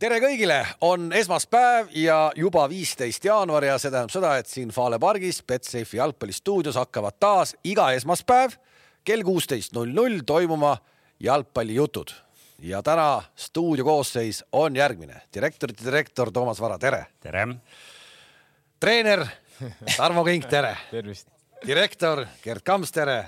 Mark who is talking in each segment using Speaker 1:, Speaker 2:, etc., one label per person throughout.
Speaker 1: tere kõigile , on esmaspäev ja juba viisteist jaanuar ja see tähendab seda , et siin Fale pargis Betsafe jalgpallistuudios hakkavad taas iga esmaspäev kell kuusteist null null toimuma jalgpallijutud . ja täna stuudio koosseis on järgmine , direktorite direktor Toomas Vara , tere .
Speaker 2: tere .
Speaker 1: treener Tarmo Kink , tere .
Speaker 3: tervist .
Speaker 1: direktor Gerd Kamps , tere .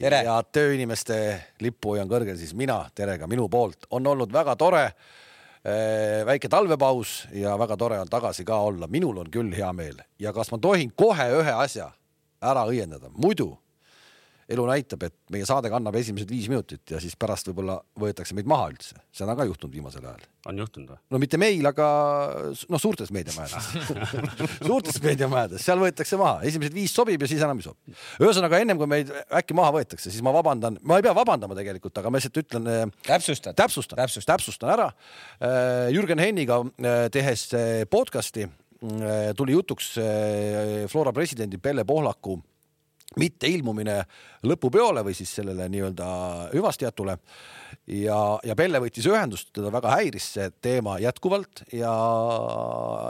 Speaker 1: tere . ja tööinimeste lipphoia on kõrgel , siis mina , tere ka minu poolt , on olnud väga tore eh, väike talvepaus ja väga tore on tagasi ka olla , minul on küll hea meel ja kas ma tohin kohe ühe asja ära õiendada , muidu elu näitab , et meie saade kannab esimesed viis minutit ja siis pärast võib-olla võetakse meid maha üldse , seda on ka juhtunud viimasel ajal .
Speaker 2: on juhtunud või ?
Speaker 1: no mitte meil , aga s- noh , suurtes meediamajades , suurtes meediamajades , seal võetakse maha , esimesed viis sobib ja siis enam ei sobi . ühesõnaga ennem kui meid äkki maha võetakse , siis ma vabandan , ma ei pea vabandama tegelikult , aga ma lihtsalt ütlen , eh,
Speaker 4: täpsustad ?
Speaker 1: täpsustan ,
Speaker 4: Täpsust.
Speaker 1: täpsustan ära . Jürgen Henniga äh, tehes äh, podcast'i äh, tuli jutuks äh, Flora presidendi Pelle Pohlaku mitteilmumine lõpupeole või siis sellele nii-öelda hüvastijätule ja , ja Pelle võttis ühendust , teda väga häiris see teema jätkuvalt ja ,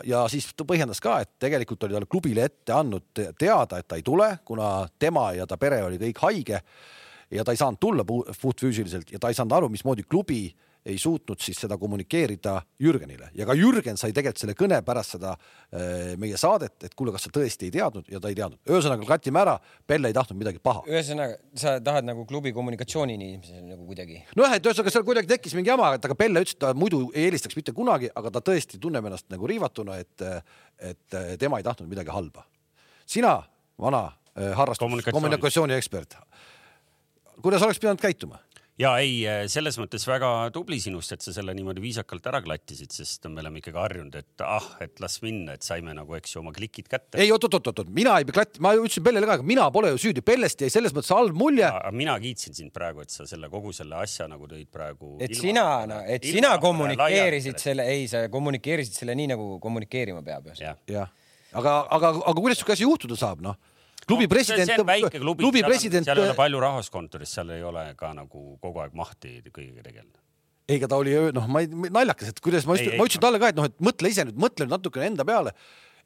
Speaker 1: ja siis ta põhjendas ka , et tegelikult oli talle klubile ette andnud te- teada , et ta ei tule , kuna tema ja ta pere oli kõik haige ja ta ei saanud tulla puu- puhtfüüsiliselt ja ta ei saanud aru , mismoodi klubi ei suutnud siis seda kommunikeerida Jürgenile ja ka Jürgen sai tegelikult selle kõne pärast seda äh, meie saadet , et kuule , kas sa tõesti ei teadnud ja ta ei teadnud . ühesõnaga katime ära , Pelle ei tahtnud midagi paha .
Speaker 4: ühesõnaga , sa tahad nagu klubi kommunikatsioonini ilmselt nagu kuidagi .
Speaker 1: nojah , et ühesõnaga seal kuidagi tekkis mingi jama , et aga Pelle ütles , et ta muidu ei eelistaks mitte kunagi , aga ta tõesti tunneb ennast nagu riivatuna , et , et äh, tema ei tahtnud midagi halba . sina , vana äh, harrastus ,
Speaker 2: Kommunikatsiooni-
Speaker 1: kommunikatsiooni ekspert , kuidas oleks pidanud käituma ?
Speaker 2: ja ei , selles mõttes väga tubli sinust , et sa selle niimoodi viisakalt ära klattisid , sest me oleme ikkagi harjunud , et ah , et las minna , et saime nagu , eks ju , oma klikid kätte .
Speaker 1: ei , oot-oot-oot-oot , mina ei klatt , ma ju ütlesin Pellele ka , mina pole ju süüdi , Pellest jäi selles mõttes halb mulje .
Speaker 2: aga mina kiitsin sind praegu , et sa selle kogu selle asja nagu tõid praegu .
Speaker 4: et sina , et sina kommunikeerisid . selle , ei , sa kommunikeerisid selle nii nagu kommunikeerima peab .
Speaker 2: jah ,
Speaker 1: jah , aga , aga , aga kuidas sihuke asi juhtuda saab , noh ? klubi president ,
Speaker 2: see on väike klubi,
Speaker 1: klubi
Speaker 2: seal on-
Speaker 1: president , äh,
Speaker 2: seal ei ole palju rahvast kontoris , seal ei ole ka nagu kogu aeg mahti kõigega tegeleda .
Speaker 1: ei , ega ta oli , noh , ma ei , naljakas , et kuidas ma
Speaker 2: Ei,
Speaker 1: ütlesin ,
Speaker 2: ei,
Speaker 1: ma ütlesin talle ka , et noh , et mõtle ise nüüd , mõtle nüüd natukene enda peale .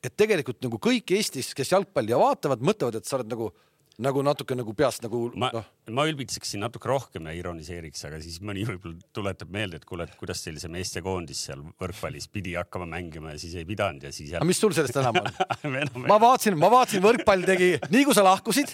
Speaker 1: et tegelikult nagu kõik Eestis , kes jalgpalli vaatavad , mõtlevad , et sa oled nagu , nagu natuke nagu peast nagu
Speaker 2: ma
Speaker 1: noh ,
Speaker 2: ma ülbitseksin natuke rohkem ja ironiseeriks , aga siis mõni võib-olla tuletab meelde , et kuule , et kuidas teil see meestekoondis seal võrkpallis pidi hakkama mängima ja siis ei pidanud ja siis
Speaker 1: aga mis sul sellest enam on ?
Speaker 2: jälle .
Speaker 1: ma vaatasin , ma vaatasin , võrkpall tegi , nii kui sa lahkusid ,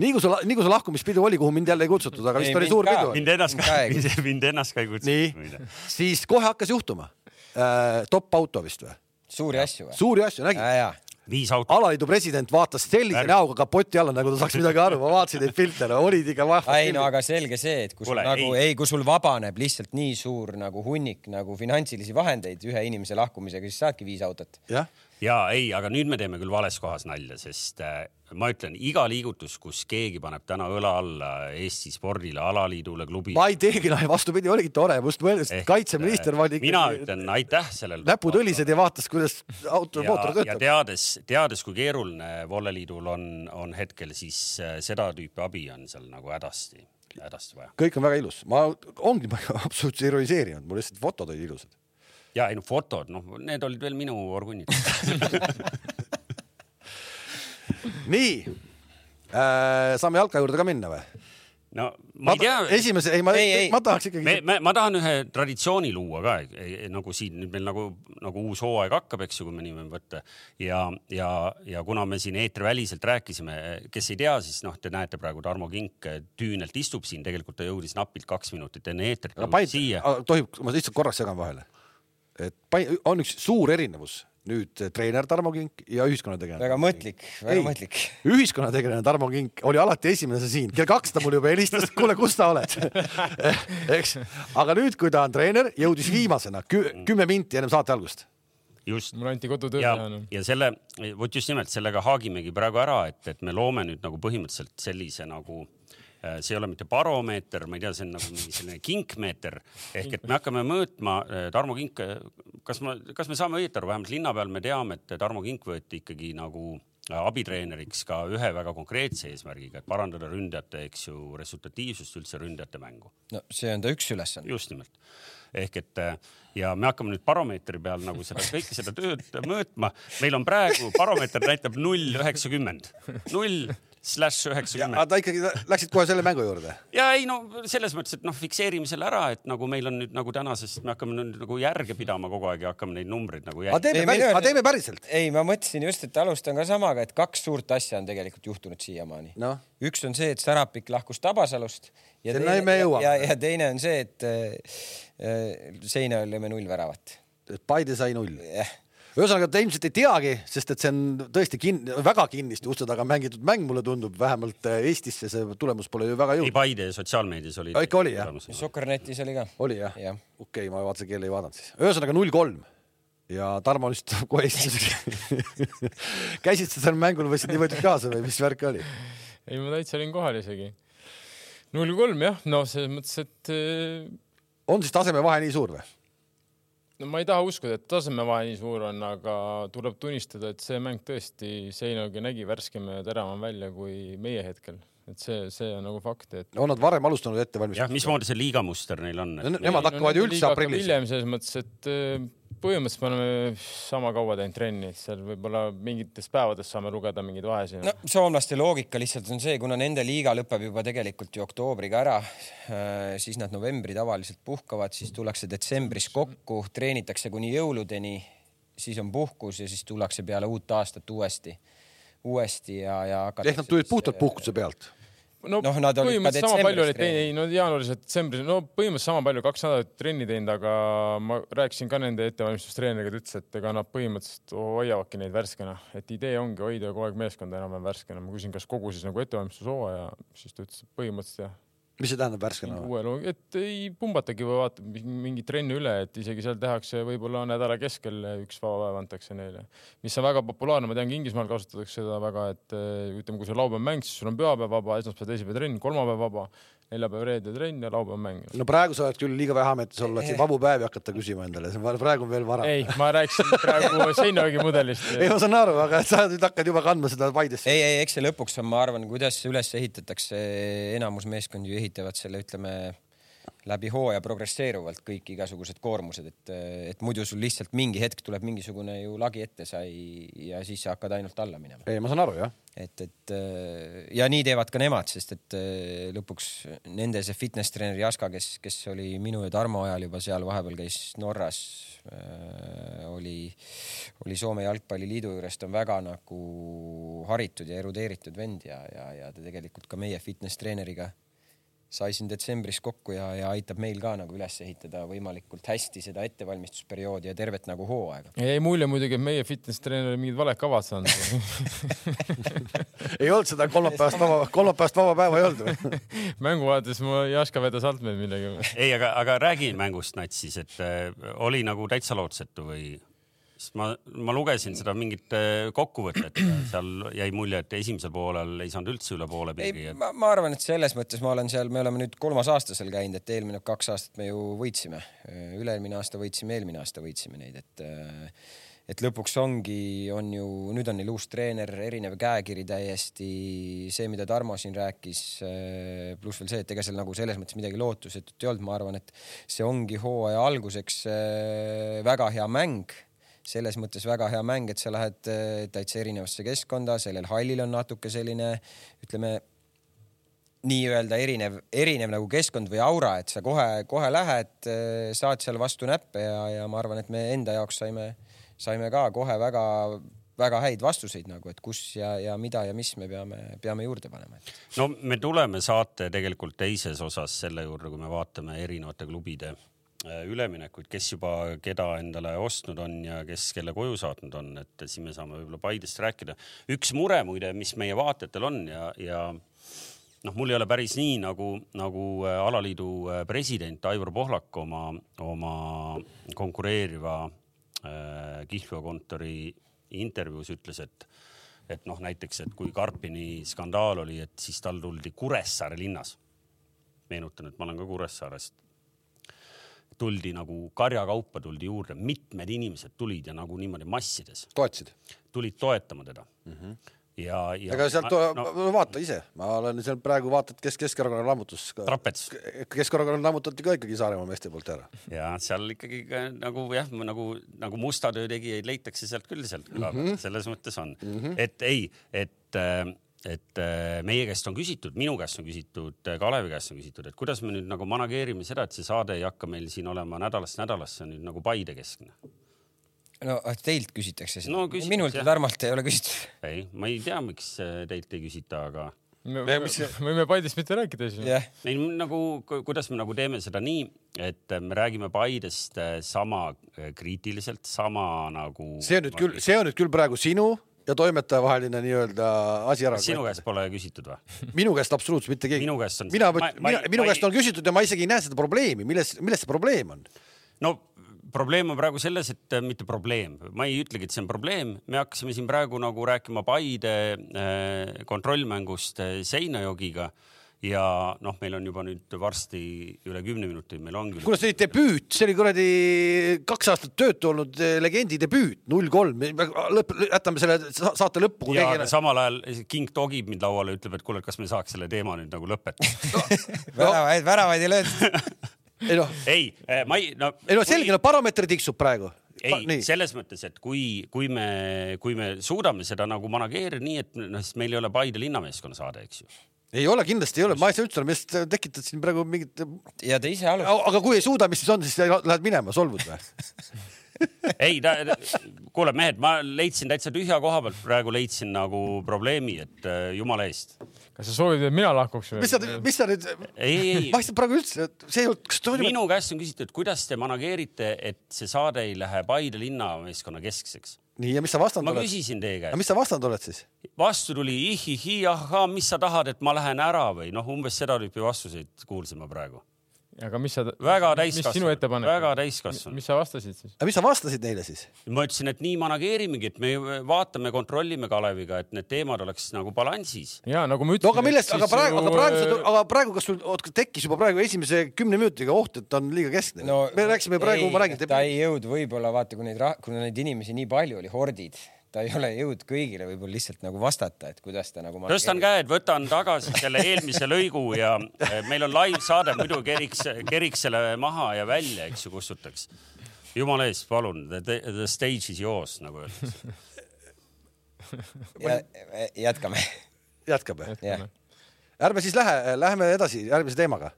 Speaker 1: nii kui sa , nii kui sa lahkumispidu oli , kuhu mind jälle ei kutsutud , aga
Speaker 4: Ei,
Speaker 1: vist oli
Speaker 4: mind
Speaker 1: suur
Speaker 4: ka.
Speaker 1: pidu .
Speaker 2: mind ennast ka
Speaker 4: Mind ,
Speaker 2: mind ennast ka ei
Speaker 1: nii
Speaker 2: kutsunud .,
Speaker 1: siis kohe hakkas juhtuma äh, . top auto vist või ?
Speaker 4: suuri asju või ?
Speaker 1: suuri asju
Speaker 4: Äh.
Speaker 1: nägi .
Speaker 2: viis autot ,
Speaker 1: alaliidu president vaatas sellise
Speaker 2: Värv-
Speaker 1: näoga kapoti alla , nagu ta saaks midagi aru , ma vaatasin neid pilte , no olid ikka
Speaker 4: ei
Speaker 1: vahvad
Speaker 4: no . aga selge see , et kui sul
Speaker 2: Kuule,
Speaker 4: nagu
Speaker 2: ei.
Speaker 4: ei, ei , kui sul vabaneb lihtsalt nii suur nagu hunnik nagu finantsilisi vahendeid ühe inimese lahkumisega , siis saadki viis autot .
Speaker 1: jah ,
Speaker 2: ja ei , aga nüüd me teeme küll vales kohas nalja , sest äh, ma ütlen , iga liigutus , kus keegi paneb täna õla alla Eesti spordile , alaliidule , klubile .
Speaker 1: ma ei teegi , noh vastupidi , oligi tore , ma just mõelsin , et kaitseminister pani
Speaker 2: äh, mina ütlen aitäh sellele .
Speaker 1: näpud õlised ja vaatas , kuidas auto mootor
Speaker 2: ja, ja
Speaker 1: töötab .
Speaker 2: teades , teades , kui keeruline volleliidul on , on hetkel , siis äh, seda tüüpi abi on seal nagu hädasti , hädasti vaja .
Speaker 1: kõik on väga ilus , ma ongi ma absoluutselt ironiseerinud , mul lihtsalt fotod olid ilusad .
Speaker 2: ja ei noh , fotod , noh , need olid veel minu orgunnid .
Speaker 1: nii äh, , saame jalka juurde ka minna või ?
Speaker 2: no ma ei tea ,
Speaker 1: esimese , ei ma
Speaker 4: Ei, , ei.
Speaker 1: ma tahaks ikkagi
Speaker 2: me , me , ma tahan ühe traditsiooni luua ka , nagu siin nüüd meil nagu , nagu uus hooaeg hakkab , eks ju , kui me nii võime võtta ja , ja , ja kuna me siin eetriväliselt rääkisime , kes ei tea , siis noh , te näete praegu Tarmo Kink tüünelt istub siin , tegelikult ta jõudis napilt kaks minutit enne eetrit
Speaker 1: aga
Speaker 2: jõudis
Speaker 1: Paide
Speaker 2: siia ,.
Speaker 1: tohib , ma lihtsalt korraks segan vahele . et Pai- on üks suur erinevus nüüd äh, treener Tarmo Kink ja ühiskonnategelane .
Speaker 4: väga mõtlik , väga ei. mõtlik .
Speaker 1: ühiskonnategelane Tarmo Kink oli alati esimene siin , kell kaks ta mulle juba helistas , kuule , kus sa oled . eks , aga nüüd , kui ta on treener , jõudis viimasena kü kümme minti ennem saate algust .
Speaker 2: just
Speaker 3: mulle anti kodutöö
Speaker 2: ja
Speaker 3: teha , noh .
Speaker 2: ja selle , vot just nimelt sellega haagimegi praegu ära , et , et me loome nüüd nagu põhimõtteliselt sellise nagu , see ei ole mitte baromeeter , ma ei tea , see on nagu mingi selline kinkmeeter ehk et me hakkame mõõtma , Tarmo äh, Kink , kas ma , kas me saame õieti aru , vähemalt linna peal me teame , et Tarmo Kink võeti ikkagi nagu abitreeneriks ka ühe väga konkreetse eesmärgiga , et parandada ründajate , eks ju , resultatiivsust üldse ründajate mängu .
Speaker 4: no see on ta üks ülesanne .
Speaker 2: just nimelt . ehk et äh, ja me hakkame nüüd baromeetri peal nagu seda kõike seda tööd mõõtma . meil on praegu baromeeter näitab null üheksakümmend , null slaš
Speaker 1: aga
Speaker 2: üheksakümmend .
Speaker 1: ta ikkagi , läksid kohe selle mängu juurde ?
Speaker 2: ja ei no selles mõttes , et noh , fikseerime selle ära , et nagu meil on nüüd nagu tänasest , me hakkame nüüd nagu järge pidama kogu aeg ja hakkame neid numbreid nagu
Speaker 1: aga
Speaker 2: jälgima .
Speaker 1: teeme
Speaker 4: Ei,
Speaker 1: päris ,
Speaker 4: minu-
Speaker 1: aga teeme päriselt .
Speaker 4: ei , ma mõtlesin just , et alustan ka samaga , et kaks suurt asja on tegelikult juhtunud siiamaani
Speaker 1: Noh.
Speaker 4: üks on see , et Sarapik lahkus Tabasalust ja
Speaker 1: Sinna me jõuame.
Speaker 4: ja, ja teine on see , et äh, Seinal lööme null väravat .
Speaker 1: Paide sai null .
Speaker 4: jah ,
Speaker 1: ühesõnaga ta ilmselt ei teagi , sest et see on tõesti kin- , väga kinniste uste taga mängitud mäng , mulle tundub , vähemalt äh, Eestisse see tulemus pole ju väga
Speaker 2: ei ,
Speaker 1: jõudnud .
Speaker 2: Paide sotsiaalmeedias oli .
Speaker 1: Ikka oli, jah.
Speaker 4: Soccernetis oli ka .
Speaker 1: oli jah ja.
Speaker 4: Jah. ?
Speaker 1: okei okay, , ma vaatasin , kelle ei vaadanud siis . ühesõnaga null kolm ja Tarmo vist kohe esimeseks . käisid sa seal mängul või sind ei võetud kaasa või mis värk oli ?
Speaker 3: ei , ma täitsa olin kohal isegi . null kolm jah , no selles mõttes , et eh,
Speaker 1: on siis tasemevahe nii suur või ?
Speaker 3: no ma ei taha uskuda , et tasemevahe nii suur on , aga tuleb tunnistada , et see mäng tõesti Seinogi nägi värskem ja teravam välja kui meie hetkel , et see , see on nagu fakt , et
Speaker 1: on nad varem alustanud
Speaker 2: jah ,
Speaker 1: ettevalmistust ?
Speaker 2: mismoodi see liigamuster neil on ?
Speaker 1: Nemad hakkavad ju
Speaker 3: nende
Speaker 1: üldse
Speaker 3: liiga hakkab
Speaker 1: aprillis .
Speaker 3: hiljem selles mõttes , et eh, põhimõtteliselt me oleme sama kaua teinud trenni , et seal võib-olla mingites päevades saame lugeda mingeid vahesid
Speaker 4: no soomlaste loogika lihtsalt on see , kuna nende liiga lõpeb juba tegelikult ju oktoobriga ära , siis nad novembri tavaliselt puhkavad , siis tullakse detsembris kokku , treenitakse kuni jõuludeni , siis on puhkus ja siis tullakse peale uut aastat uuesti , uuesti ja , ja
Speaker 1: ehk nad tulid puhtalt puhkuse pealt ?
Speaker 3: no,
Speaker 4: Noh, nad olid ka
Speaker 3: põhimõtteliselt sama palju
Speaker 4: detsembris
Speaker 3: olid teinud , ei no jaanuaris ja detsembris , no põhimõtteliselt sama palju , kaks nädalat trenni teinud , aga ma rääkisin ka nende ettevalmistustreeneriga , ta ütles , et ega nad põhimõtteliselt hoiavadki neid värskena , et idee ongi hoida kogu aeg meeskonda enam-vähem värskena . ma küsin , kas kogu siis nagu ettevalmistushooaja , siis ta ütles , et põhimõtteliselt jah ,
Speaker 1: mis see tähendab värskena ?
Speaker 3: uue loo , et ei pumbatagi või vaata mingi mingi trenni üle , et isegi seal tehakse võib-olla nädala keskel üks vaba päev antakse neile , mis on väga populaarne , ma tean , Inglismaal kasutatakse seda väga , et eh, ütleme , kui sul laupäev mäng , siis sul on pühapäev vaba , esmaspäev , teisipäev trenn , kolmapäev vaba , neljapäev , reede trenn ja laupäev mäng .
Speaker 1: no praegu sa oled küll liiga vähe ametis olla ,
Speaker 2: Eh.
Speaker 1: et siin vabu päevi hakata küsima endale , praegu on veel vara .
Speaker 3: ei , ma rääkisin praegu Seinagi
Speaker 1: ei ,
Speaker 3: mudelist .
Speaker 1: ma saan aru , aga sa nüüd hakkad juba kandma seda Paidesse .
Speaker 4: ei , ei , eks see lõpuks on , ma arvan , kuidas see üles ehitatakse , enamus meeskondi ju ehitavad selle , ütleme läbi hooaja progresseeruvalt kõik igasugused koormused , et , et muidu sul lihtsalt mingi hetk tuleb mingisugune ju lagi ette sai ja siis sa hakkad ainult alla minema .
Speaker 1: ei , ma saan aru jah .
Speaker 4: et , et äh, ja nii teevad ka nemad , sest et äh, lõpuks nende see fitness treener Jaska , kes , kes oli minu ja Tarmo ajal juba seal , vahepeal käis Norras , oli , oli Soome Jalgpalliliidu juures , ta on väga nagu haritud ja erudeeritud vend ja , ja , ja ta tegelikult ka meie fitness treeneriga sai siin detsembris kokku ja , ja aitab meil ka nagu üles ehitada võimalikult hästi seda ettevalmistusperioodi ja tervet nagu hooaega .
Speaker 3: jäi mulje muidugi , et meie fitness treener mingid valed kavad saanud .
Speaker 1: ei olnud seda kolmapäevast vaba , kolmapäevast vaba päeva ei olnud või ?
Speaker 3: mängu vaadates ma ei oska vedas alt meil midagi .
Speaker 2: ei , aga , aga räägi mängust nats siis , et äh, oli nagu täitsa lootusetu või ? sest ma , ma lugesin seda mingit äh, kokkuvõtet , seal jäi mulje , et esimesel poolel ei saanud üldse üle poole piiri
Speaker 4: ei ,. ma , ma arvan , et selles mõttes ma olen seal , me oleme nüüd kolmas aasta seal käinud , et eelmine kaks aastat me ju võitsime , üle-eelmine aasta võitsime , eelmine aasta võitsime neid , et äh, et lõpuks ongi , on ju , nüüd on neil uus treener , erinev käekiri täiesti , see , mida Tarmo siin rääkis , pluss veel see , et ega seal nagu selles mõttes midagi lootusetut ei olnud , ma arvan , et see ongi hooaja alguseks äh, väga hea mäng selles mõttes väga hea mäng , et sa lähed äh, täitsa erinevasse keskkonda , sellel hallil on natuke selline , ütleme nii-öelda erinev , erinev nagu keskkond või aura , et sa kohe-kohe lähed , saad seal vastu näppe ja , ja ma arvan , et me enda jaoks saime , saime ka kohe väga-väga häid vastuseid nagu , et kus ja , ja mida ja mis me peame , peame juurde panema .
Speaker 2: no me tuleme saate tegelikult teises osas selle juurde , kui me vaatame erinevate klubide äh, üleminekuid , kes juba keda endale ostnud on ja kes kelle koju saatnud on , et äh, siin me saame võib-olla Paidest rääkida . üks mure muide , mis meie vaatajatel on ja , ja noh , mul ei ole päris nii nagu , nagu äh, alaliidu äh, president Aivar Pohlak oma , oma konkureeriva äh, kihlveokontori intervjuus ütles , et , et noh , näiteks , et kui Karpini skandaal oli , et siis tal tuldi Kuressaare linnas . meenutan , et ma olen ka Kuressaarest . tuldi nagu karjakaupa tuldi juurde, mitmed inimesed tulid ja nagu niimoodi massides
Speaker 1: toetasid ?
Speaker 2: tulid toetama teda mm. -hmm. ja, ja .
Speaker 1: Mhm. ega sealt no, , vaata ise , ma olen seal praegu vaatad , kes Keskerakonna lammutus .
Speaker 2: Trapets.
Speaker 1: Keskerakonna lammutati ka ikkagi Saaremaa meeste poolt ära .
Speaker 2: ja seal ikkagi ka, nagu jah , nagu , nagu musta töö tegijaid leitakse sealt küll sealt küla pealt
Speaker 1: Mhm.
Speaker 2: mm -hmm. , selles mõttes on mm , -hmm. et ei , et , et äh, meie käest on küsitud , minu käest on küsitud , Kalevi käest on küsitud , et kuidas me nüüd nagu manageerime seda , et see saade ei hakka meil siin olema nädalast nädalasse nüüd nagu Paide keskne .
Speaker 4: no ah, teilt küsitakse seda
Speaker 2: No küsitakse,
Speaker 4: minult ja
Speaker 2: jah.
Speaker 4: Tarmolt ei ole küsitud .
Speaker 2: ei , ma ei tea , miks äh, teilt ei küsita , aga
Speaker 3: me
Speaker 1: Ja mis-
Speaker 3: me võime Paidest mitte rääkida siis .
Speaker 4: jah ,
Speaker 2: ei nagu , kuidas me nagu teeme seda nii , et äh, me räägime Paidest äh, sama äh, kriitiliselt , sama nagu .
Speaker 1: see on nüüd küll , see on nüüd küll praegu sinu ja toimetaja vaheline nii-öelda asi ära .
Speaker 2: sinu käest pole küsitud või ?
Speaker 1: minu käest absoluutselt mitte keegi .
Speaker 2: Minu käest on-
Speaker 1: mina ,
Speaker 2: ma- ma
Speaker 1: mina
Speaker 2: ei- ,
Speaker 1: minu
Speaker 2: ma
Speaker 1: käest
Speaker 2: ei-
Speaker 1: on küsitud ja ma isegi ei näe seda probleemi , milles , milles see probleem on ?
Speaker 2: no probleem on praegu selles , et äh, mitte probleem , ma ei ütlegi , et see on probleem , me hakkasime siin praegu nagu rääkima Paide äh, kontrollmängust äh, Seinajogiga ja noh , meil on juba nüüd varsti üle kümne minuti , meil on küll .
Speaker 1: kuule , see oli debüüt , see oli kuradi kaks aastat töötu olnud eh, legendi debüüt , null kolm , lõpp , jätame selle sa- saate lõppu , kui
Speaker 2: ja
Speaker 1: keegi
Speaker 2: aga samal ajal king togib mind lauale , ütleb , et kuule , kas me saaks selle teema nüüd nagu lõpetada .
Speaker 4: väravaid , väravaid ei löödud .
Speaker 1: ei noh ,
Speaker 2: ei , ma ei no, .
Speaker 1: ei noh , selge , no baromeeter tiksub praegu .
Speaker 2: ei ,
Speaker 1: nii ,
Speaker 2: selles mõttes , et kui , kui me , kui me suudame seda nagu manageerida nii , et noh , siis meil ei ole Paide linnameeskonna saade , eks ju .
Speaker 1: ei ole , kindlasti ei ole , ma ei saa üldse aru , millest tekitad siin praegu mingit ,
Speaker 4: ja te ise alustasite .
Speaker 1: aga kui ei suuda , mis siis on , siis lähed minema , solvud või ?
Speaker 2: ei , kuule mehed , ma leidsin täitsa tühja koha pealt , praegu leidsin nagu probleemi , et äh, jumala eest .
Speaker 3: kas sa soovid , et mina lahkuks
Speaker 1: mis sa
Speaker 3: või ?,
Speaker 1: mis sa nüüd ,
Speaker 2: ei , ei ,
Speaker 1: ma ei saa praegu üldse , see ei olnud , kas toimub Minu...
Speaker 2: minu käest on küsitud , kuidas te manageerite , et see saade ei lähe Paide linnameeskonna keskseks .
Speaker 1: nii ja mis sa vastanud
Speaker 2: ma
Speaker 1: oled ?
Speaker 2: küsisin teie
Speaker 1: aga
Speaker 2: käest ,
Speaker 1: mis sa vastanud oled siis ?
Speaker 2: vastu tuli ihihi , ahhaa , mis sa tahad , et ma lähen ära või noh , umbes seda tüüpi vastuseid kuulsin ma praegu .
Speaker 3: aga mis sa ?
Speaker 2: väga
Speaker 3: mis sinu
Speaker 2: täiskasvanud ,
Speaker 3: ettepanek ?
Speaker 2: väga täiskasvanud .
Speaker 3: mis sa vastasid siis ?
Speaker 1: aga mis sa vastasid neile siis ?
Speaker 2: ma ütlesin , et nii manageerimegi , et me vaatame , kontrollime Kaleviga , et need teemad oleks nagu balansis
Speaker 3: ja nagu ma ütlesin .
Speaker 1: no aga millest , aga praegu , aga praegu
Speaker 3: äh,
Speaker 1: sa ,
Speaker 4: äh,
Speaker 1: aga praegu , kas sul oot, tekkis juba praegu esimese kümne minutiga oht , et ta on liiga keskne no, ? me rääkisime praegu , ma räägin ,
Speaker 4: ta ei jõudnud võib-olla vaata , kui neid , kuna neid inimesi nii palju oli , hordid , ta ei ole jõudnud kõigile võib-olla lihtsalt nagu vastata , et kuidas ta nagu .
Speaker 2: tõstan . käed , võtan tagasi selle eelmise lõigu ja eh, meil on live saade , muidu keriks , keriks selle maha ja välja , eks ju , kustutaks . jumala eest , palun , the stage is yours , nagu öeldakse .
Speaker 4: e, jätkame .
Speaker 1: jätkame .
Speaker 4: jah ,
Speaker 1: ärme siis lähe , lähme edasi järgmise teemaga .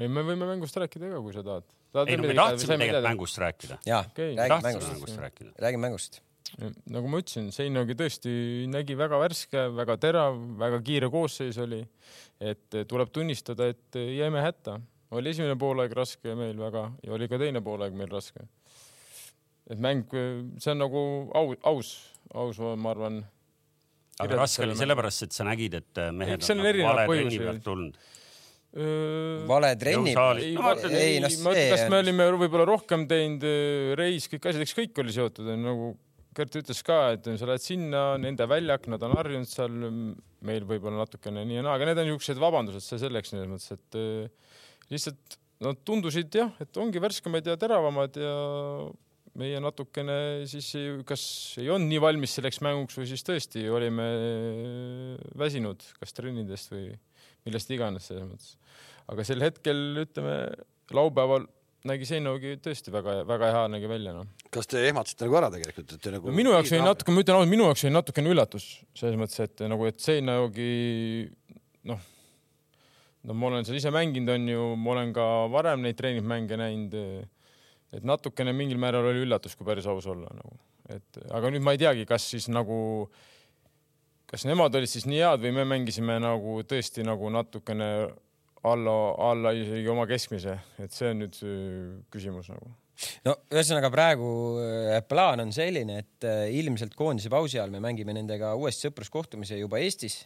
Speaker 3: ei , me võime mängust rääkida ka , kui sa tahad . tahad
Speaker 2: ei no me tahtsime tegelikult . mängust rääkida .
Speaker 4: ja
Speaker 3: Okei.
Speaker 4: räägime
Speaker 2: tahtsime
Speaker 4: mängust ,
Speaker 2: mängust rääkida .
Speaker 4: räägime mängust .
Speaker 3: nagu ma ütlesin , Seinogi tõesti nägi väga värske , väga terav , väga kiire koosseis oli . et äh, tuleb tunnistada , et äh, jäime hätta . oli esimene poolaeg raske meil väga ja oli ka teine poolaeg meil raske . et mäng , see on nagu au , aus , aus , ma arvan .
Speaker 2: aga raske oli . sellepärast , et sa nägid , et eh, mehed
Speaker 3: Eks seal
Speaker 2: on
Speaker 3: on
Speaker 2: nagu
Speaker 3: erinevaid
Speaker 2: vale trenni
Speaker 3: põhjusi.
Speaker 2: pealt tulnud .
Speaker 4: vale trenni .
Speaker 2: Jõusaali-
Speaker 3: ei
Speaker 2: No ,
Speaker 3: ma
Speaker 2: vaata,
Speaker 3: ütlen ,
Speaker 4: ei,
Speaker 3: ei ,
Speaker 4: noh,
Speaker 3: ma ütlen ,
Speaker 4: see
Speaker 3: kas me
Speaker 4: on-
Speaker 3: olime võib-olla rohkem teinud , reis , kõik asjad , eks kõik oli seotud , nagu Kärt ütles ka , et sa lähed sinna , nende väljak , nad on harjunud seal , meil võib-olla natukene nii ja naa , aga need on niisugused vabandused , see selleks selles mõttes , et öö, lihtsalt nad tundusid jah , et ongi värskemad ja teravamad ja meie natukene siis ei- kas ei olnud nii valmis selleks mänguks või siis tõesti olime äh, väsinud kas trennidest või millest iganes selles mõttes . aga sel hetkel ütleme laupäeval nägi Seinogi tõesti väga-väga hea nägi välja noh .
Speaker 1: kas te ehmatasite nagu ära tegelikult , et te nagu
Speaker 3: no minu jaoks oli natuke , ma ütlen ausalt , minu jaoks oli natukene üllatus selles mõttes , et nagu , et Seinajoogi noh , no ma olen seal ise mänginud , on ju , ma olen ka varem neid treeningmänge näinud . et natukene mingil määral oli üllatus , kui päris aus olla nagu , et aga nüüd ma ei teagi , kas siis nagu , kas nemad olid siis nii head või me mängisime nagu tõesti nagu natukene alla , alla isegi oma keskmise , et see on nüüd öö, küsimus nagu
Speaker 4: no ühesõnaga praegu äh, plaan on selline , et äh, ilmselt koondise pausi ajal me mängime nendega uuesti sõpruskohtumise juba Eestis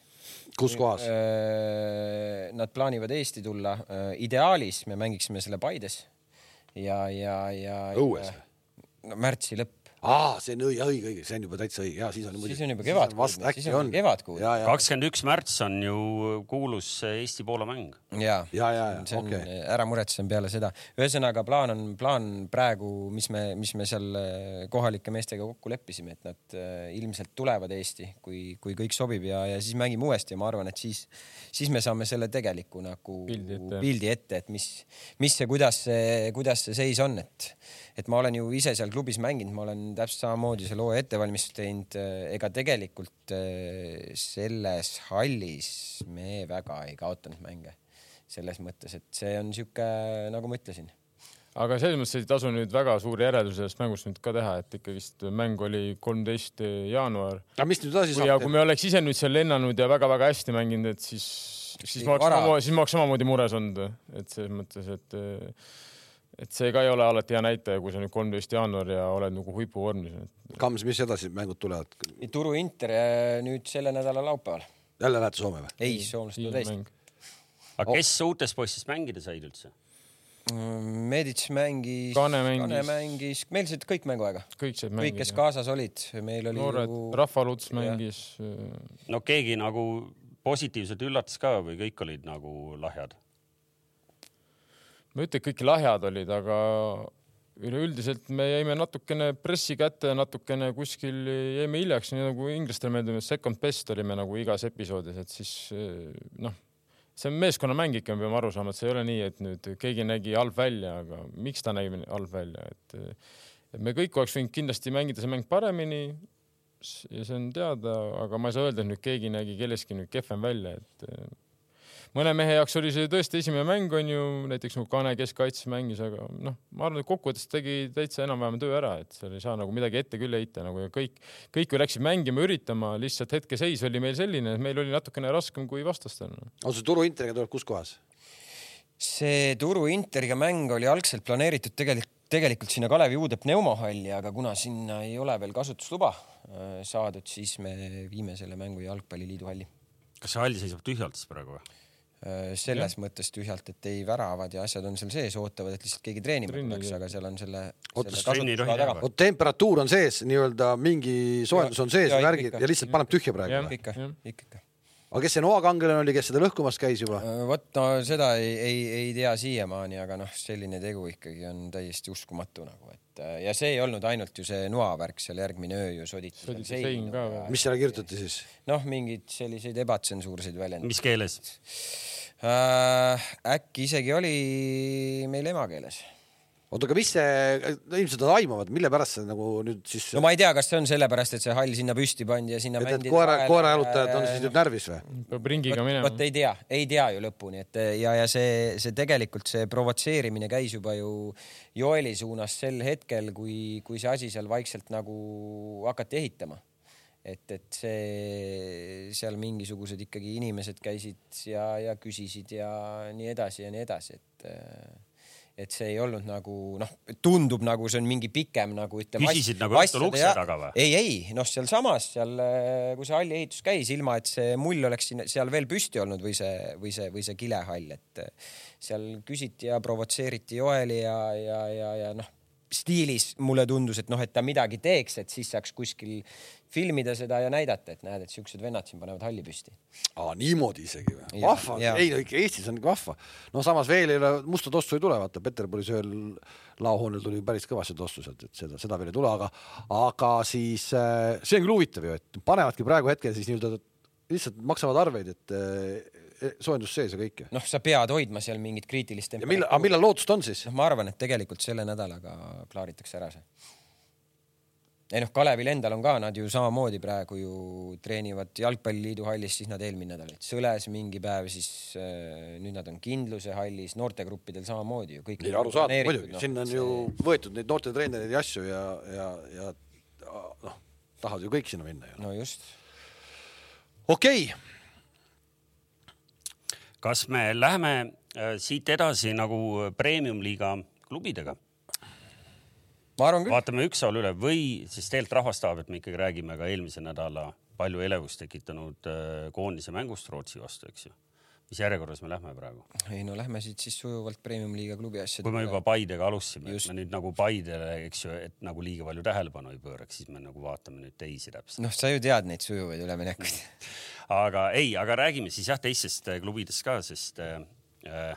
Speaker 1: kus kohas ?
Speaker 4: Öö, Nad plaanivad Eesti tulla , ideaalis me mängiksime selle Paides ja , ja , ja .
Speaker 1: Õues või ?
Speaker 4: no märtsi lõpp .
Speaker 1: aa , see on õige , õige , õige , see on juba täitsa õige ja siis on muidugi .
Speaker 4: siis on juba kevadkuud,
Speaker 1: vast
Speaker 4: siis
Speaker 1: äkki
Speaker 4: on
Speaker 1: on .
Speaker 4: kevadkuud.
Speaker 1: ja , ja ,
Speaker 2: kakskümmend üks märts on ju kuulus Eesti-Poola mäng .
Speaker 4: ja ,
Speaker 1: ja , ja ,
Speaker 4: see
Speaker 1: ja
Speaker 4: on
Speaker 1: okei .
Speaker 4: okay. , ära muretse , see on peale seda . ühesõnaga plaan on , plaan praegu , mis me , mis me seal äh, kohalike meestega kokku leppisime , et nad äh, ilmselt tulevad Eesti , kui , kui kõik sobib ja , ja siis mängime uuesti ja ma arvan , et siis , siis me saame selle tegeliku nagu
Speaker 3: Pildi ette.
Speaker 4: pildi ette , et mis , mis ja kuidas see , kuidas see seis on , et , et ma olen ju ise seal klubis mänginud , ma olen täpselt samamoodi selle hooaja ettevalmistust teinud . ega tegelikult äh, selles hallis me väga ei kaotanud mänge selles mõttes , et see on sihuke , nagu ma ütlesin ,
Speaker 3: aga selles mõttes ei tasu nüüd väga suuri järeldusi sellest mängust nüüd ka teha , et ikkagist mäng oli kolmteist jaanuar .
Speaker 1: aga mis nüüd edasi
Speaker 3: ja kui
Speaker 1: saab ?
Speaker 3: me oleks ise nüüd seal lennanud ja väga-väga hästi mänginud , et siis , siis ma
Speaker 4: Vara.
Speaker 3: oleks , siis ma oleks samamoodi mures olnud , et selles mõttes , et et see ka ei ole alati hea näitaja , kui sa nüüd kolmteist jaanuar ja oled nagu huipuvormis .
Speaker 1: Kams , mis edasi mängud tulevad ?
Speaker 4: Turu Inter äh, nüüd selle nädala laupäeval .
Speaker 1: jälle lähed Soome või ?
Speaker 4: ei , soomlased on täis .
Speaker 2: aga kes uutest poistest mängida said üldse ?
Speaker 4: Medits mängis ,
Speaker 3: Kane mängis.
Speaker 4: mängis , meil said kõik mänguaega ,
Speaker 3: kõik said
Speaker 4: kõik , kes
Speaker 3: mängida .
Speaker 4: kaasas olid , meil oli nagu-
Speaker 3: noored , Rahvaluts mängis .
Speaker 2: no keegi nagu positiivselt üllatas ka või kõik olid nagu lahjad ?
Speaker 3: ma ei ütle , et kõik lahjad olid , aga üleüldiselt me jäime natukene pressi kätte , natukene kuskil jäime hiljaks , nii nagu inglastele meeldib , et second best olime nagu igas episoodis , et siis eh, noh , see on meeskonnamäng ikka , me peame aru saama , et see ei ole nii , et nüüd keegi nägi halb välja , aga miks ta nägi halb välja , et eh, et me kõik oleks võinud kindlasti mängida see mäng paremini s- ja see on teada , aga ma ei saa öelda , et nüüd keegi nägi kellestki nüüd kehvem välja , et eh, mõne mehe jaoks oli see tõesti esimene mäng onju , näiteks nagu Kane keskkaitses mängis , aga noh , ma arvan , et kokkuvõttes tegi täitsa enam-vähem töö ära , et seal ei saa nagu midagi ette küll heita nagu ja kõik , kõik ju läksid mängima , üritama , lihtsalt hetkeseis oli meil selline , meil oli natukene raskem kui vastastel noh. no. .
Speaker 1: on see Turu Interiga tuleb kus kohas ?
Speaker 4: see Turu Interiga mäng oli algselt planeeritud tegelikult , tegelikult sinna Kalevi uude pneumohalli , aga kuna sinna ei ole veel kasutusluba äh, saadud , siis me viime selle mängu Jalgpalliliidu halli .
Speaker 2: kas see hall seisab tühjalt siis praegu või ?
Speaker 4: Äh, selles mõttes tühjalt , et ei väravad ja asjad on seal sees , ootavad , et lihtsalt keegi treenima
Speaker 3: Trenni
Speaker 4: tuleks , aga seal on selle .
Speaker 1: Ootas,
Speaker 2: trenni ei tohi teha
Speaker 1: vot temperatuur on sees , nii-öelda mingi soojendus on sees ,
Speaker 4: Ja- ja
Speaker 1: värgid
Speaker 4: ikka.
Speaker 1: ja lihtsalt paneb tühja praegu
Speaker 3: Jah.
Speaker 1: või ?
Speaker 4: ikka
Speaker 3: Jah. ,
Speaker 4: ikka , ikka .
Speaker 1: aga kes see noakangelane oli , kes seda lõhkumas käis juba ?
Speaker 4: vot no seda ei , ei , ei tea siiamaani , aga noh , selline tegu ikkagi on täiesti uskumatu nagu , et äh, ja see ei olnud ainult ju see noavärk , seal järgmine öö ju soditi seal
Speaker 3: Soditi sein ka
Speaker 4: seinu
Speaker 3: või?
Speaker 1: mis selle kirjutati siis ?
Speaker 4: ja noh , mingeid selliseid ebatsensuurseid väljendeid .
Speaker 2: mis keeles ?
Speaker 4: Äh, äkki isegi oli meil emakeeles .
Speaker 1: oota , aga mis see , ilmselt nad aimavad , mille pärast see nagu nüüd siis
Speaker 4: no
Speaker 1: no, ,
Speaker 4: ma ei tea , kas see on sellepärast , et see hall sinna püsti pandi ja sinna
Speaker 1: et need
Speaker 4: mändi
Speaker 1: koera , koerajalutajad on siis nüüd närvis või ?
Speaker 3: peab ringiga
Speaker 4: vot ,
Speaker 3: minema
Speaker 4: vot . ei tea , ei tea ju lõpuni , et ja , ja see , see tegelikult see provotseerimine käis juba ju Joeli suunas sel hetkel , kui , kui see asi seal vaikselt nagu hakati ehitama . et , et see seal mingisugused ikkagi inimesed käisid ja , ja küsisid ja nii edasi ja nii edasi , et et see ei olnud nagu noh , tundub nagu see on mingi pikem nagu ütleme .
Speaker 2: Küsisid nagu õhtul ukse taga või?
Speaker 4: ei , ei noh , sealsamas seal , kui see halli ehitus käis , ilma et see mull oleks sinna seal veel püsti olnud või see või see või see kilehall , et eh, seal küsiti ja provotseeriti Joeli ja , ja , ja , ja noh , stiilis mulle tundus , et noh , et ta midagi teeks , et siis saaks kuskil filmida seda ja näidata , et näed , et siuksed vennad siin panevad halli püsti .
Speaker 1: aa , niimoodi isegi või ?
Speaker 4: Jah,
Speaker 1: vahva ,
Speaker 4: jah.
Speaker 1: ei no ikka Eestis on vahva . no samas veel ei ole , musta tossu ei tule , vaata Peterburis ööl laohoonel tuli päris kõvasti tossu sealt , et seda , seda veel ei tule , aga , aga siis äh, see on küll huvitav ju , et panevadki praegu hetkel siis nii-öelda lihtsalt maksavad arveid , et äh, soojendus sees ja kõik ja .
Speaker 4: noh , sa pead hoidma seal mingit kriitilist
Speaker 1: ja millal , aga millal lootust on siis ?
Speaker 4: noh , ma arvan , et tegelikult selle nädalaga klaaritakse ära see . ei noh , Kalevil endal on ka , nad ju samamoodi praegu ju treenivad Jalgpalliliidu hallis , siis nad eelmine nädal olid Sõles mingi päev , siis äh, nüüd nad on Kindluse hallis , noortegruppidel samamoodi ju kõik .
Speaker 1: ei arusaadav
Speaker 4: noh,
Speaker 1: muidugi , sinna on ju võetud neid noortetreenereid ja asju ja , ja , ja a- noh , tahavad ju kõik sinna minna ju .
Speaker 4: no just ,
Speaker 1: okei okay. ,
Speaker 2: kas me läheme äh, siit edasi nagu premium-liiga klubidega ?
Speaker 4: ma arvan küll .
Speaker 2: vaatame ükshaaval üle või siis tegelikult rahvas tahab , et me ikkagi räägime ka eelmise nädala palju elevust tekitanud äh, koondise mängust Rootsi vastu , eks ju . mis järjekorras me lähme praegu ?
Speaker 4: ei no lähme siit siis sujuvalt premium-liiga klubi asjade
Speaker 2: kui me juba Paidega alustasime , et
Speaker 4: Just.
Speaker 2: me nüüd nagu Paidele , eks ju , et nagu liiga palju tähelepanu ei pööraks , siis me nagu vaatame nüüd teisi täpselt .
Speaker 4: noh , sa ju tead neid sujuvaid üleminekuid .
Speaker 2: aga ei , aga räägime siis jah teistest äh, klubidest ka , sest äh, äh,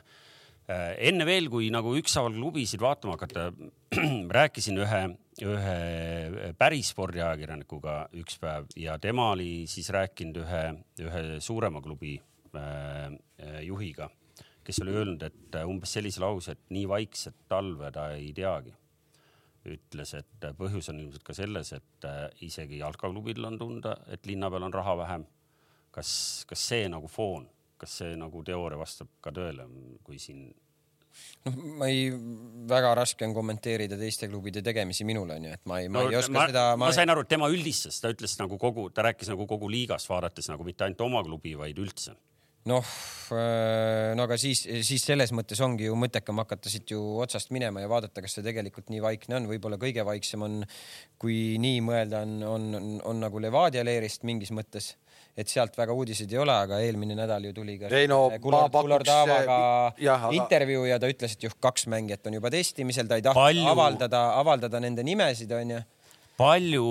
Speaker 2: enne veel , kui nagu ükshaaval klubisid vaatama hakata , rääkisin ühe , ühe äh, päris spordiajakirjanikuga üks päev ja tema oli siis rääkinud ühe , ühe suurema klubi äh, äh, juhiga , kes oli öelnud , et äh, umbes sellise lause , et nii vaikset talve ta ei teagi ütles , et põhjus on ilmselt ka selles , et äh, isegi jalkaklubil on tunda , et linna peal on raha vähem . kas , kas see nagu foon , kas see nagu teooria vastab ka tõele , kui siin
Speaker 4: noh , ma ei , väga raske on kommenteerida teiste klubide tegemisi minul onju , et ma ei , ma ei oska
Speaker 2: ma,
Speaker 4: seda ,
Speaker 2: ma sain aru , et tema üldistas , ta ütles nagu kogu , ta rääkis nagu kogu liigast vaadates nagu mitte ainult oma klubi , vaid üldse .
Speaker 4: noh , no aga siis , siis selles mõttes ongi ju mõttekam hakata siit ju otsast minema ja vaadata , kas see tegelikult nii vaikne on , võib-olla kõige vaiksem on , kui nii mõelda , on , on, on , on nagu Levadia leerist mingis mõttes , et sealt väga uudiseid ei ole , aga eelmine nädal ju tuli ka
Speaker 1: Ei no, ma
Speaker 4: Kullard,
Speaker 1: pakuks-
Speaker 4: Kullard Aavaga
Speaker 1: jah, aga-
Speaker 4: intervjuu ja ta ütles , et juh , kaks mängijat on juba testimisel , ta ei tahtnud
Speaker 2: Palju-
Speaker 4: Palju... avaldada , avaldada nende nimesid , onju .
Speaker 2: palju ,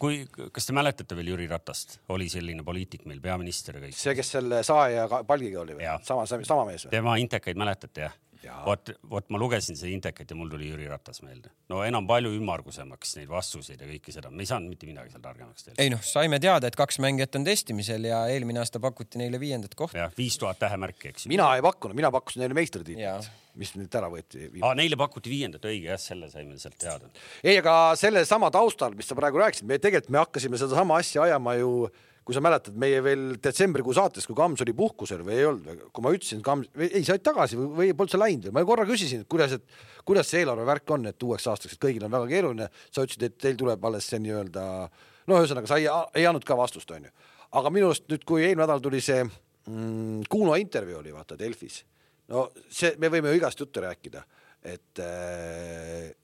Speaker 2: kui , kas te mäletate veel Jüri Ratast , oli selline poliitik meil , peaminister ja kõik .
Speaker 1: see , kes selle sae ja ka- palgiga oli või
Speaker 2: Jaa. ?
Speaker 1: sama , sama mees või ?
Speaker 2: tema intekaid mäletate jah
Speaker 1: Jaa. ?
Speaker 2: vot , vot ma lugesin seda intekat ja mul tuli Jüri Ratas meelde . no enam palju ümmargusemaks neid vastuseid ja kõike seda , me ei saanud mitte midagi seal targemaks teha .
Speaker 4: ei noh , saime teada , et kaks mängijat on testimisel ja eelmine aasta pakuti neile viiendat kohta .
Speaker 2: jah , viis tuhat tähemärki , eks ju .
Speaker 1: mina ei pakkunud , mina pakkusin neile
Speaker 4: Jaa.
Speaker 1: meistritiitlit , mis nüüd ära võeti .
Speaker 2: Ah, neile pakuti viiendat , õige jah , selle saime sealt teada .
Speaker 1: ei , aga sellesama taustal , mis sa praegu rääkisid , me tegelikult , me hakkasime sedasama asja ajama ju , kui sa mäletad , meie veel detsembrikuu saates , kui Kams oli puhkusel või ei olnud , kui ma ütlesin , Kams , ei sa olid tagasi või, või polnud sa läinud või , ma korra küsisin , et kuidas , et kuidas see eelarvevärk on , et uueks aastaks , et kõigil on väga keeruline . sa ütlesid , et teil tuleb alles see nii-öelda , no ühesõnaga sa ei, ei andnud ka vastust , onju . aga minu arust nüüd , kui eelmine nädal tuli see mm, Kuno intervjuu oli vaata Delfis , no see , me võime ju igast juttu rääkida et ,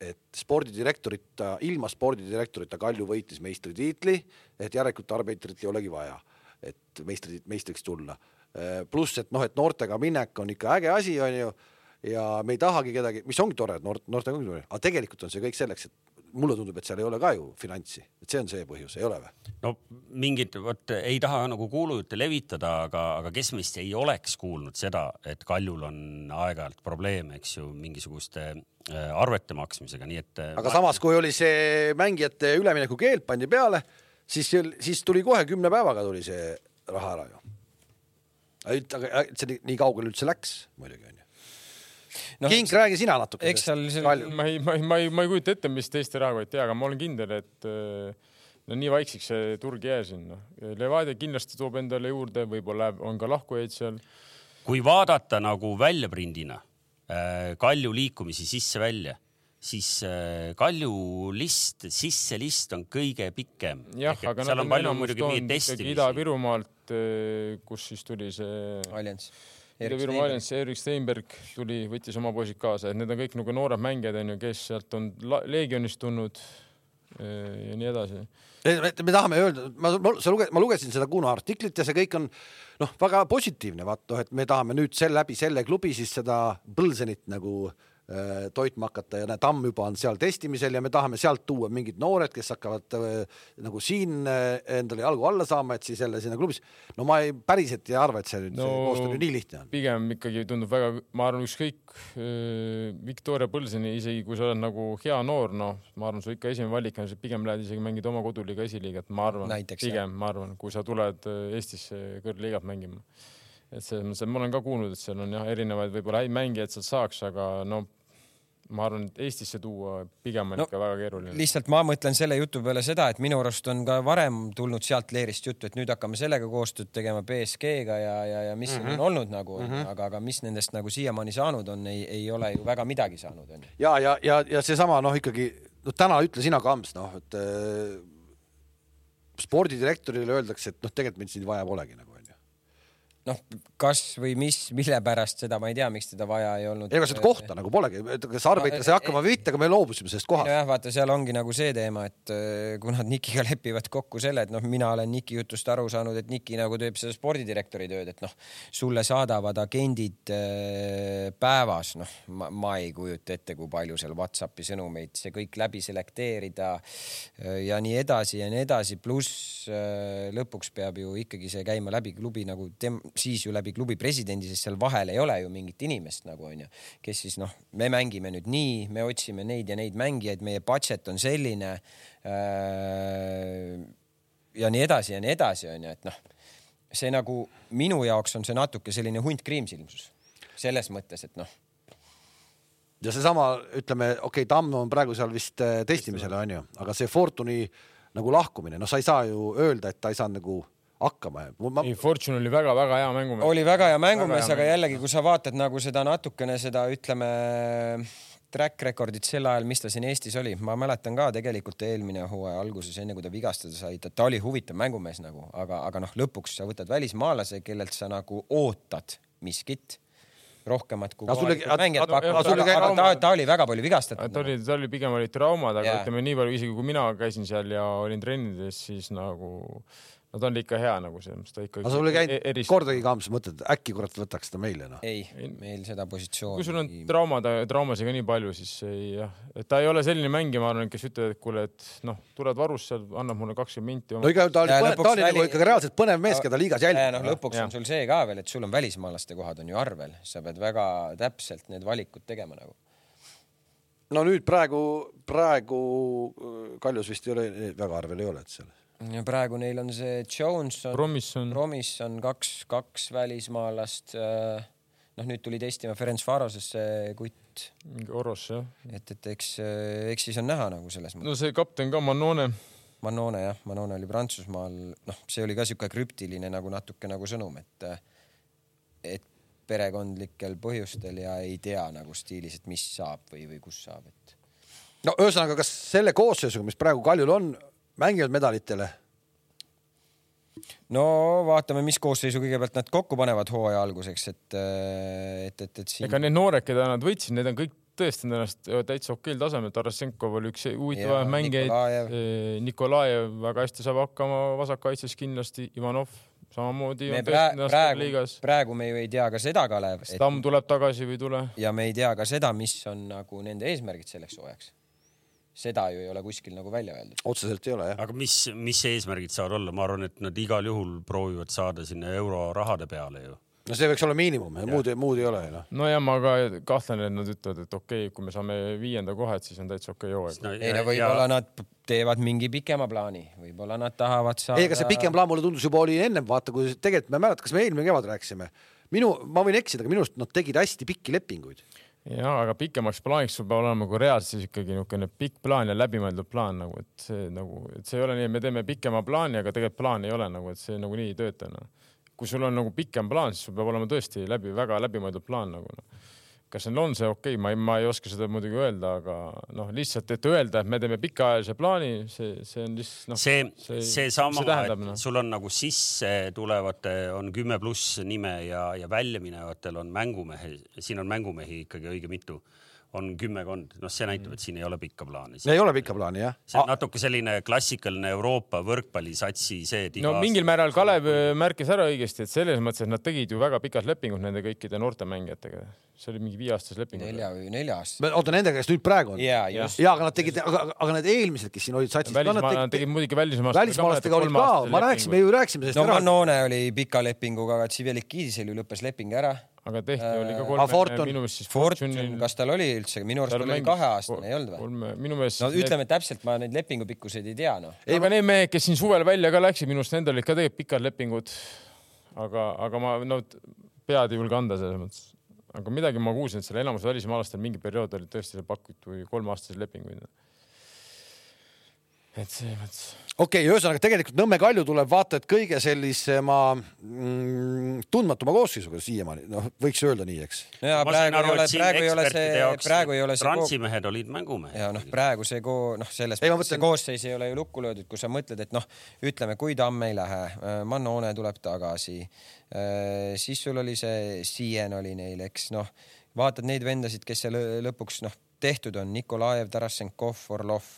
Speaker 1: et spordidirektorita , ilma spordidirektorita Kalju võitis meistritiitli , et järelikult arbitrit ei olegi vaja , et meistri , meistriks tulla . pluss , et noh , et noortega minek on ikka äge asi , on ju , ja me ei tahagi kedagi , mis ongi tore , et noort , noortega ongi tore , aga tegelikult on see kõik selleks , et mulle tundub , et seal ei ole ka ju finantsi , et see on see põhjus , ei ole või ?
Speaker 2: no mingit , vot ei taha nagu kuulujutte levitada , aga , aga kes meist ei oleks kuulnud seda , et Kaljul on aeg-ajalt probleeme , eks ju , mingisuguste äh, arvete maksmisega , nii et . äh,
Speaker 1: aga samas , kui oli see mängijate ülemineku keeld pandi peale , siis , siis tuli kohe kümne päevaga tuli see raha ära ju . aga aga see nii- nii kaugele üldse läks muidugi onju .
Speaker 4: Noh,
Speaker 1: King , räägi sina natuke .
Speaker 4: eks seal see-
Speaker 3: ma ei , ma ei , ma ei , ma ei kujuta ette , mis teiste rahakott teha , aga ma olen kindel , et äh, no nii vaikseks see turg ei jää sinna . Levadia kindlasti toob endale juurde , võib-olla läheb- on ka lahkujaid seal .
Speaker 2: kui vaadata nagu väljaprindina äh, Kalju liikumisi sisse-välja , siis äh, Kalju list , sisse-list on kõige pikem .
Speaker 3: jah , aga
Speaker 2: seal on
Speaker 3: nad on
Speaker 2: palju
Speaker 3: enamus
Speaker 2: muidugi meie
Speaker 3: toonud ikkagi
Speaker 2: testimisi .
Speaker 3: Ida-Virumaalt , kus siis tuli see
Speaker 4: Allianz .
Speaker 3: Ida-Virumaa Allianz , Erik Steinberg tuli , võttis oma poisid kaasa , et need on kõik nagu noored mängijad onju , kes sealt on la- Leegionist tulnud eh, ja nii edasi .
Speaker 1: me tahame öelda , ma , sa luge- , ma lugesin seda Kuno artiklit ja see kõik on noh , väga positiivne , vaat noh , et me tahame nüüd selle läbi selle klubi siis seda Põlsenit nagu äh, toitma hakata ja näe , Tamm juba on seal testimisel ja me tahame sealt tuua mingid noored , kes hakkavad äh, nagu siin äh, endale jalgu alla saama , et siis jälle sinna klubis . no ma ei , päriselt ei arva , et see nüüd no, , see koostöö nüüd nii lihtne on .
Speaker 3: pigem ikkagi tundub väga , ma arvan , ükskõik eh, Victoria Põlseni , isegi kui sa oled nagu hea noor , noh , ma arvan , su ikka esimene valik on , sa pigem lähed isegi mängid oma koduliiga esiliigat , ma arvan ,
Speaker 4: Näiteks, jah.
Speaker 3: pigem ma arvan , kui sa tuled eh, Eestisse kõrgliigat mängima . et selles mõttes , et ma olen ka kuulnud , et seal on jah , erinevaid võib-olla häid mängijaid sealt saaks , aga no ma arvan , et Eestisse tuua pigem on
Speaker 4: No,
Speaker 3: no, ikka väga keeruline .
Speaker 4: lihtsalt ma mõtlen selle jutu peale seda , et minu arust on ka varem tulnud sealt leerist juttu , et nüüd hakkame sellega koostööd tegema BSG-ga ja , ja , ja mis mm -hmm. on olnud nagu mm , -hmm. aga , aga mis nendest nagu siiamaani saanud on , ei , ei ole ju väga midagi saanud , onju .
Speaker 1: ja , ja , ja , ja seesama noh , ikkagi no täna ütle sina , Kams , noh , et äh, spordidirektorile öeldakse , et noh , tegelikult meid siin vaja polegi nagu onju .
Speaker 4: noh , kas või mis , mille pärast , seda ma ei tea , miks teda vaja ei olnud .
Speaker 1: ega seda kohta nagu polegi , kas Arbiter sai hakkama või mitte , aga me loobusime sellest kohast .
Speaker 4: nojah , vaata , seal ongi nagu see teema , et äh, kui nad Nikiga lepivad kokku selle , et noh , mina olen Niki jutust aru saanud , et Niki nagu teeb seda spordidirektori tööd , et noh , sulle saadavad agendid äh, päevas , noh , ma, ma ei kujuta ette , kui palju seal Whatsappi sõnumeid , see kõik läbi selekteerida äh, ja nii edasi ja nii edasi , pluss äh, lõpuks peab ju ikkagi see käima läbi klubi nagu tem- , siis ju läbi klubi presidendi , sest seal vahel ei ole ju mingit inimest nagu onju , kes siis noh , me mängime nüüd nii , me otsime neid ja neid mängijaid , meie budget on selline äh, . ja nii edasi ja nii edasi onju , et noh , see nagu minu jaoks on see natuke selline hunt kriimsilmsus selles mõttes , et noh ,
Speaker 1: ja seesama , ütleme , okei okay, , Tamm on praegu seal vist äh, testimisel onju , aga see Fortune'i nagu lahkumine , noh , sa ei saa ju öelda , et ta ei saanud nagu hakkama . Ma...
Speaker 3: ei , Fortune oli väga-väga hea mängumees .
Speaker 4: oli väga hea mängumees , aga jällegi , kui sa vaatad nagu seda natukene seda , ütleme track record'it sel ajal , mis ta siin Eestis oli , ma mäletan ka tegelikult eelmine hooaja alguses , enne kui ta vigastada sai , ta, ta oli huvitav mängumees nagu , aga , aga noh , lõpuks sa võtad välismaalase , kellelt sa nagu ootad miskit rohkemat kui
Speaker 1: Aga sulle-
Speaker 4: kohalikud
Speaker 1: aga-
Speaker 4: mängijad
Speaker 1: aga- aga
Speaker 4: pakuvad ,
Speaker 1: sulle
Speaker 4: aga,
Speaker 1: käib-
Speaker 4: aga ta , ta oli väga palju
Speaker 3: ta
Speaker 4: vigastatud .
Speaker 3: oli , ta oli pigem olid traumad , aga
Speaker 4: Jaa.
Speaker 3: yeah. ütleme nii palju , isegi kui mina käisin seal ja olin trennides , siis nagu no ta oli ikka hea nagu selles mõttes , ta e-, ikka .
Speaker 1: aga sul ei
Speaker 4: E-,
Speaker 1: käinud . kordagi kaamas mõtet , äkki kurat võtaks ta meile noh .
Speaker 4: ei , meil seda positsiooni .
Speaker 3: kui sul on traumad , traumasid ka nii palju , siis ei jah , et ta ei ole selline mängija , ma arvan , kes ütleb , et kuule , et noh , tuled varus seal , annab mulle kakskümmend minti .
Speaker 1: no igal juhul ta oli
Speaker 4: Ja ,
Speaker 1: ta
Speaker 4: lõpuks
Speaker 1: oli nagu
Speaker 4: väli-
Speaker 1: ikkagi reaalselt põnev mees , keda liigas
Speaker 4: ja noh ,
Speaker 1: jälgida .
Speaker 4: lõpuks
Speaker 3: Jah.
Speaker 4: on sul see ka veel , et sul on välismaalaste kohad on ju arvel , sa pead väga täpselt need valikud tegema nagu .
Speaker 1: no nüüd praegu , praegu äh, Kaljus vist ei ole , väga arvel ei ole , et seal .
Speaker 4: ja praegu neil on see Johnson ,
Speaker 3: Promisson ,
Speaker 4: Romis on kaks , kaks välismaalast . noh , nüüd tuli testima Ferenc Varosesse kutt ,
Speaker 3: mingi Oros jah .
Speaker 4: et , et eks , eks siis on näha nagu selles mõttes .
Speaker 3: no see kapten ka , Manone ,
Speaker 4: Manone jah , Manone oli Prantsusmaal , noh , see oli ka sihuke krüptiline nagu natuke nagu sõnum , et , et perekondlikel põhjustel ja ei tea nagu stiilis , et mis saab või , või kus saab , et
Speaker 1: no ühesõnaga , kas selle koosseisuga , mis praegu Kaljul on , mängivad medalitele ?
Speaker 4: no vaatame , mis koosseisu kõigepealt nad kokku panevad hooaja alguseks , et , et , et , et siin
Speaker 3: ega need noored , keda nad võitsid , need on kõik tõestanud ennast täitsa okeil tasemel , Tarasenkov oli üks
Speaker 4: Jaa,
Speaker 3: huvitavaid mängijaid , Nikolajev väga hästi saab hakkama vasakkaitses kindlasti , Ivanov samamoodi
Speaker 4: me
Speaker 3: on
Speaker 4: pra-
Speaker 3: tõestanud ennast
Speaker 4: praegu
Speaker 3: liigas ,,
Speaker 4: praegu me ju ei tea ka seda , Kalev , et
Speaker 3: Stamm tuleb tagasi või ei tule ,
Speaker 4: ja me ei tea ka seda , mis on nagu nende eesmärgid selleks hooajaks . seda ju ei ole kuskil nagu välja öeldud .
Speaker 1: otseselt ei ole jah .
Speaker 2: aga mis , mis eesmärgid saavad olla , ma arvan , et nad igal juhul proovivad saada sinna eurorahade peale ju .
Speaker 1: no see võiks olla miinimum , muud , muud ei ole ju noh .
Speaker 3: nojah , ma ka kahtlen , et nad ütlevad , et okei okay, , kui me saame viienda koha , et siis on täitsa okei okay hooaeg .
Speaker 4: ei no võib-olla nad p- teevad mingi pikema plaani , võib-olla nad tahavad saada .
Speaker 1: ei , ega see pikem plaan mulle tundus juba oli ennem , vaata , kui tegelikult ma ei mäleta , kas me eelmine kevad rääkisime , minu , ma võin eksida , aga minu arust nad tegid hästi pikki lepinguid .
Speaker 3: ja aga pikemaks plaaniks sul peab olema nagu reaalselt siis ikkagi niisugune pikk plaan ja läbimõeldud plaan nagu , et see nagu , et see ei ole nii , et me teeme pikema plaani , aga tegelikult plaan ei ole nagu , et see nagunii ei tööta noh . kui sul on nagu pikem plaan , siis sul peab olema tõesti läbi , väga läbimõeldud plaan nagu noh kas neil on see okei okay, , ma ei , ma ei oska seda muidugi öelda , aga noh , lihtsalt , et öelda , et me teeme pikaajalise plaani , see , see on lihtsalt noh .
Speaker 2: see , seesama , et
Speaker 3: noh.
Speaker 2: sul on nagu sisse tulevate on kümme pluss nime ja , ja väljaminevatel on mängumehe , siin on mängumehi ikkagi õige mitu , on kümmekond , noh , see näitab , et siin ei ole pikka plaani . see
Speaker 1: ei ole pikka plaani jah .
Speaker 2: on natuke selline klassikaline Euroopa võrkpallisatsi see , et
Speaker 3: no mingil määral Kalev äh, märkis ära õigesti , et selles mõttes , et nad tegid ju väga pikad lepingud nende kõikide noortemängijatega . see oli mingi viieaastas leping .
Speaker 4: nelja või nelja aastase .
Speaker 1: oota , nende käest nüüd praegu on ?
Speaker 4: ja just ,
Speaker 1: ja aga nad tegid , aga , aga need eelmised , kes siin olid satsis , ka nad
Speaker 3: välismaalane
Speaker 1: tegid
Speaker 3: tegi muidugi välismaalastega .
Speaker 1: välismaalastega olid ka , ma rääkisin , me ju rääkisime sellest
Speaker 4: no
Speaker 1: ära .
Speaker 4: Manone oli pika lepinguga , aga Tsivelikidisel ju lõppes leping ära .
Speaker 3: aga Tehni oli ka
Speaker 1: Äh, aga Fortun-
Speaker 3: kolme , minu meelest siis
Speaker 4: Fortune
Speaker 3: Fortune'il ,
Speaker 4: kas tal oli üldse , minu arust
Speaker 3: tal
Speaker 4: tal oli
Speaker 3: mängis-
Speaker 4: kaheaastane , ei olnud või ?
Speaker 3: kolme , minu meelest .
Speaker 4: no ütleme täpselt , ma neid lepingu pikkuseid ei tea noh .
Speaker 3: ei , aga need mehed , kes siin suvel välja ka läksid , minu arust nendel olid ka tegelikult pikad lepingud . aga , aga ma no t- pead ei julge anda selles mõttes . aga midagi ma kuulsin , et seal enamus välismaalastel mingi periood olid tõesti seal pakutud kolmeaastaseid lepinguid . et selles mõttes
Speaker 1: okei okay, , ühesõnaga tegelikult Nõmme Kalju tuleb vaata et kõige sellisema mm, tundmatuma koosseisuga siiamaani , noh , võiks öelda nii , eks .
Speaker 4: no ja praegu ei ole , praegu ei ole see , praegu ei ole see koog-
Speaker 2: trantsimehed olid mängumehed .
Speaker 4: ja noh , praegu see ko- , noh , selles
Speaker 1: Ei, ma
Speaker 4: mõttes see
Speaker 1: mõtlen-
Speaker 4: koosseis ei ole ju lukku löödud , kui sa mõtled , et noh , ütleme , kui Tamm ei lähe , Manone tuleb tagasi , siis sul oli see , Sien oli neil , eks noh , vaatad neid vendasid , kes seal lõ- lõpuks noh , tehtud on , Nikolajev , Tarasenkov , Orlov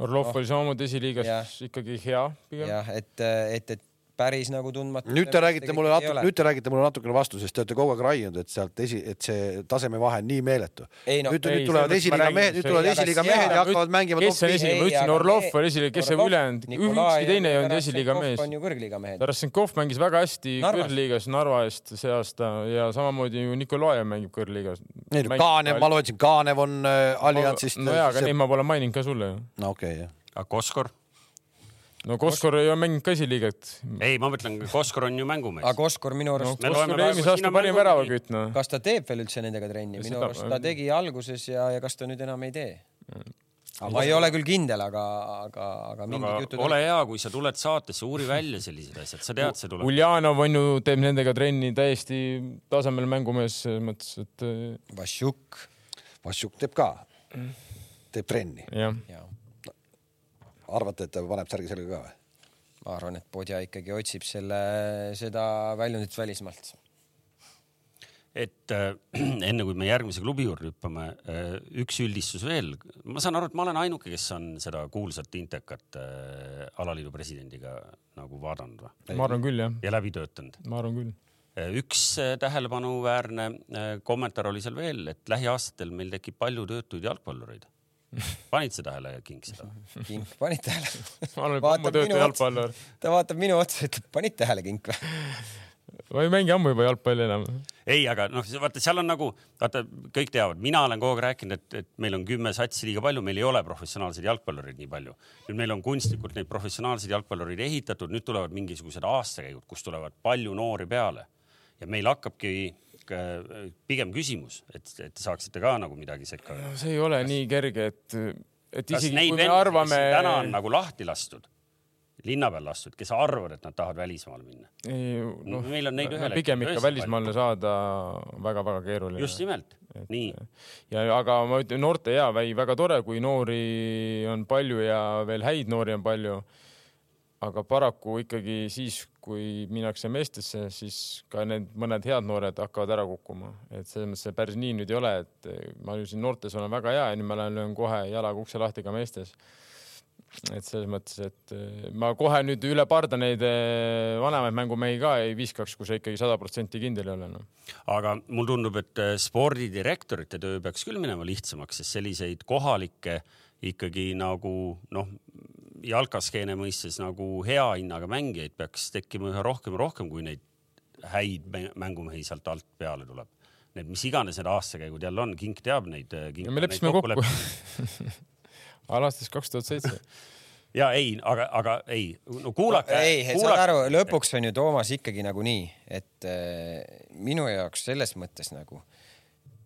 Speaker 3: Orlov oli samamoodi esiliigas
Speaker 4: Ah. Jah.
Speaker 3: ikkagi hea pigem .
Speaker 4: jah , et , et , et päris nagu tundmatu .
Speaker 1: nüüd te räägite mulle natuke , nüüd te räägite mulle natukene vastu , sest te olete kogu aeg raiunud , et sealt esi , et see tasemevahe on nii meeletu .
Speaker 4: Ei, noh,
Speaker 1: nüüd ,
Speaker 3: ei,
Speaker 1: nüüd tulevad
Speaker 3: selles
Speaker 1: esiliiga
Speaker 3: mõttes ma räägin,
Speaker 1: mehed , nüüd
Speaker 3: see-
Speaker 1: tulevad
Speaker 4: jaa, aga
Speaker 1: esiliiga
Speaker 4: jaa,
Speaker 1: mehed ja
Speaker 4: aga
Speaker 1: hakkavad mängima
Speaker 3: kes on
Speaker 1: top viis-
Speaker 3: esiliiga , ma ütlesin Orlov oli esiliiga , kes see ülejäänud , ükski teine ei olnud esiliiga mees .
Speaker 4: on ju kõrgliiga mehed .
Speaker 3: Tarasenkov mängis väga hästi
Speaker 4: Narvas.
Speaker 3: kõrgliigas Narva eest see aasta ja samamoodi ju Nikolajev mängib kõrgliigas .
Speaker 1: ei no Kaanev , ma lootsin , Kaanev on äh, alliansist .
Speaker 3: no jaa , aga neid ma pole maininud ka sulle ju .
Speaker 1: no okei okay, , jah .
Speaker 2: aga Koskor ?
Speaker 3: no Koskor ei ole mänginud ka esiliigat .
Speaker 2: ei , ma mõtlen , Koskor on ju mängumees .
Speaker 4: aga Oskar minu arust
Speaker 2: Me
Speaker 4: no, ,
Speaker 2: loeme
Speaker 3: Koskor
Speaker 2: praegu
Speaker 3: eelmise
Speaker 2: siin
Speaker 3: aasta
Speaker 2: on
Speaker 3: parim
Speaker 2: mängu-
Speaker 3: väravakütt noh .
Speaker 4: kas ta teeb veel üldse nendega trenni , minu
Speaker 3: Seda-
Speaker 4: arust ta tegi alguses ja , ja kas ta nüüd enam ei tee ?
Speaker 3: Mm.
Speaker 4: ma ei ole küll kindel , aga , aga , aga mingid
Speaker 2: aga
Speaker 4: jutud .
Speaker 2: ole hea , kui sa tuled saatesse , uuri välja sellised asjad , sa tead , see tuleb .
Speaker 3: Uljanov on ju , teeb nendega trenni täiesti tasemel mängumees selles mõttes , et eh,
Speaker 4: Vašjuk .
Speaker 1: Vassiuk teeb ka , teeb trenni .
Speaker 3: jah .
Speaker 4: ma
Speaker 1: arvate , et ta paneb särgi selga ka või ?
Speaker 4: arvan , et Podja ikkagi otsib selle , seda väljundit välismaalt .
Speaker 2: et äh, enne kui me järgmise klubi juurde hüppame , üks üldistus veel . ma saan aru , et ma olen ainuke , kes on seda kuulsat intekat äh, alaliidu presidendiga nagu vaadanud või?
Speaker 3: ma arvan küll jah ,
Speaker 2: ja läbi töötanud .
Speaker 3: ma arvan küll .
Speaker 2: üks äh, tähelepanuväärne äh, kommentaar oli seal veel , et lähiaastatel meil tekib palju töötuid jalgpallureid . panid sa tähele , King , seda ?
Speaker 4: kink , panid tähele
Speaker 3: Ma arvan, et ?
Speaker 4: vaatab
Speaker 3: Pammu töötaja
Speaker 4: minu otsa
Speaker 3: jalgpallur. ,
Speaker 4: ta vaatab minu otsa , ütleb , panid tähele , kink või ?
Speaker 3: ma ei mängi ammu juba jalgpalli enam .
Speaker 2: ei , aga noh , vaata , seal on nagu , vaata , kõik teavad , mina olen kogu aeg rääkinud , et , et meil on kümme satsi liiga palju , meil ei ole professionaalseid jalgpallureid nii palju . nüüd meil on kunstlikult neid professionaalseid jalgpallureid ehitatud , nüüd tulevad mingisugused aastakäigud , kus tulevad palju noori peale ja meil hakkabki äh, pigem küsimus , et , et te saaksite ka nagu midagi sekka öelda .
Speaker 3: see ei ole nii kerge , et , et
Speaker 2: kas
Speaker 3: isegi
Speaker 2: neid
Speaker 3: kui me
Speaker 2: vendi , arvame...
Speaker 3: arvame
Speaker 2: kes täna on nagu lahti lastud , linna peal lastud , kes arvavad , et nad tahavad välismaale minna ,
Speaker 3: ei, noh,
Speaker 2: Meil on neid
Speaker 3: no
Speaker 2: ühel
Speaker 3: pigem
Speaker 2: hetkel
Speaker 3: ikka
Speaker 2: tõesti
Speaker 3: välismaale saada väga-väga keeruline .
Speaker 2: just nimelt , nii
Speaker 3: ja aga ma ütlen noorte ja või väga tore , kui noori on palju ja veel häid noori on palju . aga paraku ikkagi siis , kui minnakse meestesse , siis ka need mõned head noored hakkavad ära kukkuma , et selles mõttes see päris nii nüüd ei ole , et ma ju siin noortes olen väga hea ja nüüd ma lähen löön kohe jalaga ukse lahti ka meestes . et selles mõttes , et eh, ma kohe nüüd üle parda neid eh, vanemaid mängumehi ka ei viskaks , kui sa ikkagi sada protsenti kindel ei ole noh. no. .
Speaker 2: aga mulle tundub , et äh, spordidirektorite töö peaks küll minema lihtsamaks , sest selliseid kohalikke ikkagi nagu noh , jalkaskeene mõistes nagu hea hinnaga mängijaid peaks tekkima üha rohkem ja rohkem , kui neid häid mä- mängumehi sealt alt peale tuleb . Need , mis iganes need aastakäigud jälle on , King teab neid .
Speaker 3: ja me leppisime kokku . alates kaks tuhat seitse .
Speaker 2: ja ei , aga , aga ei , no kuulake no, .
Speaker 4: ei , saad aru , lõpuks on ju Toomas ikkagi nagunii , et äh, minu jaoks selles mõttes nagu ,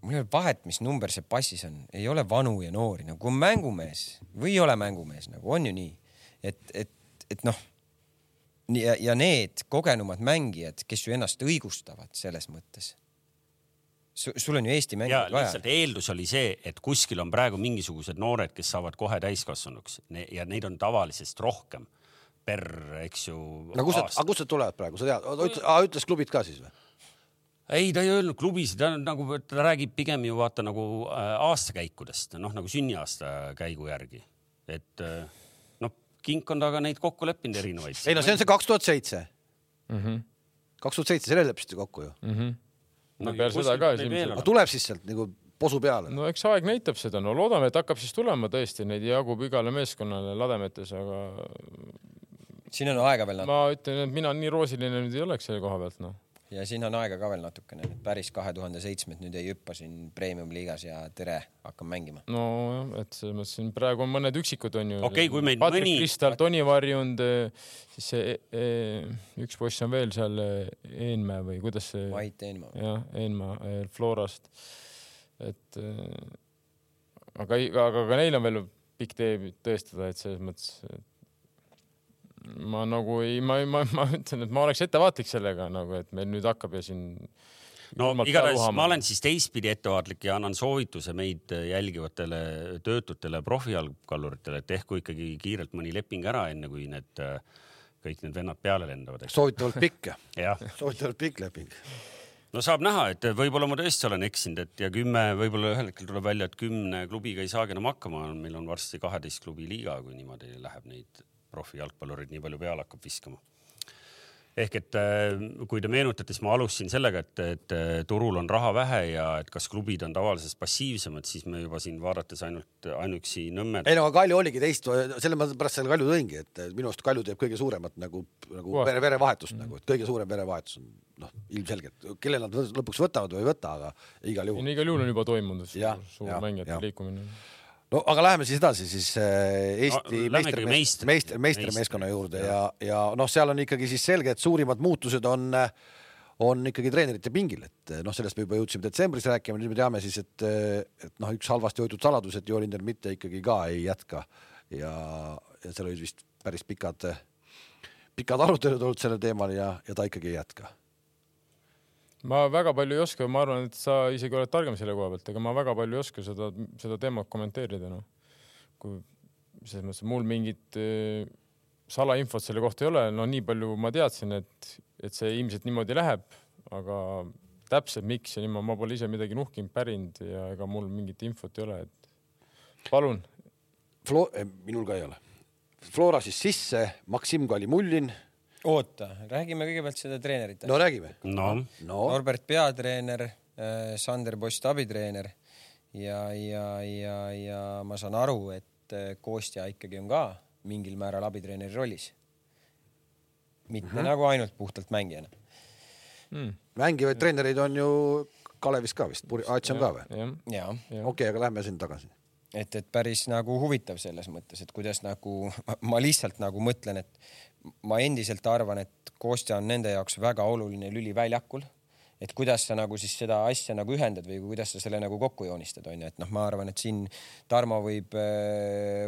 Speaker 4: mul ei ole vahet , mis number see passis on , ei ole vanu ja noori , nagu on mängumees või ei ole mängumees , nagu on ju nii , et , et , et noh , ja , ja need kogenumad mängijad , kes ju ennast õigustavad selles mõttes . sul on ju Eesti
Speaker 2: ja
Speaker 4: mängijad vaja
Speaker 2: lihtsalt . eeldus oli see , et kuskil on praegu mingisugused noored , kes saavad kohe täiskasvanuks Ne- ja neid on tavalisest rohkem per , eks ju .
Speaker 1: no kust nad , aga kust nad tulevad praegu , sa tead , ütles , ütles klubid ka siis või ?
Speaker 2: ei , ta ei öelnud klubisid , ta on nagu , ta räägib pigem ju vaata nagu äh, aastakäikudest , noh nagu sünniaasta käigu järgi , et äh, noh , kink on taga neid kokku leppinud erinevaid .
Speaker 1: ei no see on see kaks tuhat seitse .
Speaker 2: Mhm.
Speaker 1: kaks tuhat seitse , selle leppisite kokku ju .
Speaker 3: No peale seda ka siis ilmselt.
Speaker 1: aga tuleb siis sealt nagu posu peale no. ?
Speaker 3: no eks aeg näitab seda , no loodame , et hakkab siis tulema tõesti , neid jagub igale meeskonnale lademetes , aga
Speaker 4: siin on aega veel natuke
Speaker 3: ma ütlen , et mina nii roosiline nüüd ei oleks selle koha pealt , noh .
Speaker 4: ja siin on aega ka veel natukene , päris kahe tuhande seitsmed nüüd ei hüppa siin premium-liigas ja tere , hakkame mängima .
Speaker 3: nojah , et selles mõttes siin praegu on mõned üksikud on ju .
Speaker 2: Okei, kui meid
Speaker 3: Patrik
Speaker 2: mõni-
Speaker 3: Kristal , Toni Varjund , eh, siis see e e üks poiss on veel seal , Eenmäe või kuidas see ?
Speaker 4: Mait Eenmaa .
Speaker 3: jah , Eenmaa eh, Florast . et eh, aga , aga ka neil on veel pikk tee tõestada , et selles mõttes et ma nagu ei , ma , ma , ma ütlen , et ma oleks ettevaatlik sellega nagu , et meil nüüd hakkab ja siin .
Speaker 2: no igatahes ma olen siis teistpidi ettevaatlik ja annan soovituse meid jälgivatele töötutele profijalgkaluritele , et tehku ikkagi kiirelt mõni leping ära , enne kui need äh, kõik need vennad peale lendavad , eks .
Speaker 1: soovitavalt pikk ,
Speaker 2: jah ,
Speaker 1: soovitavalt pikk leping .
Speaker 2: no saab näha , et võib-olla ma tõesti olen eksinud , et ja kümme , võib-olla ühel hetkel tuleb välja , et kümne klubiga ei saagi enam hakkama , meil on varsti kaheteist klubi liiga , kui niimoodi läheb neid profijalgpallureid nii palju peale hakkab viskama . ehk et äh, kui te meenutate , siis ma alustasin sellega , et , et äh, turul on raha vähe ja et kas klubid on tavalises passiivsemad , siis me juba siin vaadates ainult ainuüksi Nõmme
Speaker 1: ei no aga Kalju oligi teist , selle ma pärast selle Kalju tõingi , et minu arust Kalju teeb kõige suuremat nagu , nagu
Speaker 3: Puhast.
Speaker 1: vere , verevahetust nagu , et kõige suurem verevahetus on noh , ilmselgelt , kelle nad lõpuks võtavad või ei võta , aga igal juhul .
Speaker 3: igal juhul on juba toimunud
Speaker 1: Jah,
Speaker 3: suur, suur
Speaker 1: jah,
Speaker 3: mängijate
Speaker 1: jah.
Speaker 3: liikumine .
Speaker 1: no aga läheme siis edasi siis äh, Eesti
Speaker 2: No,
Speaker 1: no,
Speaker 2: lähmegi
Speaker 1: meister, meister,
Speaker 2: meistri-
Speaker 1: meister, meistrimeeskonna juurde ja , ja noh , seal on ikkagi siis selge , et suurimad muutused on , on ikkagi treenerite pingil , et noh , sellest me juba jõudsime detsembris rääkima , nüüd me teame siis , et , et noh , üks halvasti hoitud saladus , et Joelinder mitte ikkagi ka ei jätka ja , ja seal olid vist päris pikad , pikad arutelud olnud sellel teemal ja , ja ta ikkagi ei jätka .
Speaker 3: ma väga palju ei oska , ma arvan , et sa isegi oled targem selle koha pealt , ega ma väga palju ei oska seda , seda teemat kommenteerida , noh . kui selles mõttes , et mul mingit eh, salainfot selle kohta ei ole , no nii palju ma teadsin , et , et see ilmselt niimoodi läheb , aga täpselt miks ja nii ma, ma pole ise midagi nuhkinud , pärinud ja ega mul mingit infot ei ole , et palun .
Speaker 1: Flo- , minul ka ei ole . Flora siis sisse , Maksim Kalimullin ,
Speaker 4: oota , räägime kõigepealt seda treenerit .
Speaker 1: no räägime .
Speaker 2: noh ,
Speaker 1: no
Speaker 4: Norbert peatreener , Sander Post abitreener ja , ja , ja , ja ma saan aru , et äh, Kostja ikkagi on ka mingil määral abitreeneri rollis . mitte mm -hmm. nagu ainult puhtalt mängijana .
Speaker 1: mängivaid treenereid on ju Kalevis ka vist , Ats on ka või ?
Speaker 3: jah ,
Speaker 4: jaa
Speaker 1: okei okay, , aga lähme sinna tagasi .
Speaker 4: et , et päris nagu huvitav selles mõttes , et kuidas nagu ma lihtsalt nagu mõtlen , et ma endiselt arvan , et Kostja on nende jaoks väga oluline lüli väljakul . et kuidas sa nagu siis seda asja nagu ühendad või kuidas sa selle nagu kokku joonistad , onju , et noh , ma arvan , et siin Tarmo võib ,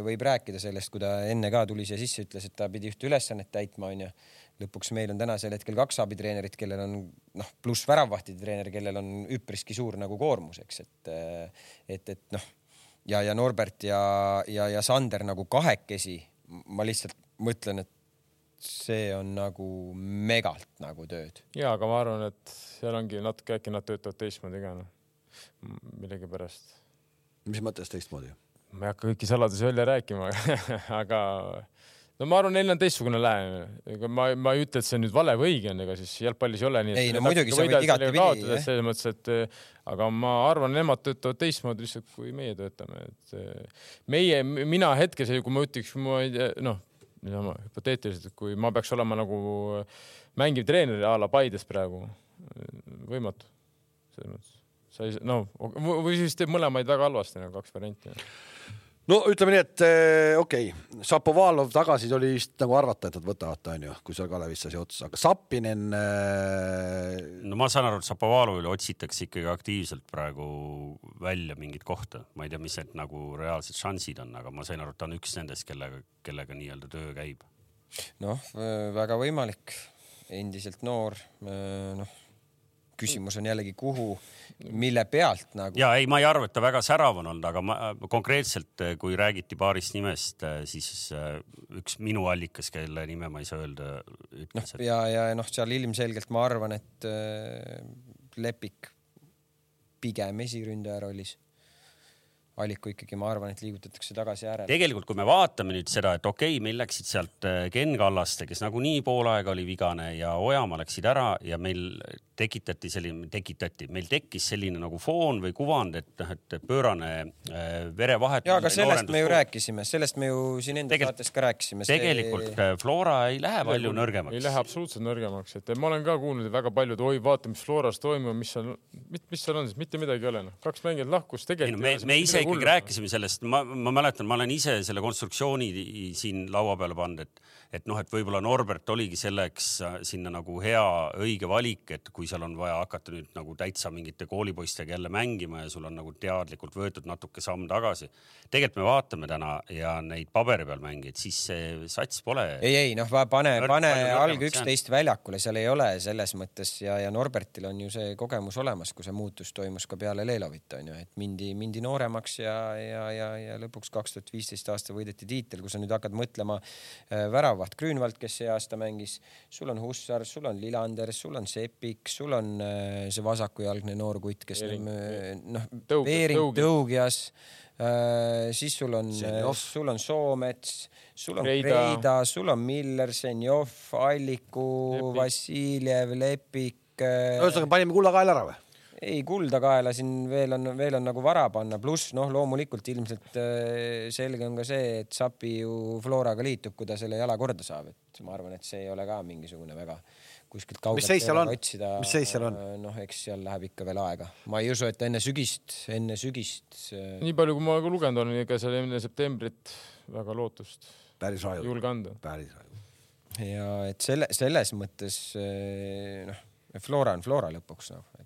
Speaker 4: võib rääkida sellest , kui ta enne ka tuli siia sisse , ütles , et ta pidi ühte ülesannet täitma , onju . lõpuks meil on tänasel hetkel kaks abitreenerit , kellel on noh , pluss väravvahtide treener , kellel on üpriski suur nagu koormus , eks , et äh, et , et noh ja , ja Norbert ja , ja , ja Sander nagu kahekesi , ma lihtsalt mõtlen , et see on nagu megalt nagu tööd .
Speaker 3: ja aga ma arvan , et seal ongi natuke , äkki nad töötavad teistmoodi ka noh , millegipärast
Speaker 1: mis mõttes teistmoodi ?
Speaker 3: ma ei hakka kõiki saladusi välja rääkima , aga no ma arvan , neil on teistsugune lähenemine , ega ma , ma ei ütle , et see nüüd vale või õige on , ega siis jalgpallis ei ole nii .
Speaker 4: Ei, no muidugi, sa võid igatepidi, jah.
Speaker 3: selles mõttes , et eh, aga ma arvan , nemad töötavad teistmoodi lihtsalt kui meie töötame , et eh, meie , mina hetkes , kui ma ütleks , ma ei tea , noh , niisama hüpoteetiliselt , et kui ma peaks olema nagu mängiv treener a la Paides praegu , võimatu selles mõttes sa ei , no või või siis teeb mõlemaid väga halvasti , nagu kaks varianti .
Speaker 1: no ütleme nii , et eh, okei okay. , Šapovalov tagasi oli vist nagu arvata , et nad võtavad ta onju , kui seal Kalevis sai see otsa , aga Sapinen äh,
Speaker 2: no ma saan aru , et Šapovalovile otsitakse ikkagi aktiivselt praegu välja mingit kohta , ma ei tea , mis need nagu reaalsed šansid on , aga ma sain aru , et ta on üks nendest , kellega , kellega nii-öelda töö käib .
Speaker 4: noh , väga võimalik , endiselt noor , noh , küsimus on jällegi , kuhu , mille pealt nagu .
Speaker 2: ja ei , ma ei arva , et ta väga särav on olnud , aga ma konkreetselt , kui räägiti paarist nimest , siis äh, üks minu allikas , kelle nime ma ei saa öelda , ütles , et
Speaker 4: ja , ja noh , seal ilmselgelt ma arvan , et äh, Lepik pigem esiründaja rollis . Alliku ikkagi , ma arvan , et liigutatakse tagasi äärele .
Speaker 2: tegelikult , kui me vaatame nüüd seda , et okei okay, , meil läksid sealt äh, Ken Kallaste , kes nagunii pool aega oli vigane ja Ojamaa läksid ära ja meil tekitati selline , tekitati , meil tekkis selline nagu foon või kuvand , et noh , et pöörane äh, verevahetus .
Speaker 4: ja aga sellest me ju . rääkisime , sellest me ju siin enda
Speaker 2: Tegelikult-
Speaker 4: saates ka rääkisime .
Speaker 2: tegelikult äh, Flora ei lähe palju
Speaker 3: ei
Speaker 2: nõrgemaks
Speaker 3: lähe . absoluutselt nõrgemaks , et ma olen ka kuulnud väga paljud , oi vaata , mis Floras toimub , mis seal , mis seal on , mitte midagi ei ole , noh , kaks mängijat lahkus
Speaker 2: ei no
Speaker 3: tegelikult .
Speaker 2: me , me ise ikkagi . rääkisime sellest , ma , ma mäletan , ma olen ise selle konstruktsiooni siin laua peale pannud , et , et noh , et võib-olla Norbert oligi selleks äh, sinna nagu hea , õige valik , et kui kui seal on vaja hakata nüüd nagu täitsa mingite koolipoistega jälle mängima ja sul on nagu teadlikult võetud natuke samm tagasi. tegelikult me vaatame täna ja neid paberi peal mängijaid, siis see sats pole .
Speaker 4: ei , ei noh , pane
Speaker 2: Norbert ,
Speaker 4: pane
Speaker 2: palju
Speaker 4: alg
Speaker 2: kogemust
Speaker 4: üksteist väljakule , seal ei ole selles mõttes ja , ja Norbertil on ju see kogemus olemas , kui see muutus toimus ka peale Leelovit on ju , et mindi , mindi nooremaks ja , ja , ja , ja lõpuks kaks tuhat viisteist aasta võideti tiitel , kui sa nüüd hakkad mõtlema äh, väravaht Grünwald , kes see aasta mängis , sul on Hussar , sul on Lillander , sul on Sepik , sul on äh, see vasakujalgne noor kutt , kes
Speaker 3: Eering.
Speaker 4: nüüd, äh, noh ,
Speaker 3: Tõug-
Speaker 4: Veering ,
Speaker 3: Tõugjas.
Speaker 4: Tõugjas , siis sul on ,
Speaker 1: Zenjov.
Speaker 4: sul on Soomets , sul on
Speaker 3: Kreida.
Speaker 4: Kreida , Keda , sul on Miller , Zenjov , Alliku ,
Speaker 3: Lepik.
Speaker 4: Vassiljev , Lepik .
Speaker 1: ühesõnaga panime kullakael ära või ?
Speaker 4: ei , kuldakaela siin veel on , veel on nagu vara panna , pluss noh , loomulikult ilmselt äh, selge on ka see , et Sapi ju Floraga liitub , kui ta selle jala korda saab , et ma arvan , et see ei ole ka mingisugune väga kuskilt kaugelt .
Speaker 1: seis seal on?
Speaker 4: otsida .
Speaker 1: Mis seis seal on? ?
Speaker 4: noh , eks seal läheb ikka veel aega , ma ei usu , et enne sügist , enne sügist äh,
Speaker 3: nii palju , kui ma ka lugenud olen , ega seal enne septembrit väga lootust
Speaker 1: päris raju ,
Speaker 3: julge anda .
Speaker 1: päris raju .
Speaker 4: ja et selle , selles mõttes eh, noh , Flora on Flora lõpuks noh , et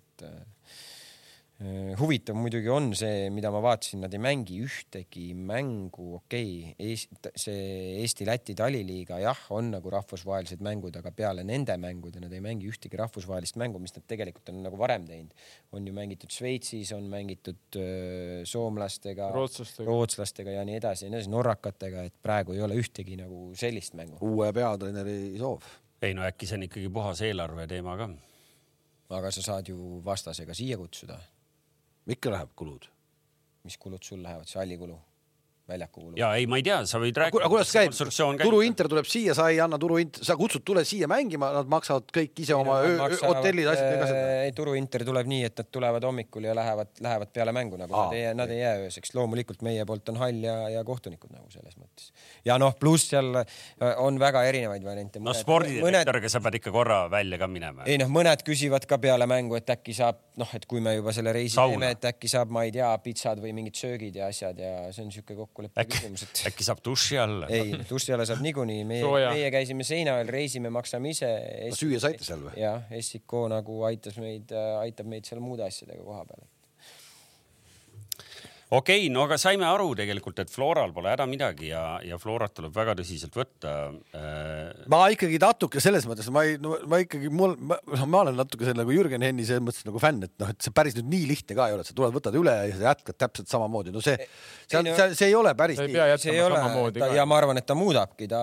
Speaker 4: eh, huvitav muidugi on see , mida ma vaatasin , nad ei mängi ühtegi mängu , okei okay, , see Eesti-Läti taliliiga jah , on nagu rahvusvahelised mängud , aga peale nende mängude nad ei mängi ühtegi rahvusvahelist mängu , mis nad tegelikult on nagu varem teinud . on ju mängitud Šveitsis , on mängitud eh, soomlastega ,
Speaker 3: Rootslastega.
Speaker 4: rootslastega ja nii edasi ja nii edasi , norrakatega , et praegu ei ole ühtegi nagu sellist mängu .
Speaker 1: uue peatreeneri soov .
Speaker 2: ei no äkki see on ikkagi puhas eelarve teema ka .
Speaker 4: aga sa saad ju vastase ka siia kutsuda ,
Speaker 1: ikka läheb kulud .
Speaker 4: mis kulud sul lähevad , see hallikulu , väljaku kulu .
Speaker 2: ja ei , ma ei tea , sa võid rääkida .
Speaker 1: aga kuidas käib ? turuinter tuleb siia , sa ei anna turuint- , sa kutsud , tule siia mängima , nad maksavad kõik ise oma öö- öö- hotellid , asjad , ega seda .
Speaker 4: ei , Turuinter äh, tuleb nii , et nad tulevad hommikul ja lähevad , lähevad peale mängu nagu ,
Speaker 1: Aa,
Speaker 4: nad ei jää , nad ei jää ööseks . loomulikult meie poolt on hall ja , ja kohtunikud nagu selles mõttes . ja noh , pluss seal äh, on väga erinevaid variante .
Speaker 2: no spordidirektoriga sa pead ikka korra välja ka minema .
Speaker 4: ei noh , mõned küsivad ka peale mängu , et äkki saab noh , et kui me juba selle reisi
Speaker 2: Sauna.
Speaker 4: teeme , et äkki saab , ma ei tea , pitsad või mingid söögid ja asjad ja see on niisugune kokkuleppe
Speaker 2: äkki
Speaker 4: küsimus ,, et
Speaker 2: äkki saab duši alla .
Speaker 4: ei , duši alla saab niikuinii , meie
Speaker 3: Sooja. ,
Speaker 4: meie käisime seina all , reisime , maksame ise .
Speaker 1: süüa saite seal või ?
Speaker 4: jah , SIK nagu aitas meid , aitab meid seal muude asjadega koha peal .
Speaker 2: okei , no aga saime aru tegelikult , et Floral pole häda midagi ja , ja Florat tuleb väga tõsiselt võtta . Äh,
Speaker 1: ma ikkagi natuke selles mõttes , ma ei no, , ma ikkagi , mul , ma, noh, ma olen natuke selle nagu Jürgen Henni selles mõttes nagu fänn , et noh , et see päris nüüd nii lihtne ka ei ole , et sa tuled , võtad üle ja sa jätkad täpselt samamoodi , no see , see ,
Speaker 4: no-
Speaker 1: see, see ei ole päris
Speaker 3: sa ei
Speaker 1: nii
Speaker 3: pea .
Speaker 4: see ei
Speaker 3: jätkama
Speaker 4: ole
Speaker 3: samamoodi ,
Speaker 4: ja
Speaker 3: ka .
Speaker 4: ma arvan , et ta muudabki , ta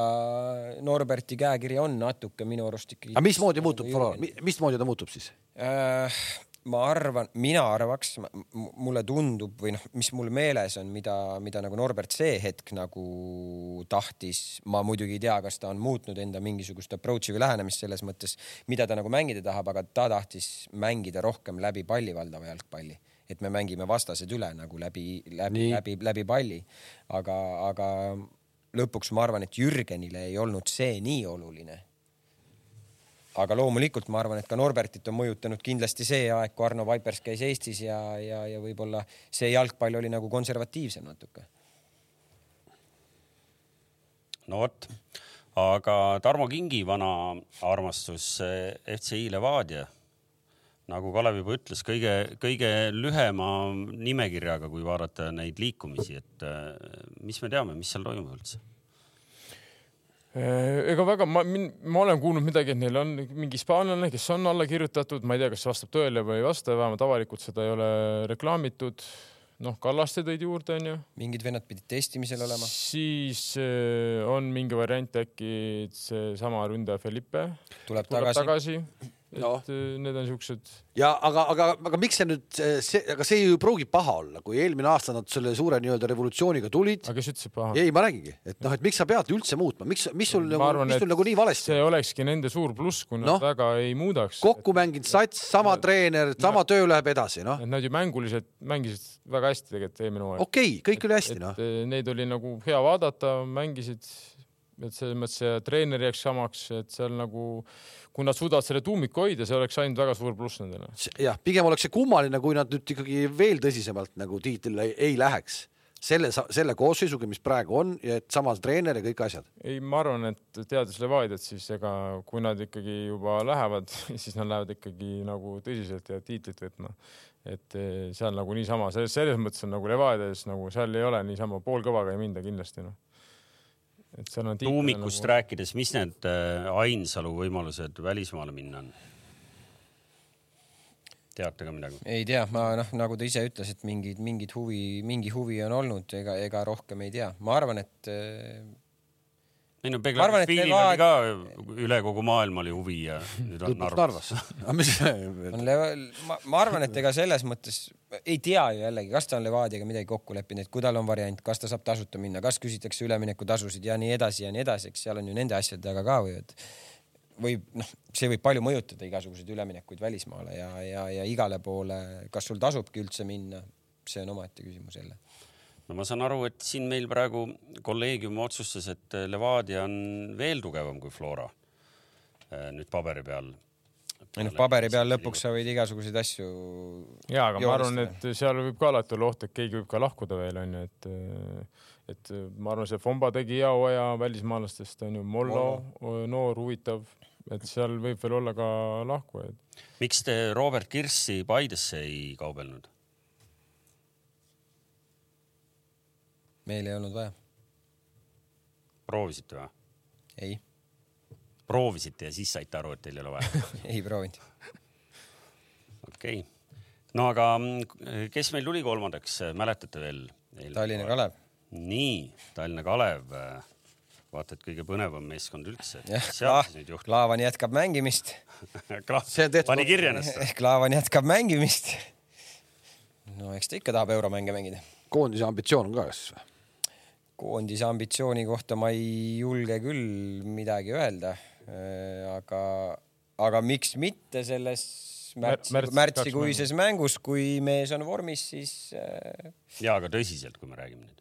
Speaker 4: Norberti käekiri on natuke minu arust ikkagi .
Speaker 1: aga mismoodi muutub Flora , mismoodi ta muutub siis ?
Speaker 4: Äh, ma arvan , mina arvaks , mulle tundub või noh , mis mul meeles on , mida , mida nagu Norbert see hetk nagu tahtis , ma muidugi ei tea , kas ta on muutnud enda mingisugust approach'i või lähenemist selles mõttes , mida ta nagu mängida tahab , aga ta tahtis mängida rohkem läbi palli valdava jalgpalli et me mängime vastased üle nagu läbi , läbi , läbi , läbi palli . aga , aga lõpuks ma arvan , et Jürgenile ei olnud see nii oluline aga loomulikult ma arvan , et ka Norbertit on mõjutanud kindlasti see aeg , kui Arno Vaipers käis Eestis ja , ja , ja võib-olla see jalgpall oli nagu konservatiivsem natuke .
Speaker 2: no vot , aga Tarmo Kingi vana armastus eh, FCI Levadia , nagu Kalev juba ütles , kõige-kõige lühema nimekirjaga , kui vaadata neid liikumisi , et eh, mis me teame , mis seal toimub üldse ?
Speaker 3: Äh, ega väga , ma , ma olen kuulnud midagi , et neil on mingi hispaanlane , kes on alla kirjutatud , ma ei tea , kas see vastab tõele või ei vasta , vähemalt avalikult seda ei ole reklaamitud . noh , Kallaste tõid juurde , onju .
Speaker 4: mingid vennad pidid testimisel olema .
Speaker 3: siis eh, on mingi variant äkki et seesama ründaja Felipe
Speaker 4: tuleb
Speaker 3: tuleb
Speaker 4: tagasi .
Speaker 3: tagasi . et
Speaker 1: No.
Speaker 3: eh, need on siuksed
Speaker 1: ja aga , aga , aga miks see nüüd , see , aga see ju ei pruugi paha olla , kui eelmine aasta nad selle suure nii-öelda revolutsiooniga tulid .
Speaker 3: aga kes ütles , et paha ?
Speaker 1: ei , ma räägingi , et noh , et miks sa pead üldse muutma , miks , mis sul
Speaker 3: ma
Speaker 1: nagu ,
Speaker 3: arvan ,
Speaker 1: mis
Speaker 3: et
Speaker 1: sul nagu nii valesti on ?
Speaker 3: see olekski nende suur pluss , kui nad
Speaker 1: Noh.
Speaker 3: no. väga ei muudaks .
Speaker 1: kokku mänginud sats , sama treener , sama töö läheb edasi , noh ,
Speaker 3: et nad ju mänguliselt mängisid väga hästi tegelikult eelmine hooaeg .
Speaker 1: okei okay, , kõik oli hästi ,
Speaker 3: et
Speaker 1: noh .
Speaker 3: eh, neid oli nagu hea vaadata , mängisid , et selles mõttes ja treener jääks samaks , et seal nagu , kui nad suudavad selle tuumiku hoida , see oleks ainult väga suur pluss nendele .
Speaker 1: jah , pigem oleks see kummaline , kui nad nüüd ikkagi veel tõsisemalt nagu tiitlile ei- ei läheks . selle , selle koosseisuga , mis praegu on ja et sama treener ja kõik asjad .
Speaker 3: ei , ma arvan , et teades Levadiat , siis ega kui nad ikkagi juba lähevad , siis nad lähevad ikkagi nagu tõsiselt ja tiitlit võtma . et eh, seal nagu niisama , selles , selles mõttes on nagu Levadias nagu seal ei ole niisama poolkõvaga ei minda kindlasti noh . et seal on .
Speaker 2: tuumikust nagu... rääkides , mis need äh, Ainsalu võimalused välismaale minna on ? teate ka midagi ?
Speaker 4: ei tea , ma noh , nagu ta ise ütles , et mingid , mingid huvi , mingi huvi on olnud , ega , ega rohkem ei tea . ma arvan , et äh,
Speaker 2: ei no
Speaker 4: Ma arvan, et
Speaker 2: Beglavišvilil
Speaker 4: Levad-
Speaker 2: oli ka üle kogu maailma oli huvi ja nüüd on
Speaker 1: lõpuks
Speaker 2: Narvas .
Speaker 1: Narvas . aga mis ,
Speaker 4: on level , ma , ma arvan , et ega selles mõttes ei tea ju jällegi , kas ta on Levadiaga midagi kokku leppinud , et kui tal on variant , kas ta saab tasuta minna , kas küsitakse üleminekutasusid ja nii edasi ja nii edasi , eks seal on ju nende asjade taga ka või et võib noh , see võib palju mõjutada igasuguseid üleminekuid välismaale ja , ja , ja igale poole , kas sul tasubki üldse minna , see on omaette küsimus jälle .
Speaker 2: no ma saan aru , et siin meil praegu kolleegium otsustas , et eh, Levadia on veel tugevam kui Flora . nüüd paberi peal .
Speaker 4: ei noh , paberi peal lõpuks sa võid igasuguseid asju .
Speaker 3: ja , nagu- aga ma arvan , et seal võib ka alati olla oht , et keegi võib ka lahkuda veel onju , et eh, et ma arvan , see Fomba tegi hea hooaja välismaalastest onju , Mollo eh, noor huvitav , et seal võib veel olla ka lahkujaid .
Speaker 2: miks te Robert Kirssi Paidesse ei kaubelnud ?
Speaker 4: meil ei olnud vaja ,
Speaker 2: proovisite või ?
Speaker 4: ei ,
Speaker 2: proovisite ja siis saite aru , et teil ei ole vaja ?
Speaker 4: ei proovinud .
Speaker 2: okei okay. . no aga mm, kes meil tuli kolmandaks , mäletate veel ?
Speaker 4: Tallinna . Kalev ,
Speaker 2: nii , Tallinna Kalev . vaata , et kõige põnevam meeskond üldse .
Speaker 4: jah ,
Speaker 2: seal siis nüüd juhtub .
Speaker 4: Klaavan jätkab mängimist
Speaker 1: See on tehtud-
Speaker 2: pani kirja ennast .
Speaker 4: ehk Laavan jätkab mängimist . no eks ta ikka tahab euromänge mängida .
Speaker 1: koondise ambitsioon on ka siis või ?
Speaker 4: koondise ambitsiooni kohta ma ei julge küll midagi öelda . aga , aga miks mitte selles märtsi ,
Speaker 3: märtsis
Speaker 4: märtsikuises mängus , kui mees on vormis , siis äh, ,
Speaker 2: ja , aga tõsiselt , kui me räägime nüüd .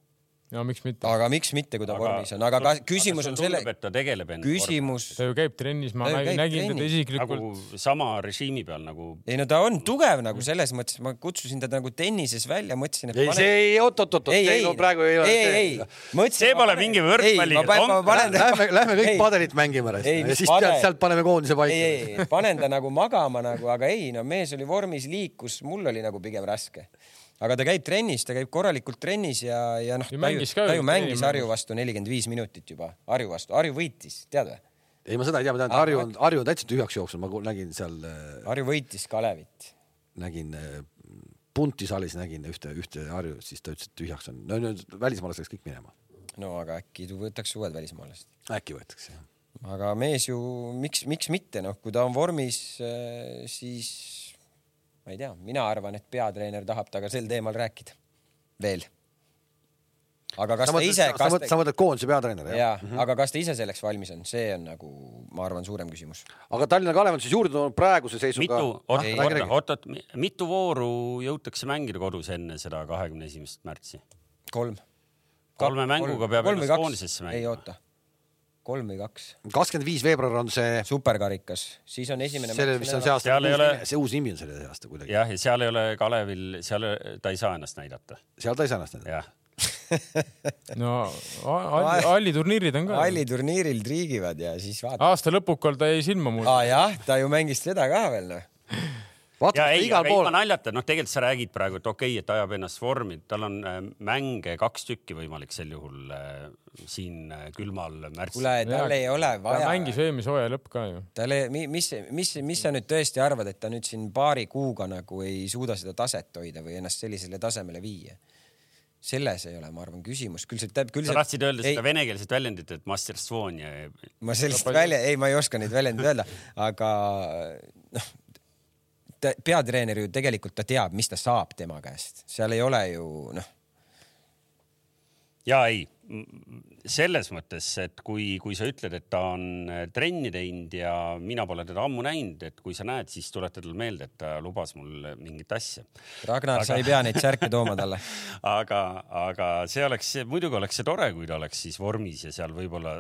Speaker 3: ja miks mitte ,
Speaker 4: aga miks mitte , kui ta vormis on , aga kas küsimus on selle ,.
Speaker 2: ta tegeleb enda .
Speaker 4: küsimus ,
Speaker 3: ta ju käib trennis , ma
Speaker 4: Ta ju
Speaker 3: nägin,
Speaker 4: käib
Speaker 3: nägin teda
Speaker 4: trennis.
Speaker 3: isiklikult
Speaker 2: nagu
Speaker 3: nagu... .
Speaker 2: sama režiimi peal nagu
Speaker 4: ei no ta on tugev nagu selles mõttes , ma kutsusin teda nagu tennises välja , mõtlesin , et
Speaker 1: ei , see ei , oot-oot-oot , see ei, no praegu ei ole .
Speaker 4: ei , ei , ei .
Speaker 2: See pole mingi võrkpalliga
Speaker 4: ma
Speaker 2: konkurents.
Speaker 4: panen ta ,
Speaker 1: Lähme , lähme kõik
Speaker 4: Ei.
Speaker 1: padelit mängima rest
Speaker 4: Ei,
Speaker 1: ja
Speaker 4: mis
Speaker 1: siis
Speaker 4: padel?
Speaker 1: tead, sealt paneme koondise
Speaker 4: ei ,
Speaker 1: paika .
Speaker 4: ei , panen ta nagu magama nagu , aga ei , no mees oli vormis , liikus , mul oli nagu pigem raske . aga ta käib trennis , ta käib korralikult trennis ja , ja noh ,
Speaker 3: Ja
Speaker 4: ta ju
Speaker 3: mängis ka ,
Speaker 4: ta
Speaker 3: ju
Speaker 4: ju mängis
Speaker 3: eelmängus.
Speaker 4: Harju vastu nelikümmend viis minutit juba , Harju vastu , Harju võitis , tead või ?
Speaker 1: ei , ma seda ei tea , ma tean , et Harju on , Harju on täitsa tühjaks jooksnud , ma ku- nägin seal ,
Speaker 4: Harju võitis Kalevit .
Speaker 1: nägin äh, Punti saalis nägin ühte , ühte Harju , siis ta ütles , et tühjaks on . no nüüd välismaalased läks kõik minema .
Speaker 4: no aga äkki tu- võtaks uued välismaalased .
Speaker 1: äkki võetakse jah .
Speaker 4: aga mees ju , miks , miks mitte , noh , kui ta on vormis , siis ma ei tea , mina arvan , et peatreener tahab temaga sel teemal rääkida veel . aga kas
Speaker 1: sa
Speaker 4: ta
Speaker 1: mõtled ,
Speaker 4: ise ,
Speaker 1: sa
Speaker 4: kas
Speaker 1: mõtled , sa mõtled koondise peatreener jah ? Mhm.
Speaker 4: ja , aga kas ta ise selleks valmis on , see on nagu , ma arvan , suurem küsimus .
Speaker 1: aga Tallinna Kalev on siis juurde toonud praeguse seisuga . Ah,
Speaker 2: mitu , oota , oota , mitu vooru jõutakse mängida kodus enne seda kahekümne esimest märtsi ?
Speaker 4: kolm .
Speaker 2: Kolme mänguga peab ennast koondisesse mängima.
Speaker 4: ei oota , kolm või kaks ,
Speaker 1: kakskümmend viis veebruar on see ,
Speaker 4: superkarikas , siis on esimene .
Speaker 1: sellel , mis on see aasta
Speaker 2: Seal , ei ole-
Speaker 1: see uus nimi on sellel aasta kuidagi .
Speaker 2: jah , ja seal ei ole Kalevil , seal ta ei saa ennast näidata ,
Speaker 1: seal ta ei saa ennast näidata .
Speaker 2: jah .
Speaker 3: no halli , halliturniirid on ka .
Speaker 4: halli turniiril triigivad ja siis vaatad .
Speaker 3: aasta lõpukal ta jäi silma mul .
Speaker 4: aa Ah, jah , ta ju mängis seda ka veel noh .
Speaker 1: vaata
Speaker 2: ja , ei ,
Speaker 1: igal
Speaker 2: ei
Speaker 1: pool
Speaker 2: ma . naljatan , noh , tegelikult sa räägid praegu , et okei okay, , et ajab ennast vormi , tal on äh, mänge kaks tükki võimalik sel juhul äh, siin äh, külmal märtsil .
Speaker 4: kuule , tal ei ole
Speaker 3: ta
Speaker 4: vaja .
Speaker 3: mängis eelmise hooaja lõpp ka ju .
Speaker 4: tal ei , mis , mis , mis sa nüüd tõesti arvad , et ta nüüd siin paari kuuga nagu ei suuda seda taset hoida või ennast sellisele tasemele viia ? selles ei ole , ma arvan , küsimus , küll see , küll see .
Speaker 2: sa tahtsid öelda seda venekeelset väljendit , et masterstvoon ja
Speaker 4: ma sellist välja , ei , ma ei oska neid väljendeid öelda , aga noh , peatreener ju tegelikult ta teab , mis ta saab tema käest , seal ei ole ju noh ,
Speaker 2: ja ei , selles mõttes , et kui , kui sa ütled , et ta on trenni teinud ja mina pole teda ammu näinud , et kui sa näed , siis tuleta talle meelde , et ta lubas mul mingit asja .
Speaker 4: Ragnar , sa ei pea neid särke tooma talle .
Speaker 2: aga , aga see oleks , muidugi oleks see tore , kui ta oleks siis vormis ja seal võib-olla ,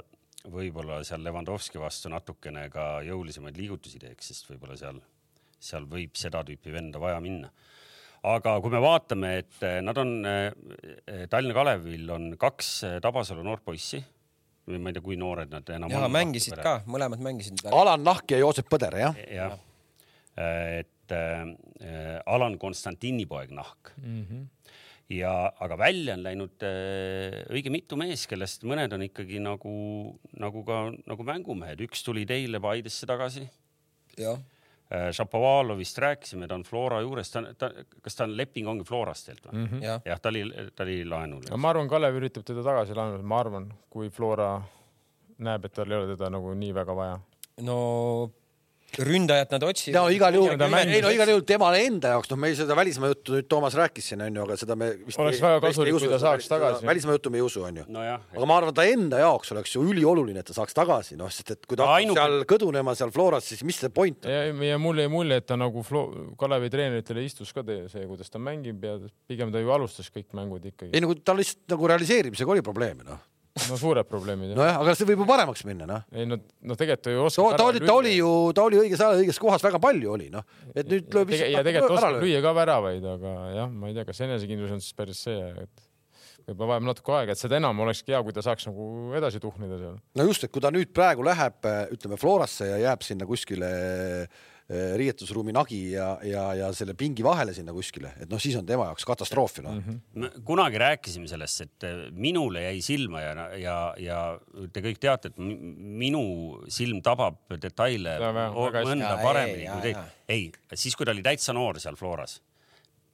Speaker 2: võib-olla seal Levanovski vastu natukene ka jõulisemaid liigutusi teeks , sest võib-olla seal , seal võib seda tüüpi venda vaja minna aga kui me vaatame, et eh, nad on , Tallinna Kalevil on kaks eh, Tabasalu noort poissi , ma ei tea , kui noored nad enam
Speaker 4: ja mängisid ka , mõlemad mängisid .
Speaker 2: Oh.
Speaker 1: Alan Nahk ja Joosep Põder , jah ?
Speaker 2: jah , et äh, Alan Konstantini poeg Nahk mm . -hmm. ja , aga välja on läinud äh, õige mitu meest , kellest mõned on ikkagi nagu , nagu ka nagu mängumehed , üks tuli teile Paidesse tagasi .
Speaker 4: jah ,
Speaker 2: Šapovalovist rääkisime , ta on Flora juures , ta on , ta , kas ta on leping ongi Florast teilt või mm ? -hmm.
Speaker 4: jah ,
Speaker 2: jah , ta oli , ta oli laenul .
Speaker 3: ma arvan , Kalev üritab teda tagasi laenata , ma arvan , kui Flora näeb , et tal ei ole teda nagu nii väga vaja .
Speaker 4: no ründajat nad otsivad .
Speaker 1: no igal juhul ,
Speaker 3: Mängida
Speaker 1: ei no igal juhul temale enda jaoks , noh , me seda välismaa juttu nüüd Toomas rääkis siin onju , aga seda me vist
Speaker 3: Oleks
Speaker 1: ei-
Speaker 3: väga
Speaker 1: vist ei
Speaker 3: kasulik,
Speaker 1: usu,
Speaker 3: kui ta
Speaker 1: seda
Speaker 3: saaks
Speaker 1: välis- seda
Speaker 3: tagasi.
Speaker 1: välismaa juttu me ei usu onju .
Speaker 2: nojah ,
Speaker 1: aga ma arvan , ta enda jaoks oleks ju ülioluline , et ta saaks tagasi , noh , sest et kui ta hakkab
Speaker 2: Ainuke-
Speaker 1: seal kõdunema seal Floras , siis mis see point on ?
Speaker 3: ja , ja mul jäi mulje , et ta nagu Flo- Kalevi treeneritele istus ka tee- see , kuidas ta mängib ja pigem ta ju alustas kõik mängud ikkagi .
Speaker 1: ei no kui tal lihtsalt nagu realiseerimisega oli probleeme noh ,
Speaker 3: no suured probleemid jah .
Speaker 1: nojah , aga see võib ju paremaks minna noh .
Speaker 3: ei no , no tegelikult ta ju
Speaker 1: ta
Speaker 3: oskab .
Speaker 1: ta oli , ta oli ju , ta oli õiges ajal õiges kohas väga palju oli noh , et nüüd lööb
Speaker 3: Tege- ja tegelikult oskab . lüüa ka väravaid , aga jah , ma ei tea , kas enesekindlus on siis päris see , et võib-olla vajab natuke aega , et seda enam olekski hea , kui ta saaks nagu edasi tuhnida seal .
Speaker 1: no just , et kui ta nüüd praegu läheb , ütleme Florasse ja jääb sinna kuskile eh, riietusruumi nagi ja , ja , ja selle pingi vahele sinna kuskile , et noh , siis on tema jaoks katastroof ju noh mm .
Speaker 3: Mhm.
Speaker 1: -hmm.
Speaker 2: me kunagi rääkisime sellest , et äh, minule jäi silma ja , ja , ja te kõik teate , et mi- minu silm tabab detaile
Speaker 3: Seda väga-
Speaker 2: o-
Speaker 3: väga hästi.
Speaker 2: mõnda
Speaker 4: Jaa,
Speaker 2: paremini
Speaker 4: ei,
Speaker 2: kui
Speaker 4: jaa,
Speaker 2: teil . ei , siis kui ta oli täitsa noor seal Floras ,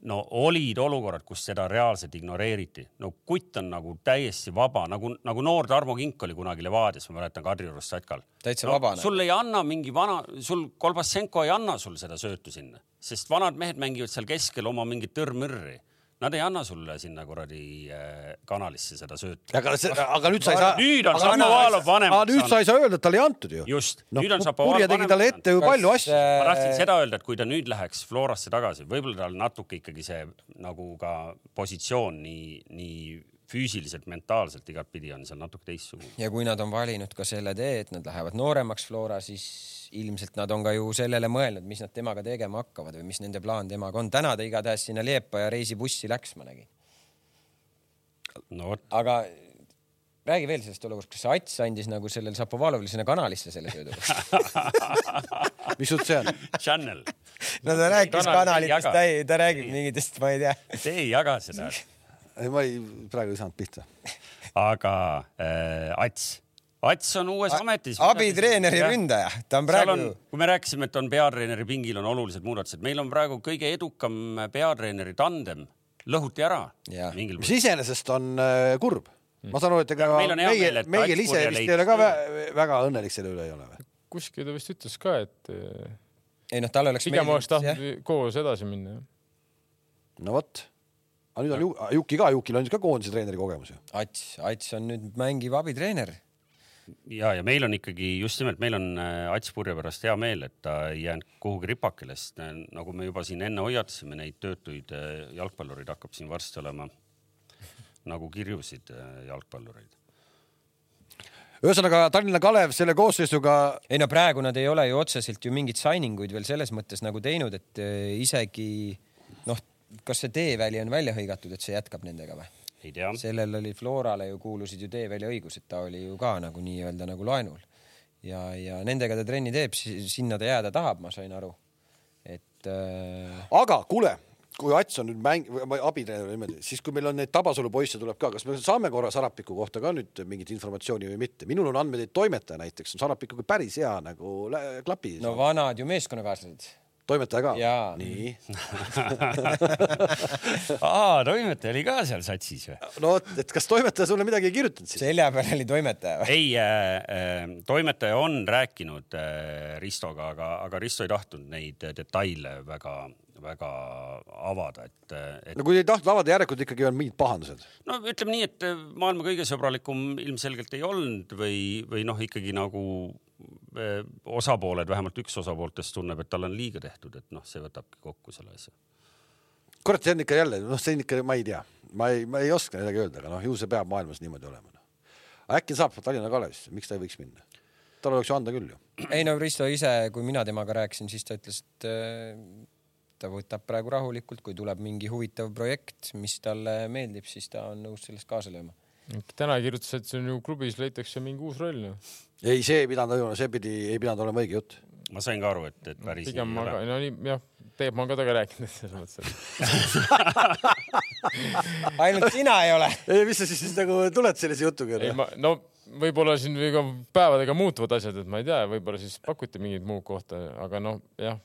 Speaker 2: no olid olukorrad , kus seda reaalselt ignoreeriti . no kutt on nagu täiesti vaba , nagu , nagu noor Tarmo Kink oli kunagi Levadias , ma mäletan Kadriorus Satkal .
Speaker 4: Täitsa vabane.
Speaker 2: sul ei anna mingi vana , sul Kolbasenko ei anna sul seda söötu sinna , sest vanad mehed mängivad seal keskel oma mingit tõrmõrri . Nad ei anna sulle sinna kuradi äh, kanalisse seda söötu .
Speaker 1: aga see , aga nüüd sa ei saa .
Speaker 2: nüüd on Šapovalov vanem
Speaker 1: aga nüüd sa ei saa öelda , et talle ei antud ju .
Speaker 2: Just.
Speaker 1: noh
Speaker 2: Nüüd on , Šapovalov
Speaker 1: Purje
Speaker 2: vanem
Speaker 1: tegi talle
Speaker 2: saanud.
Speaker 1: ette ju palju asju .
Speaker 3: äh,
Speaker 2: ma tahtsin seda öelda , et kui ta nüüd läheks Florasse tagasi , võib-olla tal natuke ikkagi see nagu ka positsioon nii , nii füüsiliselt , mentaalselt igatpidi on seal natuke teistsugune .
Speaker 4: ja kui nad on valinud ka selle tee , et nad lähevad nooremaks Flora , siis ilmselt nad on ka ju sellele mõelnud , mis nad temaga tegema hakkavad või mis nende plaan temaga on . täna ta igatahes sinna Liepaja reisibussi läks , ma nägin .
Speaker 2: no vot ,
Speaker 4: aga räägi veel sellest olukorrast , kas see Ats andis nagu sellele Šapovalovile sinna kanalisse selle söödu ?
Speaker 1: mis jutt see on ?
Speaker 2: Channel ,
Speaker 4: no ta rääkis
Speaker 2: Kanal- kanalitest, ta ei-
Speaker 4: ta räägib mingitest , ma ei tea .
Speaker 2: te ei jaga seda ,
Speaker 1: ei , ma ei , praegu ei saanud pihta .
Speaker 2: aga äh, Ats , Ats on uues ametis .
Speaker 4: abitreeneri ründaja , ta on
Speaker 2: seal
Speaker 4: praegu
Speaker 2: on , kui me rääkisime , et on peatreeneri pingil on olulised muudatused , meil on praegu kõige edukam peatreeneri tandem , lõhuti ära
Speaker 4: Jah.
Speaker 2: mingil
Speaker 1: mis iseenesest on äh, kurb . ma saan aru , et ega
Speaker 2: Meil on hea meel,
Speaker 1: meie
Speaker 2: et ,
Speaker 1: meie
Speaker 2: Ats
Speaker 1: ise
Speaker 2: Purje
Speaker 1: vist
Speaker 2: leidis
Speaker 1: ei ole ka vä- väga õnnelik selle üle ei ole või ?
Speaker 3: kuskil ta vist ütles ka , et eh,
Speaker 4: ei noh , tal oleks
Speaker 3: pigem oleks
Speaker 4: jah.
Speaker 3: tahtnud koos edasi minna .
Speaker 1: no vot . aga nüüd on Ju- ah, Juki ka , Jukil on siis ka koondise treeneri kogemus ju .
Speaker 4: Ats , Ats on nüüd mängiv abitreener .
Speaker 2: ja , ja meil on ikkagi just nimelt , meil on äh, Ats Purje pärast hea meel , et ta ei jäänud kuhugi ripakile , sest äh, nagu me juba siin enne hoiatasime , neid töötuid äh, jalgpallureid hakkab siin varsti olema nagu kirjusid äh, jalgpallureid .
Speaker 1: ühesõnaga Tallinna Kalev selle koosseisuga
Speaker 4: ei no praegu nad ei ole ju otseselt ju mingeid signing uid veel selles mõttes nagu teinud , et eh, isegi noh , kas see teeväli on välja hõigatud , et see jätkab nendega või ?
Speaker 2: ei tea ,
Speaker 4: sellel oli Florale ju kuulusid ju teeväli õigused , ta oli ju ka nagu nii-öelda nagu laenul ja , ja nendega ta trenni teeb , sinna ta jääda tahab , ma sain aru . et äh,
Speaker 1: aga kuule , kui Ats on nüüd mäng , abitreener või niimoodi , siis kui meil on neid Tabasalu poisse tuleb ka , kas me saame korra Sarapiku kohta ka nüüd mingit informatsiooni või mitte ? minul on andmeid , et toimetaja näiteks on Sarapikuga päris hea nagu lä- klapi no, ,
Speaker 4: no vanad ju meeskonnakaaslased .
Speaker 1: toimetaja ka
Speaker 4: Jaa. .
Speaker 1: nii ,
Speaker 2: aa , toimetaja oli ka seal satsis või ?
Speaker 1: no vot , et kas toimetaja sulle midagi ei kirjutanud siis ?
Speaker 4: selja peal oli toimetaja või ?
Speaker 2: ei äh, , äh, toimetaja on rääkinud äh, Ristoga , aga , aga Risto ei tahtnud neid äh, detaile väga-väga avada , et , et
Speaker 1: no kui ei tahtnud avada , järelikult ikkagi on mingid pahandused .
Speaker 2: no ütleme nii , et äh, maailma kõige sõbralikum ilmselgelt ei olnud või , või noh , ikkagi nagu eh, osapooled , vähemalt üks osapooltest tunneb , et tal on liiga tehtud , et noh , see võtabki kokku selle asja .
Speaker 1: kurat , see on ikka jälle , noh , see on ikka , ma ei tea , ma ei , ma ei oska midagi öelda , aga noh , ju see peab maailmas niimoodi olema no. . äkki saab Tallinna Kalevisse , miks ta ei võiks minna ? tal oleks ju anda küll ju .
Speaker 4: ei no Risto ise , kui mina temaga rääkisin , siis ta ütles , et äh, ta võtab praegu rahulikult , kui tuleb mingi huvitav projekt , mis talle meeldib , siis ta on nõus selles kaasa lööma .
Speaker 3: täna kirjutas , et see on ju klubis leitakse mingi uus roll noh. ju .
Speaker 1: ei , see ei pidanud olema , see pidi , ei pidanud olema õige jutt .
Speaker 2: ma sain ka aru , et , et päris
Speaker 3: pigem
Speaker 2: nii
Speaker 3: ma
Speaker 2: ei
Speaker 3: ka
Speaker 2: ole .,
Speaker 3: no nii jah , Peep , ma olen ka temaga rääkinud selles mõttes , et
Speaker 4: ainult sina ei ole .
Speaker 1: ei , mis sa siis siis nagu tuled sellise jutuga
Speaker 3: ei ? ma , no võib-olla siin või ka päevadega muutuvad asjad , et ma ei tea , võib-olla siis pakuti mingit muud kohta , aga noh , jah ,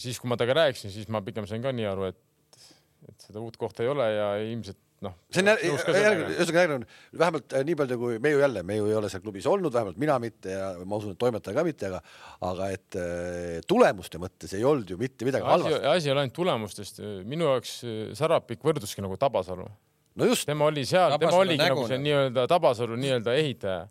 Speaker 3: siis kui ma temaga rääkisin , siis ma pigem sain ka nii aru , et , et seda uut kohta ei ole ja ilmselt noh .
Speaker 1: see on jär- järgmine , ühesõnaga järgmine , vähemalt äh, nii palju , kui me ju jälle , me ju ei ole seal klubis olnud , vähemalt mina mitte ja ma usun , et toimetaja ka mitte , aga , aga et äh, tulemuste mõttes ei olnud ju mitte midagi
Speaker 3: asi ,
Speaker 1: halvasti .
Speaker 3: asi ei ole ainult tulemustest , minu jaoks äh, Sarapik võrduski nagu Tabasalu
Speaker 1: no just ,
Speaker 3: tema oli seal , tema
Speaker 4: Tabasalu
Speaker 3: oligi
Speaker 4: nägu
Speaker 3: nagu see
Speaker 4: nagu.
Speaker 3: nii-öelda Tabasalu nii-öelda ehitaja .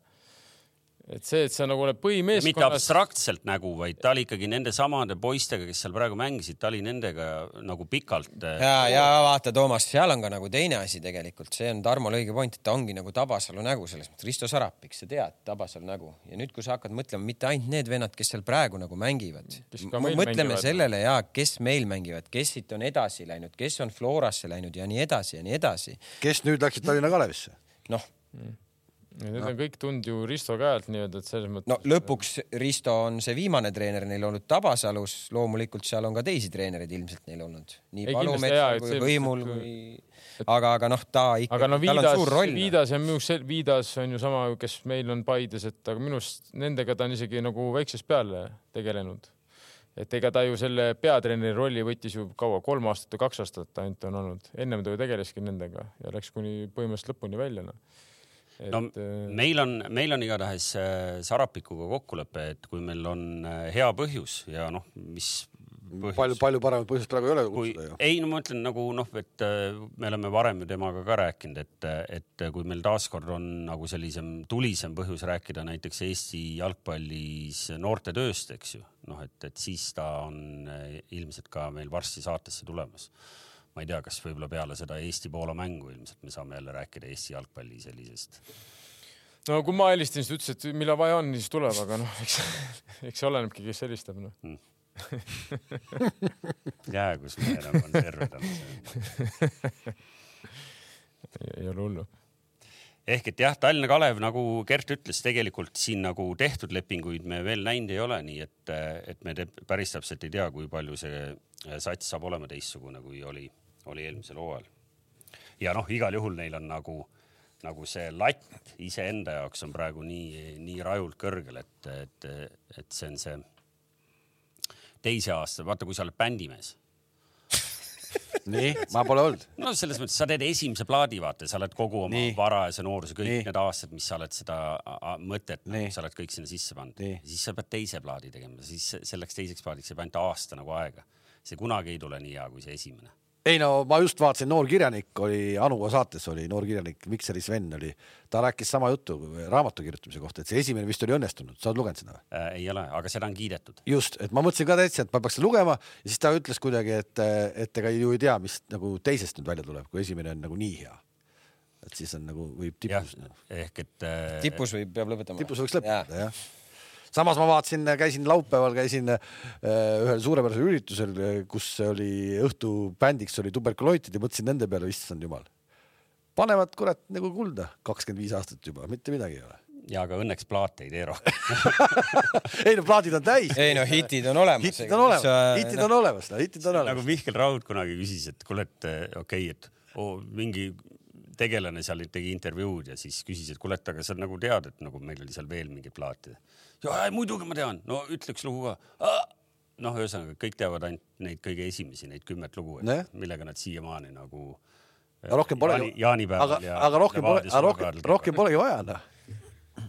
Speaker 3: et see , et sa nagu oled
Speaker 2: mitte
Speaker 3: põhimeeskonnas ,
Speaker 2: abstraktselt nägu , vaid ta oli ikkagi nendesamade poistega , kes seal praegu mängisid , ta oli nendega nagu pikalt .
Speaker 4: ja , ja vaata , Toomas , seal on ka nagu teine asi tegelikult , see on Tarmol õige point , et ta ongi nagu Tabasalu nägu selles mõttes , Risto Sarapik , sa tead Tabasalu nägu ja nüüd , kui sa hakkad mõtlema , mitte ainult need vennad , kes seal praegu nagu mängivad
Speaker 3: Kes , ka meil
Speaker 4: mõtleme
Speaker 3: mängivad.
Speaker 4: sellele ja kes meil mängivad , kes siit on edasi läinud , kes on Florasse läinud ja nii edasi ja nii edasi .
Speaker 1: kes nüüd läksid Tallinna Kalevisse ?
Speaker 4: noh ,
Speaker 3: need on kõik tulnud ju Risto käelt nii-öelda , et selles mõttes
Speaker 4: no lõpuks Risto on see viimane treener neil olnud Tabasalus , loomulikult seal on ka teisi treenereid ilmselt neil olnud . nii
Speaker 3: Ei, kindlasti jaa,
Speaker 4: Palumetsal
Speaker 3: et
Speaker 4: kui
Speaker 3: see-
Speaker 4: Võimul
Speaker 3: et-
Speaker 4: kui , aga , aga noh , ta
Speaker 3: aga
Speaker 4: ikka
Speaker 3: no ,
Speaker 4: tal on
Speaker 3: Viidas
Speaker 4: suur , roll . noh.
Speaker 3: Viidas ja minu , Viidas on ju sama , kes meil on Paides , et aga minu arust nendega ta on isegi nagu väiksest peale tegelenud . et ega ta ju selle peatreeneri rolli võttis ju kaua , kolm aastat või kaks aastat ainult on olnud , ennem ta ju tegeleski nendega ja läks kuni põhimõtteliselt lõpuni välja noh . et
Speaker 2: no
Speaker 3: eh,
Speaker 2: meil on , meil on igatahes äh, Sarapikuga kokkulepe , et kui meil on äh, hea põhjus ja noh , mis põhjus
Speaker 1: palju , palju paremat põhjust praegu ei ole
Speaker 2: kui
Speaker 1: kutsuda ju .
Speaker 2: ei , no ma ütlen nagu noh , et äh, me oleme varem ju temaga ka rääkinud , et , et kui meil taaskord on nagu sellisem tulisem põhjus rääkida näiteks Eesti jalgpallis noortetööst , eks ju , noh , et , et siis ta on äh, ilmselt ka meil varsti saatesse tulemas . ma ei tea , kas võib-olla peale seda Eesti-Poola mängu ilmselt me saame jälle rääkida Eesti jalgpalli sellisest .
Speaker 3: no kui ma helistasin , siis ta ütles , et millal vaja on , siis tuleb , aga noh , eks , eks see olenebki , kes helistab , noh .
Speaker 2: jää , kus me enam on terved on .
Speaker 3: ei ole hullu .
Speaker 2: ehk et jah , Tallinna Kalev , nagu Gert ütles , tegelikult siin nagu tehtud lepinguid me veel näinud ei ole , nii et , et me te- päris täpselt ei tea , kui palju see eh, sats saab olema teistsugune , kui oli , oli eelmisel hooajal . ja noh , igal juhul neil on nagu , nagu see latt iseenda jaoks on praegu nii , nii rajult kõrgel , et , et , et see on see teise aasta , vaata , kui sa oled bändimees
Speaker 1: nii , ma pole olnud .
Speaker 2: no selles mõttes sa teed esimese plaadi , vaata , sa oled kogu oma
Speaker 1: Nii.
Speaker 2: varajase nooruse , kõik
Speaker 1: Nii.
Speaker 2: nii. need aastad , mis sa oled seda a- a- mõtet nagu
Speaker 1: Nii. ,
Speaker 2: sa oled kõik sinna sisse pannud .
Speaker 1: Nii.
Speaker 2: siis sa pead teise plaadi tegema , siis selleks teiseks plaadiks jääb ainult aasta nagu aega . see kunagi ei tule nii hea kui see esimene .
Speaker 1: ei no ma just vaatasin , noor kirjanik oli , Anuga saates oli noor kirjanik Mikseri Sven oli , ta rääkis sama juttu raamatu kirjutamise kohta , et see esimene vist oli õnnestunud , sa oled lugenud seda või ?
Speaker 2: Äh, ei ole , aga seda on kiidetud .
Speaker 1: just , et ma mõtlesin ka täitsa , et ma peaks lugema ja siis ta ütles kuidagi , et , et ega ju ei tea , mis nagu teisest nüüd välja tuleb , kui esimene on nagu nii hea . et siis on nagu võib
Speaker 2: jah
Speaker 1: tipus ,
Speaker 2: ehk et äh,
Speaker 4: tipus võib , peab lõpetama .
Speaker 1: tipus võiks lõpetada jah samas ma vaatasin , käisin laupäeval , käisin äh, ühel suurepärasel üritusel , kus oli õhtubändiks oli tuberkuloitid ja mõtlesin nende peale , issand jumal . panevad kurat nagu kulda kakskümmend viis aastat juba , mitte midagi ei ole .
Speaker 2: ja aga õnneks plaate ei tee rohkem .
Speaker 1: ei no plaadid on täis ,
Speaker 4: ei no hitid on olemas .
Speaker 1: hitid on olemas , hitid on olemas , hitid on
Speaker 2: äh, noh, nagu
Speaker 1: olemas .
Speaker 2: Mihkel Raud kunagi küsis , et kuule , et eh, okei okay, , et oo, mingi tegelane seal tegi intervjuud ja siis küsis , et kuule , et aga sa nagu tead , et nagu meil oli seal veel mingeid plaate . muidugi ma tean , no ütle üks lugu ka . noh , ühesõnaga kõik teavad ainult neid kõige esimesi , neid kümmet lugu
Speaker 1: Nojah. ,
Speaker 2: millega nad siiamaani nagu .
Speaker 1: aga rohkem pole
Speaker 2: Jaani- , jaanipäeval
Speaker 1: aga ,
Speaker 2: ja
Speaker 1: aga rohkem pole ,
Speaker 2: Levadia
Speaker 1: aga rohkem
Speaker 2: surekaardil- ,
Speaker 1: rohkem polegi vaja noh .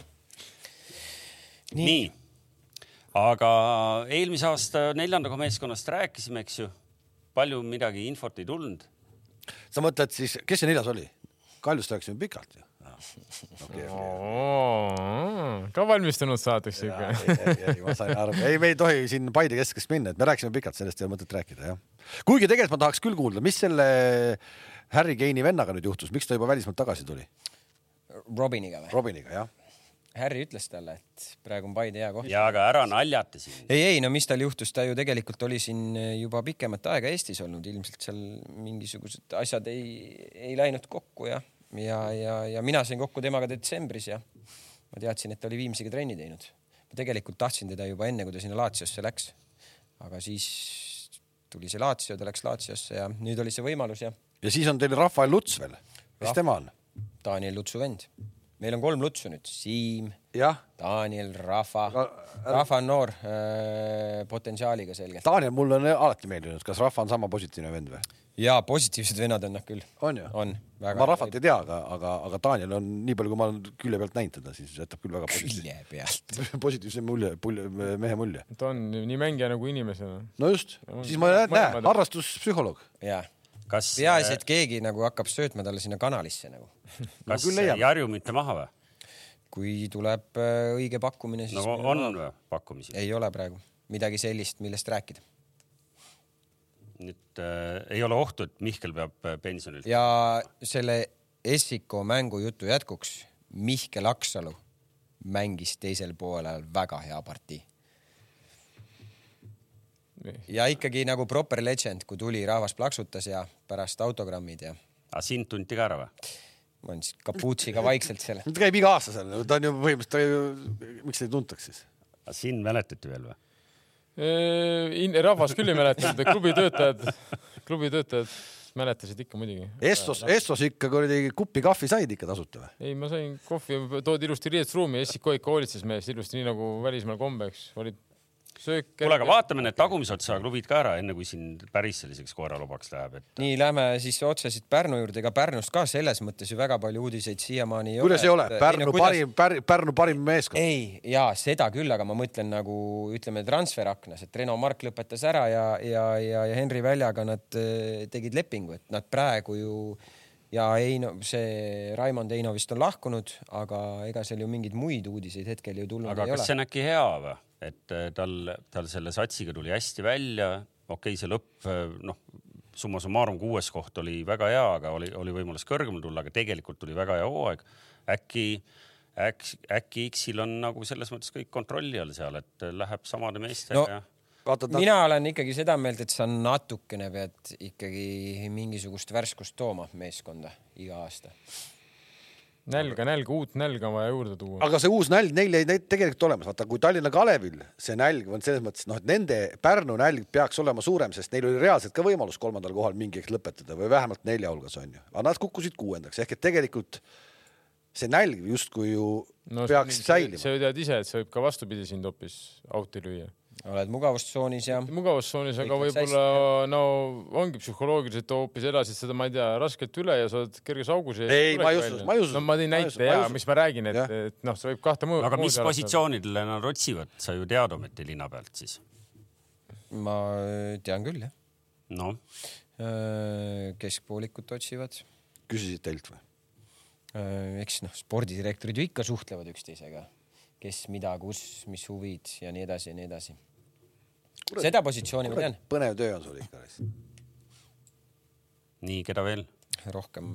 Speaker 2: nii, nii. . aga eelmise aasta neljandaga meeskonnast rääkisime , eks ju . palju midagi infot ei tulnud
Speaker 1: sa mõtled siis , kes see neljas oli ? Kaljust rääkisime pikalt ju . Noh,
Speaker 3: ka valmistunud saateks ikka .
Speaker 1: ma sain aru , ei , me ei tohi siin Paide keskeks minna , et me rääkisime pikalt , sellest ei ole mõtet rääkida jah . kuigi tegelikult ma tahaks küll kuulda , mis selle Harry Keini vennaga nüüd juhtus , miks ta juba välismaalt tagasi tuli ?
Speaker 4: noh, Robiniga või ?
Speaker 1: Robiniga jah ,
Speaker 4: Harry ütles talle , et praegu on Paide hea koht .
Speaker 2: ja aga ära naljata siin .
Speaker 4: ei , ei no mis tal juhtus , ta ju tegelikult oli siin juba pikemat aega Eestis olnud , ilmselt seal mingisugused asjad ei , ei läinud kokku ja , ja , ja , ja mina sain kokku temaga detsembris ja ma teadsin , et ta oli Viimsiga trenni teinud . ma tegelikult tahtsin teda juba enne , kui ta sinna Laatsiosse läks . aga siis tuli see Laatsio , ta läks Laatsiosse ja nüüd oli see võimalus ja
Speaker 1: ja siis on teil Rafael Luts veel , kes
Speaker 4: Rah-
Speaker 1: tema on ?
Speaker 4: Daniel Lutsu vend . meil on kolm Lutsu nüüd , Siim ,
Speaker 1: jah ,
Speaker 4: Daniel , Rafa
Speaker 1: Aga- .
Speaker 4: Rafa on noor , potentsiaaliga selgelt .
Speaker 1: Daniel , mulle on alati meeldinud , kas Rahva on sama positiivne vend või ?
Speaker 4: jaa , positiivsed vennad on nad küll .
Speaker 1: on ju ?
Speaker 4: on , väga .
Speaker 1: ma Rahvat ei tea , aga , aga , aga Daniel on nii palju , kui ma olen külje pealt näinud teda , siis jätab küll väga positiivse ,
Speaker 4: külje pealt .
Speaker 1: positiivse mulje , pulje , mehe mulje .
Speaker 3: ta on nii mängijana kui inimesena .
Speaker 1: no just , siis ma näen , näe ,
Speaker 3: Mõlemad-
Speaker 1: harrastuspsühholoog .
Speaker 4: jaa .
Speaker 2: kas ,
Speaker 4: peaasi , et keegi nagu hakkab söötma talle sinna kanalisse nagu .
Speaker 2: eh, kas
Speaker 1: küll leiab.
Speaker 2: Jarju mitte maha või ?
Speaker 4: kui tuleb äh, õige pakkumine , siis
Speaker 2: nagu
Speaker 4: no,
Speaker 2: on või pakkumisi ?
Speaker 4: ei ole praegu midagi sellist , millest rääkida .
Speaker 2: nüüd äh, ei ole ohtu , et Mihkel peab äh, pensionil .
Speaker 4: ja selle Essiko mängujutu jätkuks , Mihkel Aksalu mängis teisel poolel väga hea partii . ja ikkagi nagu proper legend , kui tuli , rahvas plaksutas ja pärast autogrammid ja
Speaker 2: aga sind tunti ka ära või ?
Speaker 4: ma andsin kapuutsiga vaikselt selle .
Speaker 1: ta käib iga aasta seal , ta on ju põhimõtteliselt , ta ju , miks teda ei tuntaks siis ?
Speaker 2: aga sind mäletati veel või ?
Speaker 3: Äh, rahvas küll ei mäletanud , klubi töötajad , klubi töötajad mäletasid ikka muidugi .
Speaker 1: Estos , Estos ikka kuradi kupi kahvi said ikka tasuta või ?
Speaker 3: ei , ma sain kohvi , toodi ilusti riietusruumi , Essiko ikka hoolitses meie eest ilusti , nii nagu välismaal kombeks , olid söök .
Speaker 2: kuule , aga vaatame need tagumise otsa klubid ka ära , enne kui siin päris selliseks koeralobaks läheb , et
Speaker 4: nii , lähme siis otse siit Pärnu juurde , ega Pärnust ka selles mõttes ju väga palju uudiseid siiamaani ei
Speaker 1: kuidas ei ole
Speaker 4: ole ?,
Speaker 1: Pärnu parim , Pärnu parim meeskond .
Speaker 4: ei , jaa , seda küll , aga ma mõtlen nagu ütleme , transferaknas , et Reno Mark lõpetas ära ja , ja , ja , ja Henri Väljaga nad eh, tegid lepingu , et nad praegu ju ja Heino , see Raimond Heino vist on lahkunud , aga ega seal ju mingeid muid uudiseid hetkel ju tulnud
Speaker 2: aga
Speaker 4: ei
Speaker 2: kas
Speaker 4: ole
Speaker 2: see . on äkki hea või , et äh, tal , tal selle satsiga tuli hästi välja , okei okay, , see lõpp äh, noh , summa summarum kuues koht oli väga hea , aga oli , oli võimalus kõrgemale tulla , aga tegelikult tuli väga hea hooaeg . äkki , äkki , äkki X-il on nagu selles mõttes kõik kontrolli all seal , et läheb samade meestega
Speaker 4: No,
Speaker 2: no. ja
Speaker 1: vaata , ta
Speaker 4: mina olen ikkagi seda meelt , et sa natukene pead ikkagi mingisugust värskust tooma meeskonda iga aasta .
Speaker 3: nälga , nälga , uut nälga on vaja juurde tuua .
Speaker 1: aga see uus nälg neil jäi neid tegelikult olemas , vaata kui Tallinna Kalevil see nälg on selles mõttes noh , et nende Pärnu nälg peaks olema suurem , sest neil oli reaalselt ka võimalus kolmandal kohal mingi hetk lõpetada või vähemalt nelja hulgas on ju , aga nad kukkusid kuuendaks ehk et tegelikult see nälg justkui ju no, peaks säilima .
Speaker 3: sa ju tead ise , et see võib ka vastupidi sind hoopis out'i lüüa .
Speaker 4: oled mugavustsoonis ja
Speaker 3: mugavustsoonis , aga
Speaker 4: Kõik läks
Speaker 3: võib-olla no ongi psühholoogiliselt hoopis elasid seda , ma ei tea , raskelt üle ja sa oled kerges augus .
Speaker 1: Ei, ma ei usu- ma ei usu-
Speaker 3: no ma tõin
Speaker 1: ma ei usu-
Speaker 3: näite
Speaker 1: ma ei
Speaker 3: ja
Speaker 1: usu.
Speaker 3: mis ma räägin , et ,
Speaker 1: Jah.
Speaker 3: et noh , see võib kahte mõju .
Speaker 2: aga mis ? positsioonidele nad otsivad , sa ju tead ometi linna pealt siis .
Speaker 4: ma äh, tean küll jah .
Speaker 2: noh ,
Speaker 4: keskpoolikut otsivad .
Speaker 1: küsisid teilt või ?
Speaker 4: eks noh , spordidirektorid ju ikka suhtlevad üksteisega , kes mida , kus , mis huvid ja nii edasi ja nii edasi . seda positsiooni ma tean ,
Speaker 1: põnev töö on sul ikka .
Speaker 2: nii , keda veel ?
Speaker 4: rohkem ,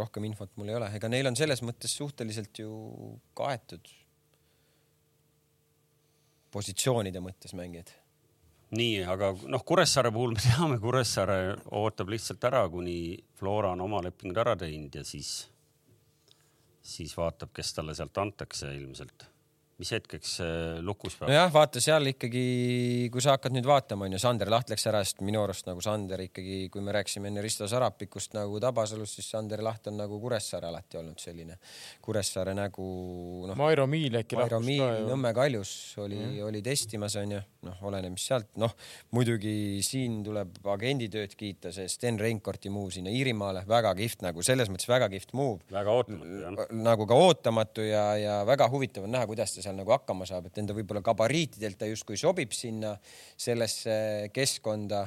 Speaker 4: rohkem infot mul ei ole , ega neil on selles mõttes suhteliselt ju kaetud positsioonide mõttes mängijad
Speaker 2: nii , aga noh , Kuressaare puhul me teame , Kuressaare ootab lihtsalt ära , kuni Flora on oma lepingud ära teinud ja siis , siis vaatab , kes talle sealt antakse ilmselt . mis hetkeks äh, lukus peab no, ?
Speaker 4: nojah , vaata seal ikkagi , kui sa hakkad nüüd vaatama , onju , Sander Laht läks ära , sest minu arust nagu Sander ikkagi , kui me rääkisime enne Risto Sarapikust nagu Tabasalust , siis Sander Laht on nagu Kuressaare alati olnud selline Kuressaare nägu , noh ,
Speaker 3: Mairo Miil äkki
Speaker 4: Mairo
Speaker 3: lahkus
Speaker 4: Miil
Speaker 3: ka ju .
Speaker 4: Nõmme kaljus oli mm. , oli testimas , onju , noh , oleneb , mis sealt , noh , muidugi siin tuleb agenditööd kiita , see Sten Reinkorti muu sinna Iirimaale , väga kihvt nagu selles mõttes väga kihvt muu
Speaker 2: väga ootamatu jah .
Speaker 4: nagu ka ootamatu ja , ja väga huvitav on näha , kuidas ta seal nagu hakkama saab , et enda võib-olla gabariitidelt ta justkui sobib sinna sellesse keskkonda ,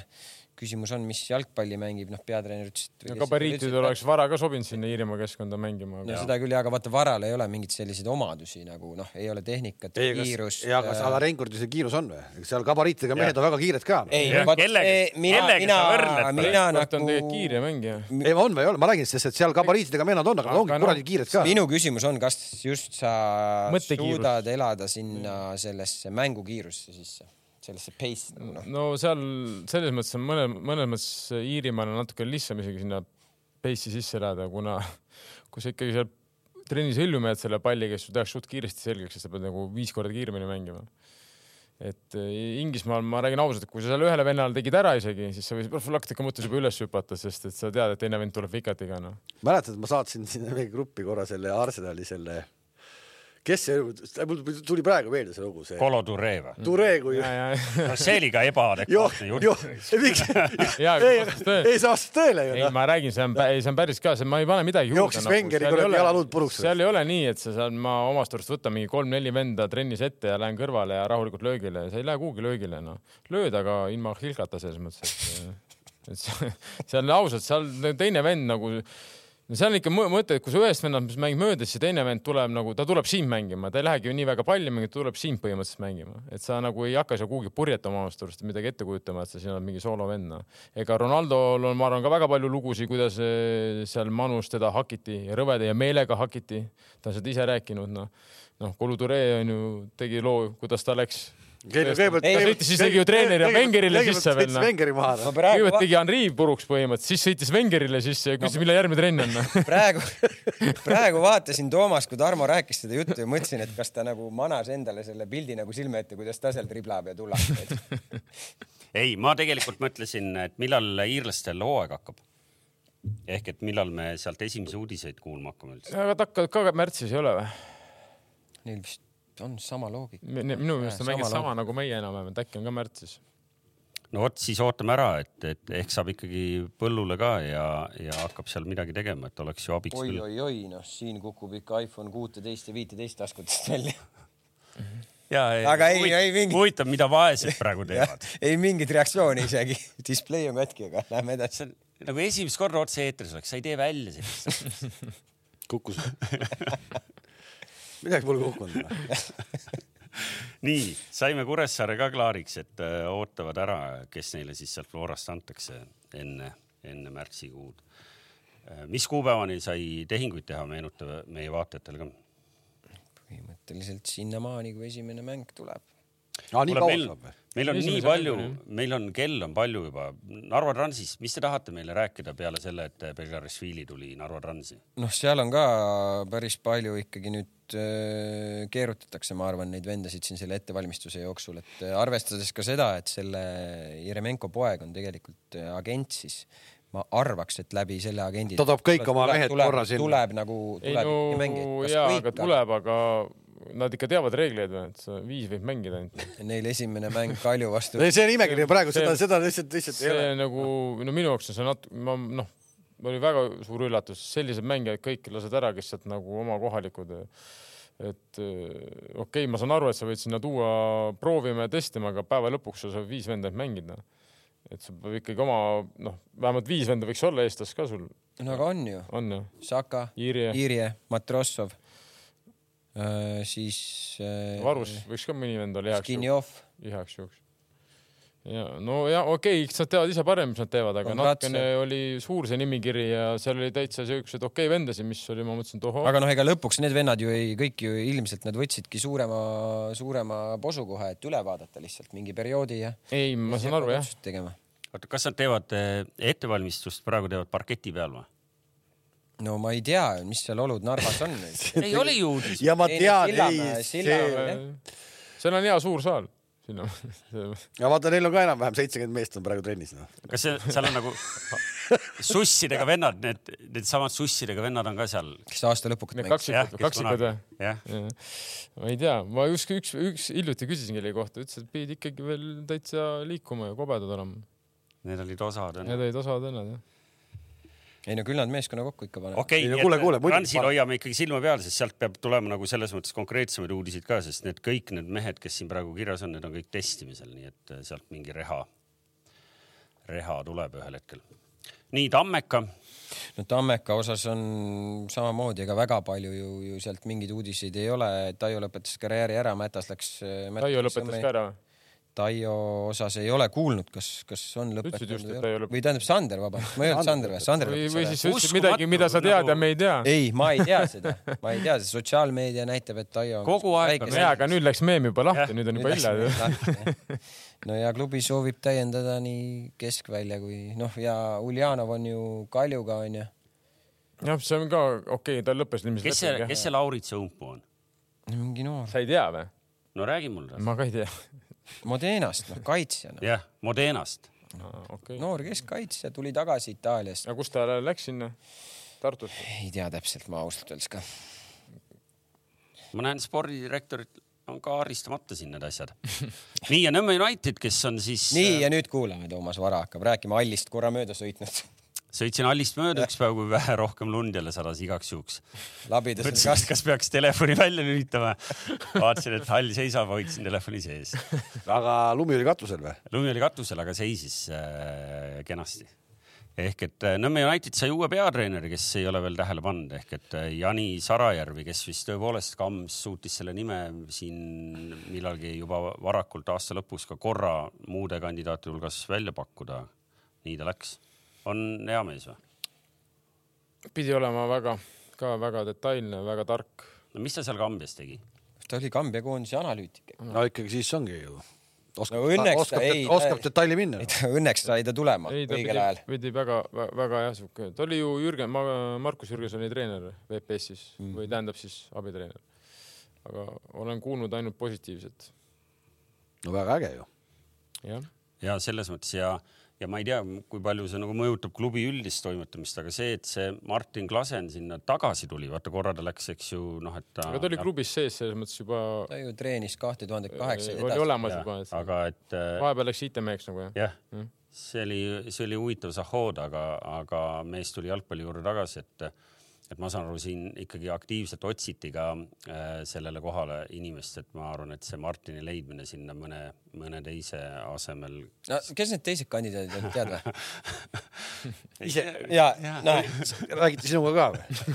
Speaker 4: küsimus on , mis jalgpalli mängib , noh , peatreener ütles , et .
Speaker 3: no gabariitid oleks vara ka sobinud sinna Iirimaa keskkonda mängima ,
Speaker 4: no
Speaker 3: aga
Speaker 4: seda küll , aga vaata varal ei ole mingeid selliseid omadusi nagu noh , ei ole tehnikat , kiirust . äh,
Speaker 1: ja
Speaker 3: äh,
Speaker 1: kas Alarenkordil see kiirus on või ? seal gabariitidega mehed on väga kiired ka . ei ,
Speaker 4: ei
Speaker 2: Jah, ,
Speaker 4: vaat
Speaker 2: kellega-
Speaker 4: eh, mina ,
Speaker 2: kellega
Speaker 4: mina
Speaker 2: sa võrdled , praegu?
Speaker 4: mina
Speaker 3: Koht on
Speaker 4: nagu ,
Speaker 3: tegelikult kiire mängija .
Speaker 1: on või ei ole , ma räägin , sest et seal gabariitidega mehed nad on , aga nad ongi
Speaker 3: Aga no-
Speaker 1: kuradi kiired ka .
Speaker 4: minu küsimus on , kas just sa
Speaker 3: Mõttekiirus.
Speaker 4: suudad elada sinna sellesse mängukiirusse sisse , sellesse pace nagu
Speaker 2: Mm.
Speaker 4: noh .
Speaker 3: no seal selles mõttes on mõne , mõnes mõttes Iirimaal on natuke lihtsam isegi sinna pace'i sisse elada , kuna kui sa ikkagi seal trennis hõljuma jääd selle palliga , siis sul tehakse suht kiiresti selgeks , sest sa pead nagu viis korda kiiremini mängima . et eh, Inglismaal ma räägin ausalt , et kui sa seal ühele vennale tegid ära isegi , siis sa noh, võisid profülaktika mõttes juba üles hüpata , sest et sa tead , et teine vend tuleb vikatiga noh .
Speaker 1: mäletad , ma saatsin sinna meie gruppi korra selle Arsenali selle , kes see , mul tuli praegu meelde see lugu , see
Speaker 2: Kolo Ture või ?
Speaker 1: Ture , kui
Speaker 3: ja ,
Speaker 2: no see oli ka ebaadekvaatne
Speaker 1: joh , joh
Speaker 2: jutt .,
Speaker 1: miks , ei
Speaker 3: aga , vastas tõele .
Speaker 1: ei see vastab tõele ju
Speaker 3: ei ,
Speaker 1: noh .
Speaker 3: ma räägin , see on , ei , see on päris ka , see , ma ei pane midagi juurde . nagu.
Speaker 1: Jooksis Wengeri kuradi jalaluud puruks.
Speaker 3: seal ei ole nii , et sa saad , ma omast arust võtan mingi kolm-neli venda trennis ette ja lähen kõrvale ja rahulikult löögile , sa ei lähe kuhugi löögile , noh . lööd aga ilma hilgata selles mõttes , et , äh, et see- seal ausalt , seal teine vend nagu no seal on ikka mõ- mõte , et kui sa ühest vennast mängid mööda , siis see teine vend tuleb nagu , ta tuleb sind mängima , ta ei lähegi ju nii väga palli mängima , ta tuleb sind põhimõtteliselt mängima . et sa nagu ei hakka seal kuhugi purjetama omast arust midagi ette kujutama , et sa siin oled mingi soolovend , noh . ega Ronaldol on , ma arvan , ka väga palju lugusid , kuidas eh, seal Manus teda hakiti , rõveda ja meelega hakiti . ta on seda ise rääkinud , noh . noh , Kulu Ture on ju , tegi loo , kuidas ta läks . ta sõitis isegi ju treeneri ja Wengerile sisse veel , noh .
Speaker 1: Wengeri maha
Speaker 4: ma
Speaker 1: noh .
Speaker 4: praegu
Speaker 3: kõigepealt , tegi Henri puruks põhimõtteliselt , siis sõitis Wengerile sisse ja küsis , millal järgmine trenn on , noh
Speaker 4: praegu , praegu vaatasin Toomast , kui Tarmo rääkis seda juttu ja mõtlesin , et kas ta nagu manas endale selle pildi nagu silme ette , kuidas ta seal triblab ja tullab .
Speaker 2: ei , ma tegelikult mõtlesin , et millal iirlastel hooaeg hakkab . ehk et millal me sealt esimesi uudiseid kuulma hakkame üldse .
Speaker 3: aga takka ka märtsis ei ole või ?
Speaker 4: Neil vist on sama loogika .
Speaker 3: minu meelest on
Speaker 4: Sama
Speaker 3: mängid
Speaker 4: laul.
Speaker 3: sama nagu meie enam-vähem , et äkki on ka märtsis .
Speaker 2: no vot , siis ootame ära , et , et ehk saab ikkagi põllule ka ja , ja hakkab seal midagi tegema , et oleks ju abiks küll .
Speaker 4: oi-oi-oi , noh , siin kukub ikka iPhone kuuteteist ja viiteist taskutest välja .
Speaker 2: ja ,
Speaker 4: Aga ei- ei mingi-
Speaker 2: huvitav , mida vaesed praegu teevad .
Speaker 4: ei mingit reaktsiooni isegi , display on katki , aga lähme edasi .
Speaker 2: see on nagu esimest korda otse-eetris oleks , sa ei tee välja sellist asja .
Speaker 1: kukkus . midagi pole kukkunud . noh.
Speaker 2: nii , saime Kuressaare ka klaariks , et äh, ootavad ära , kes neile siis sealt Florast antakse enne , enne märtsikuud . mis kuupäevani sai tehinguid teha , meenuta meie vaatajatel ka .
Speaker 4: põhimõtteliselt sinnamaani , kui esimene mäng tuleb .
Speaker 1: aa , nii kaua
Speaker 2: meil
Speaker 1: saab või ?
Speaker 2: meil on nii
Speaker 3: Esimese
Speaker 2: palju
Speaker 3: mänguni, ,
Speaker 2: meil on , kell on palju juba . Narva Transis , mis te tahate meile rääkida peale selle , et Belgarishvili tuli Narva Transi ?
Speaker 4: noh , seal on ka päris palju ikkagi nüüd öö, keerutatakse , ma arvan , neid vendasid siin selle ettevalmistuse jooksul , et öö, arvestades ka seda , et selle Jeremenko poeg on tegelikult öö, agent , siis ma arvaks , et läbi selle agendi .
Speaker 1: Ta toob kõik oma mehed korra sinna.
Speaker 4: tuleb nagu ,
Speaker 3: ei
Speaker 4: tuleb ikkagi mängida .
Speaker 3: no jaa , aga tuleb , aga nad ikka teavad reegleid või , et sa viis võib mängida ainult .
Speaker 4: Neil esimene mäng Kalju vastu .
Speaker 1: ei , see nimekiri praegu seda , seda lihtsalt , lihtsalt ei ole
Speaker 3: see . nagu , no minu jaoks on see natuke , ma noh , oli väga suur üllatus , sellised mängijad kõik lased ära , kes sealt nagu oma kohalikud . et eh, okei okay, , ma saan aru , et sa võid sinna tuua proovima ja testima , aga päeva lõpuks sa saad viis venda ainult mängida . et sul peab ikkagi oma noh , vähemalt viis venda võiks olla eestlast ka sul ,
Speaker 4: no aga on ju .
Speaker 3: on ju ?
Speaker 4: Saka ,
Speaker 3: Irje.
Speaker 4: Irje , Matrossov , siis äh, öö,
Speaker 3: varus võiks ka mõni vend olla heaks
Speaker 4: Skinjov ,
Speaker 3: juhuks . igaks juhuks . ja no ja okei okay, , eks nad teavad ise paremini , mis nad teevad , aga
Speaker 4: On
Speaker 3: natukene
Speaker 4: ratse.
Speaker 3: oli suur see nimikiri ja seal oli täitsa siukseid okei okay, vendasid , mis oli , ma mõtlesin , et ohoo .
Speaker 4: aga noh , ega lõpuks need vennad ju ei , kõik ju ilmselt nad võtsidki suurema , suurema posu kohe , et üle vaadata lihtsalt mingi perioodi ja .
Speaker 3: ei , ma saan aru jah .
Speaker 4: tegema .
Speaker 2: oota , kas nad teevad eh, ettevalmistust , praegu teevad parketi peal või ?
Speaker 4: no ma ei tea , mis seal olud Narvas on nüüd .
Speaker 2: ei ole ju uudis .
Speaker 1: ja ma
Speaker 4: Ei,
Speaker 1: tean ,
Speaker 4: Sillamäe-
Speaker 1: ei , see
Speaker 4: Sillamäe-
Speaker 3: Äh, seal on hea suur saal , sinna .
Speaker 1: ja vaata , neil on ka enam-vähem seitsekümmend meest on praegu trennis noh .
Speaker 2: kas see , seal on nagu sussidega vennad , need , needsamad sussidega vennad on ka seal .
Speaker 4: kes aasta lõpuks
Speaker 3: Need
Speaker 4: mängis .
Speaker 3: kaksikud , kaksikud või ?
Speaker 2: jah ,
Speaker 3: ma ei tea , ma justkui üks , üks hiljuti küsisin kelle kohta , ütles , et pidid ikkagi veel täitsa liikuma ja kobedad olema .
Speaker 2: need olid osad onju .
Speaker 3: Need olid osavad vennad jah .
Speaker 4: ei no küll nad meeskonna kokku ikka panevad .
Speaker 2: okei
Speaker 1: Ei, no kuule, kuule, muidugi
Speaker 2: Transil
Speaker 1: panen.
Speaker 2: hoiame ikkagi silma peal , sest sealt peab tulema nagu selles mõttes konkreetsemaid uudiseid ka , sest need kõik äh, need mehed , kes siin praegu kirjas on , need on kõik testimisel , nii et sealt mingi reha , reha tuleb ühel hetkel . nii Tammeka ,
Speaker 4: no Tammeka osas on samamoodi , ega väga palju ju , ju sealt mingeid uudiseid ei ole . Taio lõpetas karjääri ära , Mätas läks .
Speaker 3: Taio lõpetas ka ära .
Speaker 4: Taio osas ei ole kuulnud , kas , kas on
Speaker 3: ütlesid just, et
Speaker 4: lõpetanud
Speaker 3: ta ei ole-
Speaker 4: või tähendab Sander , vabandust , ma ei öelnud Sander või ? Sander
Speaker 3: või ,
Speaker 4: lõpetas
Speaker 3: või
Speaker 4: ära
Speaker 3: siis sa ütlesid
Speaker 2: Uskumatu,
Speaker 3: midagi , mida sa tead ja me ei tea .
Speaker 4: ei , ma ei tea seda , ma ei tea , sotsiaalmeedia näitab , et Taio .
Speaker 2: Kogu aeg peab
Speaker 3: jaa , aga nüüd läks meem juba
Speaker 2: Jah.
Speaker 3: lahti , nüüd on juba hilja ju .
Speaker 4: no ja klubi soovib täiendada nii keskvälja kui noh , ja Uljanov on ju Kaljuga onju .
Speaker 3: jah , see on ka okei okay, , ta lõppes ilmselt .
Speaker 2: kes see , kes see Lauritsa õmpu on ?
Speaker 4: mingi noor ,
Speaker 3: sa ei tea või ?
Speaker 2: no räägi mulle .
Speaker 3: ma ka ei tea .
Speaker 4: Modenast , noh kaitsjana ,
Speaker 2: jah , Modenast .
Speaker 3: okei .
Speaker 4: noor keskkaitsja tuli tagasi Itaaliast .
Speaker 3: aga kus ta läks sinna ? Tartusse .
Speaker 4: ei tea täpselt , ma ausalt öeldes ka .
Speaker 2: ma näen spordidirektorit on ka haristamata siin need asjad . nii ja Nõmme United , kes on siis ,
Speaker 4: nii ja nüüd kuulame , Toomas Vara hakkab rääkima hallist korra mööda sõitnud .
Speaker 2: sõitsin hallist mööda üks päev , kui vähe rohkem lund jälle sadas igaks juhuks .
Speaker 4: labides on
Speaker 2: mõtlesin ,
Speaker 4: kas
Speaker 2: et , kas peaks telefoni välja lülitama . vaatasin , et hall seisab , hoidsin telefoni sees .
Speaker 1: aga lumi oli katusel või ?
Speaker 2: lumi oli katusel , aga seisis äh, kenasti . ehk et äh, Nõmme United sai uue peatreeneri , kes ei ole veel tähele pannud , ehk et äh, Jani Sarajärvi , kes vist tõepoolest Kams suutis selle nime siin millalgi juba varakult aasta lõpus ka korra muude kandidaatide hulgas välja pakkuda . nii ta läks . on hea mees või ?
Speaker 3: pidi olema väga , ka väga detailne , väga tark .
Speaker 2: no mis ta seal Kambjas tegi ?
Speaker 4: ta oli Kambja koondise analüütik .
Speaker 1: no ikkagi siis ongi ju . oskab
Speaker 4: No õnneks ta
Speaker 1: oskab,
Speaker 4: ei-
Speaker 1: oskab detaili minna noh.
Speaker 4: ei . ta õnneks sai ta tulema
Speaker 3: ei , ta
Speaker 4: õigel ajal
Speaker 3: pidi ,. pidi väga , väga jah , sihuke , ta oli ju Jürgen , Markus Jürgensoni treener VPS-is mm. või tähendab siis abitreener . aga olen kuulnud ainult positiivset .
Speaker 1: no väga äge ju .
Speaker 3: jah ,
Speaker 2: ja selles mõttes ja , ja ma ei tea , kui palju see nagu mõjutab klubi üldist toimetamist , aga see , et see Martin Klasen sinna tagasi tuli , vaata korra ta läks , eks ju , noh , et ta .
Speaker 3: aga ta oli klubis sees selles mõttes juba ,
Speaker 4: ta ju treenis kahte tuhandet kaheksa
Speaker 3: oli olemas juba , et
Speaker 2: aga et äh,
Speaker 3: vahepeal läks IT-meheks nagu jah .
Speaker 2: jah , see oli , see oli huvitav sahhood , aga , aga mees tuli jalgpalli juurde tagasi , et et ma saan aru , siin ikkagi aktiivselt otsiti ka äh, sellele kohale inimest , et ma arvan , et see Martini leidmine sinna mõne , mõne teise asemel .
Speaker 4: no kes need teised kandidaadid olid , tead või ?
Speaker 2: ise
Speaker 4: ja noh ,
Speaker 1: räägiti sinuga ka või ?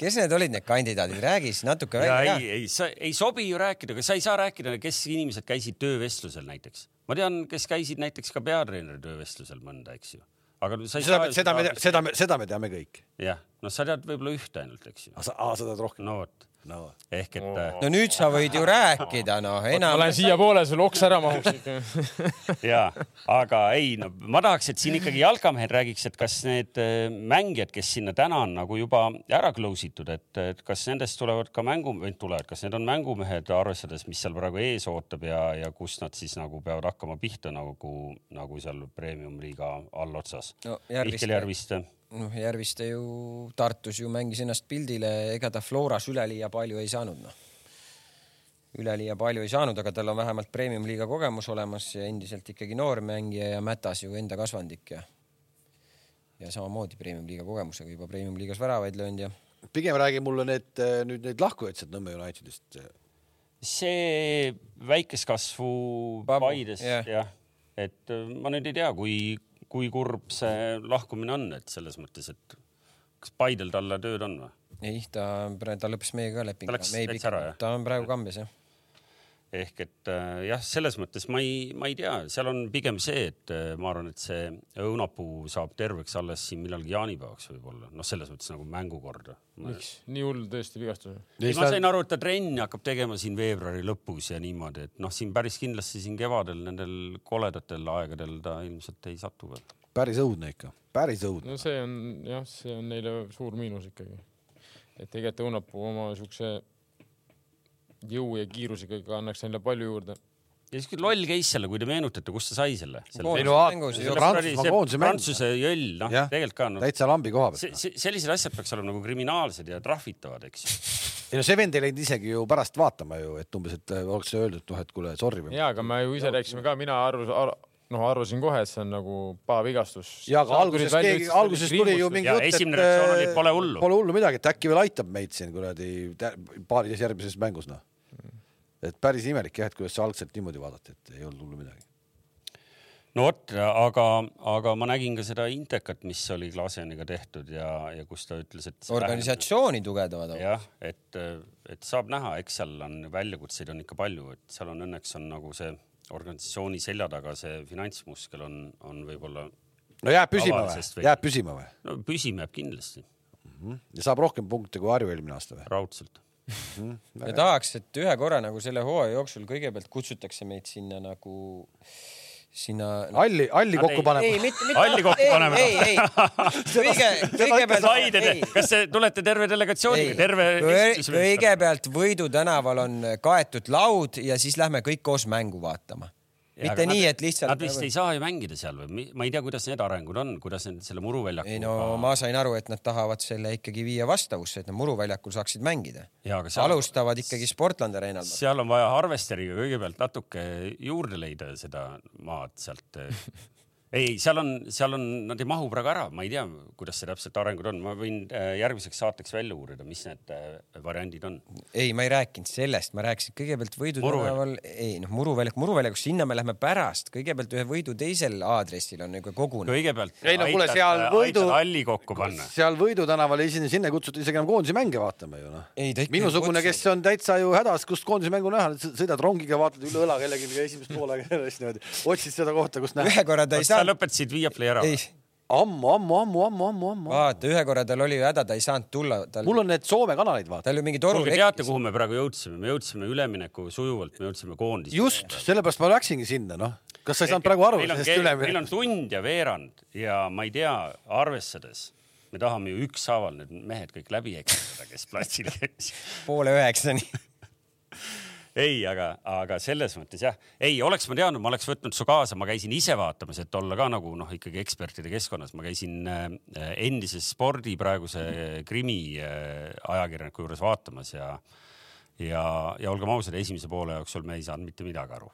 Speaker 4: kes need olid , need kandidaadid , räägi siis natuke
Speaker 2: ja
Speaker 4: välja
Speaker 2: ei , ei , sa ei sobi ju rääkida , aga sa ei saa rääkida , kes inimesed käisid töövestlusel näiteks . ma tean , kes käisid näiteks ka peatreeneri töövestlusel mõnda , eks ju . aga no sa ei
Speaker 1: seda
Speaker 2: saa ,.
Speaker 1: seda me , seda me , seda me teame kõik .
Speaker 2: jah , noh , sa tead võib-olla ühte ainult , eks ju .
Speaker 1: aga sa , aa , sa tead rohkem .
Speaker 2: no vot ,
Speaker 1: no
Speaker 2: ehk et oh.
Speaker 4: no nüüd sa võid ju rääkida , noh ,
Speaker 3: ma
Speaker 4: enam
Speaker 3: lähen siiapoole , sul oks ära mahuks ikka .
Speaker 2: ja , aga ei , no ma tahaks , et siin ikkagi jalkamehed räägiks , et kas need äh, mängijad , kes sinna täna on nagu juba ära close itud , et , et kas nendest tulevad ka mängu , tulevad , kas need on mängumehed , arvestades , mis seal praegu ees ootab ja , ja kus nad siis nagu peavad hakkama pihta nagu , nagu seal premium-liiga allotsas
Speaker 4: No Järviste.
Speaker 2: Mihkel Järviste ,
Speaker 4: noh , Järviste ju Tartus ju mängis ennast pildile , ega ta Floras üleliia palju ei saanud , noh . üleliia palju ei saanud , aga tal on vähemalt premium-liiga kogemus olemas ja endiselt ikkagi noormängija ja Mätas ju enda kasvandik ja ja samamoodi premium-liiga kogemusega juba premium-liigas väravaid löönud ja
Speaker 1: pigem räägi mulle need eh, nüüd need lahkujad sealt Nõmme Unitedist .
Speaker 2: see väikest kasvu
Speaker 4: Pabu,
Speaker 2: Paides
Speaker 4: jah.
Speaker 2: jah , et äh, ma nüüd ei tea , kui , kui kurb see lahkumine on , et selles mõttes , et kas Paidel talle tööd on või ?
Speaker 4: ei , ta , ta lõppes meiega ka
Speaker 2: Ta
Speaker 4: lepingu
Speaker 2: läks- . läks ära, jah?
Speaker 4: ta on praegu Kambjas jah .
Speaker 2: ehk et äh, jah , selles mõttes ma ei , ma ei tea , seal on pigem see , et äh, ma arvan , et see õunapuu saab terveks alles siin millalgi jaanipäevaks võib-olla , noh , selles mõttes nagu mängukorda .
Speaker 3: miks , nii hull tõesti vigastus ?
Speaker 2: ei , ma sain aru , et ta trenni hakkab tegema siin veebruari lõpus ja niimoodi , et noh , siin päris kindlasti siin kevadel nendel koledatel aegadel ta ilmselt ei satu veel .
Speaker 1: päris õudne ikka , päris õudne .
Speaker 3: no see on jah , see on neile suur miinus ikkagi . et tegelikult Õunapuu oma siukse jõu ja kiirusega ikka annaks neile palju juurde .
Speaker 2: ja siis kui loll case selle , kui te meenutate , kust ta sai selle, selle ?
Speaker 1: Minu aeg- Prantsusmaa koondise mäng.
Speaker 2: Prantsuse jöll , noh ,
Speaker 1: Jah.
Speaker 2: tegelikult ka noh ,
Speaker 1: täitsa lambi koha pealt .
Speaker 2: sellised asjad peaks olema nagu kriminaalsed ja trahvitavad , eks ju .
Speaker 1: ei no see vend ei läinud isegi ju pärast vaatama ju , et umbes , et eh, oleks öeldud , noh , et kuule sorry või .
Speaker 3: ja , aga me ju ise rääkisime ka , mina arvas ar, , noh , arvasin kohe , et see on nagu pahavigastus .
Speaker 1: ja aga alguses keegi , alguses tuli ju mingi
Speaker 2: Ja
Speaker 1: jutt , et
Speaker 2: esimene reaktsioon oli,
Speaker 1: eh,
Speaker 2: pole hullu.
Speaker 1: pole hullu midagi , et äkki veel aitab meid siin kuradi tä- paarides järgmises mängus noh . et päris imelik jah , et kuidas see algselt niimoodi vaadati , et ei olnud hullu midagi .
Speaker 2: no vot , aga , aga ma nägin ka seda Intekat , mis oli Klaseniga tehtud ja , ja kus ta ütles , et see
Speaker 4: organisatsiooni tugevdavad .
Speaker 2: tähendab- jah , et , et saab näha , eks seal on väljakutseid on ikka palju , et seal on õnneks on nagu see organisatsiooni selja taga see finantsmuskel on , on võib-olla ,
Speaker 1: no jääb püsima
Speaker 2: Tavalisest
Speaker 1: või
Speaker 2: või? ,
Speaker 1: jääb püsima või ?
Speaker 2: no püsima jääb kindlasti
Speaker 1: ja saab rohkem punkte kui Harju eelmine aasta või ?
Speaker 2: raudselt .
Speaker 4: ja tahaks , et ühe korra nagu selle hooaja jooksul kõigepealt kutsutakse meid sinna nagu sinna no, .
Speaker 1: halli , halli
Speaker 2: Nad
Speaker 1: kokku
Speaker 2: ei-
Speaker 1: panema .
Speaker 4: mitte
Speaker 2: Halli kokku paneme.
Speaker 4: ei , ei , ei , kõige , kõigepealt ,
Speaker 2: slaidide , kas te tulete terve delegatsiooniga , terve .
Speaker 4: kõigepealt Võidu tänaval on kaetud laud ja siis lähme kõik koos mängu vaatama . mitte nii , et lihtsalt . nagu-
Speaker 2: Nad vist ei saa ju mängida seal või mi- ma ei tea , kuidas need arengud on , kuidas need selle muruväljakuga .
Speaker 4: ei no ma sain aru , et nad tahavad selle ikkagi viia vastavusse , et nad muruväljakul saaksid mängida .
Speaker 2: Jaa, aga seal-
Speaker 4: alustavad ikkagi Sportlandi areenal .
Speaker 2: seal on vaja harvesteriga kõigepealt natuke juurde leida seda maad sealt . ei , seal on , seal on , nad ei mahu praegu ära , ma ei tea , kuidas see täpselt arengud on , ma võin äh, järgmiseks saateks välja uurida , mis need äh, variandid on .
Speaker 4: ei , ma ei rääkinud sellest , ma rääkisin kõigepealt Võidu
Speaker 2: Muruväljak.
Speaker 4: tänaval , ei noh , muruväljak , muruväljak , sinna me läheme pärast , kõigepealt ühe Võidu teisel aadressil on nagu kogunenud .
Speaker 2: kõigepealt eh,
Speaker 1: Ei no kuule, seal Võidu-
Speaker 2: halli kokku panna .
Speaker 1: seal Võidu tänaval ei , sinna kutsuti isegi enam koondise mänge vaatama ju noh
Speaker 4: Ei, ta ikka . ei
Speaker 1: minusugune ,
Speaker 4: kutsunud.
Speaker 1: kes on täitsa ju hädas , kust koondise mängu näha , sõidad rongiga , vaatad üle õla kellegi esimest poolega ja siis niimoodi otsid seda kohta , kus näha .
Speaker 4: ühe korra ta ei
Speaker 2: sa
Speaker 4: saanud ,
Speaker 2: lõpetasid Via Play ära
Speaker 4: ei
Speaker 2: või ?,
Speaker 1: ammu , ammu , ammu , ammu , ammu , ammu .
Speaker 4: vaata , ühe korra tal oli ju häda , ta ei saanud tulla , tal ,
Speaker 1: mul on need Soome kanaleid vaata .
Speaker 4: tal ju mingi toru
Speaker 2: kuulge , teate , kuhu me praegu jõudsime , me jõudsime ülemineku sujuvalt , me jõudsime koondise .
Speaker 1: just , sellepärast ma läksingi sinna noh . kas sa ei saanud praegu aru
Speaker 2: Meil on
Speaker 1: sellest
Speaker 2: kell-
Speaker 1: üle ?
Speaker 2: meil on tund ja veerand ja ma ei tea , arvestades , me tahame ju ükshaaval need mehed kõik läbi eksitada , kes platsil käis .
Speaker 4: poole üheksani .
Speaker 2: ei , aga , aga selles mõttes jah , ei oleks ma teadnud , ma oleks võtnud su kaasa , ma käisin ise vaatamas , et olla ka nagu noh , ikkagi ekspertide keskkonnas , ma käisin äh, endises spordi praeguse krimi äh, ajakirjaniku juures vaatamas ja ja , ja olgem ausad , esimese poole jooksul me ei saanud mitte midagi aru .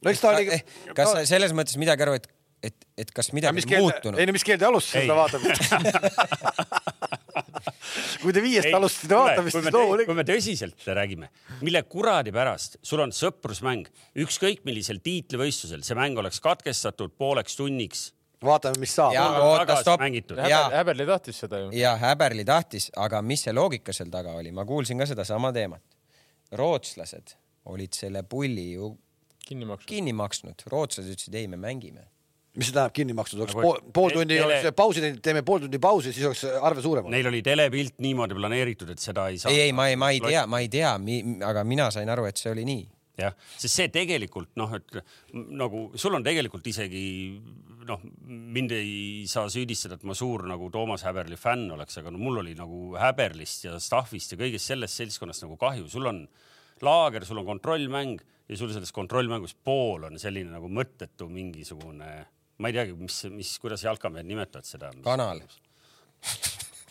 Speaker 1: no eks ta oli .
Speaker 4: eh, kas sa selles mõttes midagi aru , et , et , et kas midagi on muutunud ?
Speaker 1: ei no mis keelde alustasid
Speaker 2: Ei.
Speaker 1: seda vaatamist ? kui te viiest alustasite vaatamist ,
Speaker 2: kui me
Speaker 1: siis
Speaker 2: tõ- kui
Speaker 1: loomulikult .
Speaker 2: me tõsiselt räägime , mille kuradi pärast sul on sõprusmäng , ükskõik millisel tiitlivõistlusel , see mäng oleks katkestatud pooleks tunniks .
Speaker 1: vaatame , mis saab .
Speaker 4: jaa ,
Speaker 2: Aga
Speaker 4: oota ,
Speaker 2: tagasi
Speaker 4: stopp
Speaker 2: mängitud. .
Speaker 4: jaa
Speaker 3: häber ,, häberli tahtis seda ju .
Speaker 4: ja Häberli tahtis , aga mis see loogika seal taga oli , ma kuulsin ka sedasama teemat . rootslased olid selle pulli ju
Speaker 3: kinni maksnud .
Speaker 4: kinni maksnud , rootslased ütlesid ei , me mängime .
Speaker 1: mis see tähendab kinni makstud , oleks
Speaker 2: Nagu
Speaker 1: pool , pool tundi
Speaker 2: tele-
Speaker 1: oleks pausi teinud , teeme pool tundi pausi , siis oleks arve suurem olnud .
Speaker 2: Neil oli telepilt niimoodi planeeritud , et seda ei saa .
Speaker 4: ei , ei , ma ei , ma ei tea , ma ei tea , aga mina sain aru , et see oli nii .
Speaker 2: jah , sest see tegelikult noh , et m- nagu sul on tegelikult isegi noh , mind ei saa süüdistada , et ma suur nagu Toomas Häberli fänn oleks , aga no mul oli nagu Häberlist ja staff'ist ja kõigest sellest seltskonnast nagu kahju , sul on laager , sul on kontrollmäng ja sul selles kontrollmängus pool on selline nagu mõttetu mingisugune , ma ei teagi , mis , mis , kuidas jalkamehed nimetavad seda .
Speaker 4: kanal .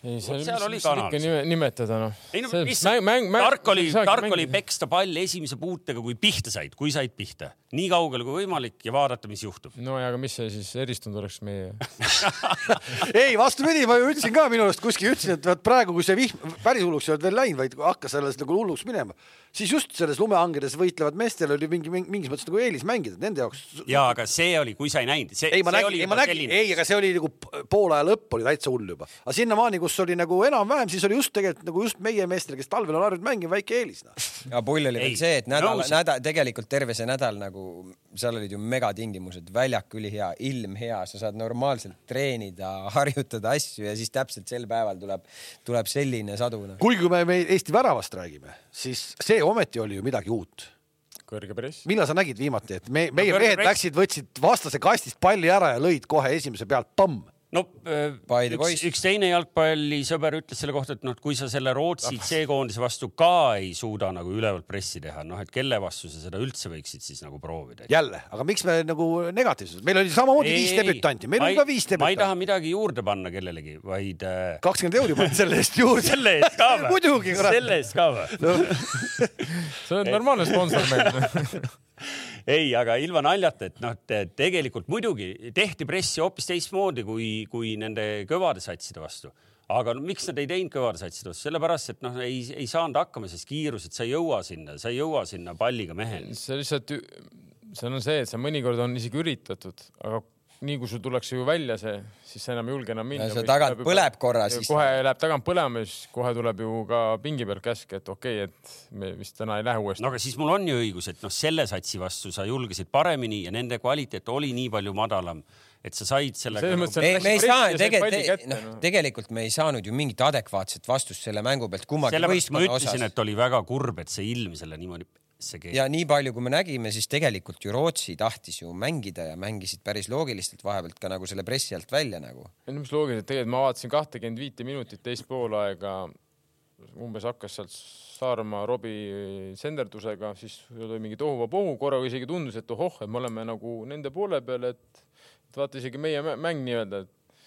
Speaker 3: ei , seal,
Speaker 2: seal
Speaker 3: seal
Speaker 2: oli
Speaker 3: oli kanal .
Speaker 2: kanal.
Speaker 3: nimetada noh .
Speaker 2: ei no lihtsalt tark oli , tark oli peksta pall esimese puutega , kui pihta said , kui said pihta , nii kaugele kui võimalik ja vaadata , mis juhtub .
Speaker 3: no ja , aga mis see siis eristunud oleks meie ?
Speaker 1: ei , vastupidi , ma ju ütlesin ka minu arust kuskil ütlesin , et vaat praegu , kui see vihm päris hulluks ei olnud veel läinud , vaid hakkas selles nagu hulluks minema , siis just selles lumehangedes võitlevad meestel oli mingi mingi- mingis mõttes nagu eelis mängida , et nende jaoks .
Speaker 2: ja aga see oli , kui sa ei näinud , see ,
Speaker 1: ei , ma
Speaker 2: see
Speaker 1: nägin ,
Speaker 2: oli
Speaker 1: ei ma
Speaker 2: juba
Speaker 1: nägin ,
Speaker 2: selline .
Speaker 1: ei , aga see oli nagu p- poole aja lõpp oli täitsa hull juba , aga sinnamaani , kus oli nagu enam-vähem , siis oli just tegelikult nagu just meie meestel , kes talvel on harjunud mängima , väike eelis noh .
Speaker 4: aga pull oli
Speaker 2: Ei,
Speaker 4: veel see , et nädal ,
Speaker 2: nõus.
Speaker 4: nädal , tegelikult terve see nädal nagu , seal olid ju megatingimused , väljak ülihea , ilm hea , sa saad normaalselt treenida , harjutada asju ja siis täpselt sel päeval tuleb , tuleb selline sadu nagu. .
Speaker 1: kuigi kui me, me Eesti väravast räägime , siis see ometi oli ju midagi uut
Speaker 3: kõrge press .
Speaker 1: millal sa nägid viimati , et me , meie
Speaker 2: Berger
Speaker 1: mehed
Speaker 2: Brecht-
Speaker 1: läksid , võtsid vastase kastist palli ära ja lõid kohe esimese pealt , pamm .
Speaker 2: no äh,
Speaker 4: By the
Speaker 2: üks
Speaker 4: boys. ,
Speaker 2: üks teine jalgpallisõber ütles selle kohta , et noh , et kui sa selle Rootsi C-koondise vastu ka ei suuda nagu ülevalt pressi teha , noh , et kelle vastu sa seda üldse võiksid siis nagu proovida .
Speaker 1: jälle , aga miks me nagu negatiivsed , meil oli samamoodi viis debütanti , meil oli ka viis
Speaker 2: ma ei taha
Speaker 1: debütanti .
Speaker 2: midagi juurde panna kellelegi , vaid äh,
Speaker 1: kakskümmend euri panin selle eest juurde .
Speaker 2: selle eest ka või ?
Speaker 1: Muidugi, kurat.
Speaker 2: selle eest ka või ?
Speaker 3: sa oled normaalne sponsor meil .
Speaker 2: ei , aga ilma naljata , et noh , et tegelikult muidugi tehti pressi hoopis teistmoodi kui , kui nende kõvade satside vastu . aga no, miks nad ei teinud kõvade satside vastu , sellepärast et noh , ei , ei saanud hakkama , sest kiirused , sa ei jõua sinna , sa ei jõua sinna palliga mehele .
Speaker 3: see lihtsalt , seal on see , et sa mõnikord on isegi üritatud , aga nii kui sul tullakse ju välja see , siis sa enam ei julge enam minna .
Speaker 4: see tagant põleb korra, siis-
Speaker 3: kohe läheb tagant põlema , siis kohe tuleb ju ka pingi peal käsk , et okei okay, , et me vist täna ei lähe uuesti
Speaker 2: no aga siis mul on ju õigus , et noh , selle satsi vastu sa julgesid paremini ja nende kvaliteet oli nii palju madalam , et sa said sellega
Speaker 3: Selles
Speaker 2: nagu
Speaker 3: mõttes, et-
Speaker 4: me , me ei
Speaker 3: Läks
Speaker 4: saa
Speaker 3: press ja said palli
Speaker 4: tegelikult ,
Speaker 3: kätte,
Speaker 4: noh
Speaker 3: noh. ,
Speaker 4: tegelikult me ei saanud ju mingit adekvaatset vastust selle mängu pealt kummagi
Speaker 2: nagu sellepärast ma
Speaker 4: võistkonna
Speaker 2: ütlesin ,
Speaker 4: osas .
Speaker 2: et oli väga kurb , et see ilm selle niimoodi see keegi .
Speaker 4: ja nii palju , kui me nägime , siis tegelikult ju Rootsi tahtis ju mängida ja mängisid päris loogiliselt vahepealt ka nagu selle pressi alt välja nagu .
Speaker 3: ei no mis loogiliselt , tegelikult ma vaatasin kahtekümmend viite minutit teist poolaega , umbes hakkas sealt Saaremaa Robi senderdusega , siis oli mingi tohuvapohu , korraga isegi tundus , et ohoh , et me oleme nagu nende poole peal , et et vaata isegi meie mä- mäng nii-öelda , et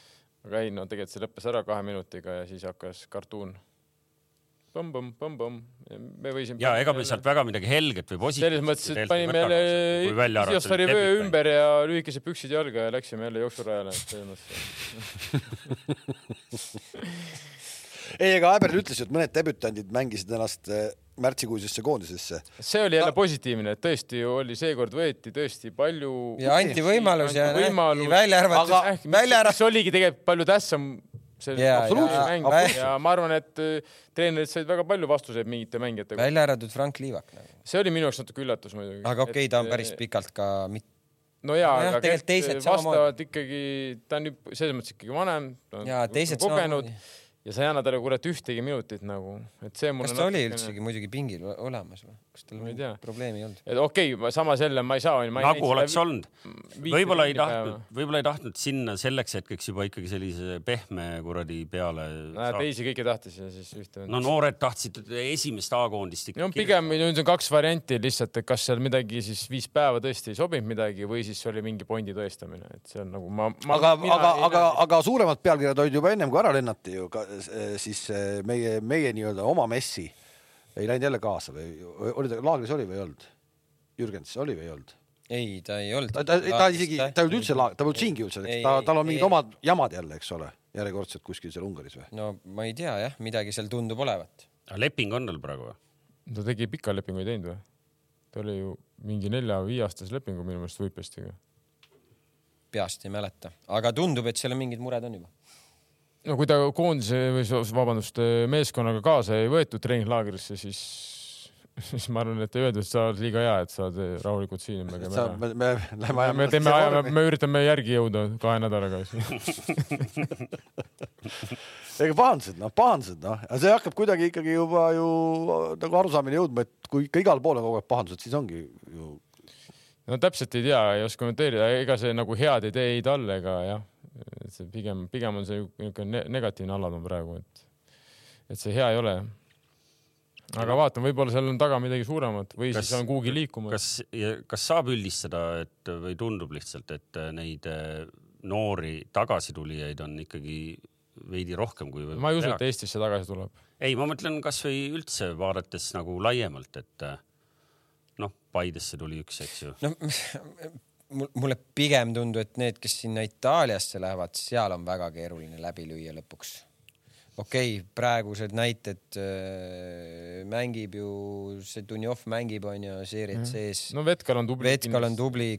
Speaker 3: aga ei no tegelikult see lõppes ära kahe minutiga ja siis hakkas kartuun . põmm-põmm-põmm-põmm , me võisime .
Speaker 2: ja ega me sealt väga midagi helget või positiivset .
Speaker 3: selles mõttes , et panime jälle Siostari vöö . ümber ja lühikesed püksid jalga ja läksime jälle jooksurajale . selles mõttes
Speaker 1: ei , ega Äberl ütles ju , et mõned debütandid mängisid ennast äh, märtsikuisesse koondisesse .
Speaker 3: see oli jälle positiivne , et tõesti ju oli , seekord võeti tõesti palju .
Speaker 4: ja anti võimalus ja nähti välja arvatud
Speaker 3: aga
Speaker 4: aga... , välja arvatud .
Speaker 3: see oligi tegelikult palju tähtsam .
Speaker 4: Jaa,
Speaker 1: absoluutselt.
Speaker 3: mäng
Speaker 4: Absoluutselt.
Speaker 3: ja ma arvan , et äh, treenerid said väga palju vastuseid mingite mängijate kohta .
Speaker 4: välja arvatud Frank Liivak nagu .
Speaker 3: see oli minu jaoks natuke üllatus muidugi .
Speaker 4: aga okei okay, , ta on päris pikalt ka mit... ,
Speaker 3: no jaa
Speaker 4: nojah, ,
Speaker 3: aga
Speaker 4: tegelikult
Speaker 3: kes
Speaker 4: teised
Speaker 3: vastavad ikkagi , ta on ju selles mõttes ikkagi vanem .
Speaker 4: Jaa, teised
Speaker 3: kogenud
Speaker 4: samamoodi.
Speaker 3: ja sa ei anna talle kurat ühtegi minutit nagu , et see mulle .
Speaker 4: kas ta oli üldsegi muidugi pingil o- olemas või ? kas tal
Speaker 3: Ma ei tea.
Speaker 4: mingit probleemi ei olnud ?
Speaker 3: et okei okay, , samas jälle ma ei saa .
Speaker 2: nagu oleks olnud . võib-olla ei tahtnud , võib-olla ei tahtnud sinna selleks hetkeks juba ikkagi sellise pehme kuradi peale
Speaker 3: Näed ,
Speaker 2: saada.
Speaker 3: teisi kõiki tahtis ja siis ühte .
Speaker 2: no noored tahtsid esimest A-koondist
Speaker 3: no pigem nüüd on kaks varianti lihtsalt , et kas seal midagi siis viis päeva tõesti ei sobinud midagi või siis oli mingi pondi tõestamine , et see on nagu ma, ma .
Speaker 1: aga , aga , aga , aga suuremad pealkirjad olid juba ennem kui ära lennati ju , siis äh, meie , meie nii-öelda oma messi ei läinud jälle kaasa või või oli ta laagris oli või ei olnud ? Jürgens oli või ei olnud ?
Speaker 4: ei , ta ei olnud .
Speaker 1: ta , ta , ta isegi , ta ei olnud üldse , ta polnud siingi üldse ,
Speaker 4: Ei,
Speaker 1: ta
Speaker 4: ei, ,
Speaker 1: tal on
Speaker 4: ei.
Speaker 1: mingid omad jamad jälle , eks ole , järjekordselt kuskil seal Ungaris või ?
Speaker 4: no ma ei tea jah , midagi seal tundub olevat .
Speaker 2: leping on tal praegu või ?
Speaker 3: ta tegi pika lepingu ei teinud või ? ta oli ju mingi nelja-viieaastase lepingu minu meelest Võipestiga .
Speaker 4: peast ei mäleta , aga tundub , et seal on mingid mured on juba .
Speaker 3: no kui ta koondise või s- vabandust , meeskonnaga kaasa ei võetud treeninglaagrisse , siis , siis ma arvan , et ei öeldud , et sa oled liiga hea , et sa oled rahulikult siin . me
Speaker 1: sa ,
Speaker 3: käime ära.
Speaker 1: me , me lähme
Speaker 3: me teeme , ajame , me üritame järgi jõuda kahe nädalaga
Speaker 1: ega pahandused , noh , pahandused , noh , aga see hakkab kuidagi ikkagi juba ju nagu arusaamine jõudma , et kui ikka igal pool on kogu aeg pahandused , siis ongi ju
Speaker 3: no täpselt ei tea , ei oska kommenteerida , ega see nagu head ei tee ei talle ega jah , et see pigem , pigem on see ju niisugune ne- negatiivne allatunn praegu , et , et see hea ei ole . aga vaatame , võib-olla seal on taga midagi suuremat või kas,
Speaker 2: Kas-
Speaker 3: siis on kuhugi liikumas .
Speaker 2: kas , kas saab üldistada , et või tundub lihtsalt , et neid eh, noori tagasitulijaid on ikkagi veidi rohkem kui
Speaker 3: ma ei usu , et Eestisse tagasi tuleb .
Speaker 2: ei , ma mõtlen kasvõi üldse vaadates nagu laiemalt , et eh, noh , Paidesse tuli üks , eks ju .
Speaker 4: no mul- mulle pigem tundub , et need , kes sinna Itaaliasse lähevad , seal on väga keeruline läbi lüüa lõpuks . okei okay, , praegused näited äh, mängib ju see Dunjov mängib onju seeriat sees no, .
Speaker 3: Mhm. no Vetkal on tubli .
Speaker 4: Vetskal on . tubli ,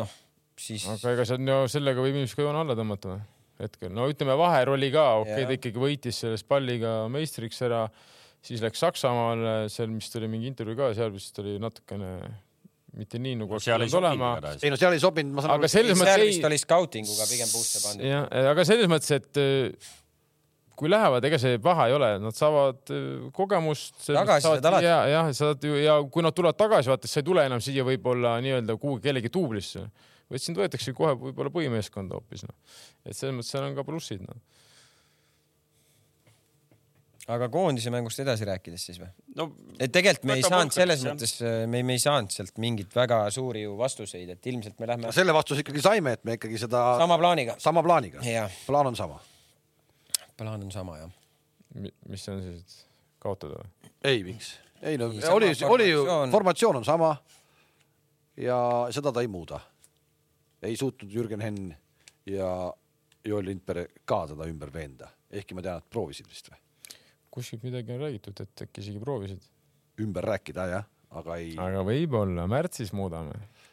Speaker 4: noh siis
Speaker 3: aga ega seal no sellega võib ilmselt ka joone alla tõmmata või ? hetkel , no ütleme , vaher oli ka okei okay, ,
Speaker 4: Jah.
Speaker 3: ta ikkagi võitis sellest palliga meistriks ära , siis läks Saksamaale , seal vist oli mingi intervjuu ka , seal vist oli natukene mitte nii nagu oleks
Speaker 2: seal ei
Speaker 3: pidanud olema
Speaker 2: sobinud . igatahes .
Speaker 1: ei no seal ei sobinud , ma saan
Speaker 3: aga
Speaker 1: aru ,
Speaker 3: selles
Speaker 4: seal
Speaker 3: mõttes
Speaker 4: vist
Speaker 3: ei ,
Speaker 4: oli skautinguga pigem puusse pandud .
Speaker 3: jah , aga selles mõttes , et öö, kui lähevad , ega see paha ei ole , nad saavad öö, kogemust .
Speaker 4: Tagasi saad alati.
Speaker 3: ja , jah , saad ju ja kui nad tulevad tagasi , vaata , sa ei tule enam siia võib-olla nii-öelda kuhugi kellegi tublisse , vaid sind võetakse kohe võib-olla põhimeeskonda hoopis noh . et selles mõttes seal on ka plussid noh .
Speaker 4: aga koondise mängust edasi rääkides siis või ?
Speaker 2: no
Speaker 4: et tegelikult me ei
Speaker 2: Võta
Speaker 4: saanud selles
Speaker 2: Volkanit,
Speaker 4: mõttes , me , me ei saanud sealt mingit väga suuri ju vastuseid , et ilmselt me lähme
Speaker 1: selle vastuse ikkagi saime , et me ikkagi seda sama,
Speaker 4: sama plaaniga .
Speaker 1: sama plaaniga ,
Speaker 4: jah ,
Speaker 1: plaan on sama .
Speaker 4: plaan on sama jah .
Speaker 3: mis see on siis , et kaotada või ?
Speaker 1: ei , miks ? ei no
Speaker 4: Ei,
Speaker 1: ei,
Speaker 4: sama
Speaker 1: oli , oli ju
Speaker 4: formatsioon. ,
Speaker 1: formatsioon on sama . ja seda ta ei muuda . ei suutnud Jürgen Henn ja Joel Lindberg ka teda ümber veenda , ehkki ma tean , et proovisid vist või ?
Speaker 3: kuskilt midagi on räägitud , et äkki isegi proovisid .
Speaker 1: ümber rääkida jah , aga ei ,
Speaker 3: aga võib-olla märtsis muudame .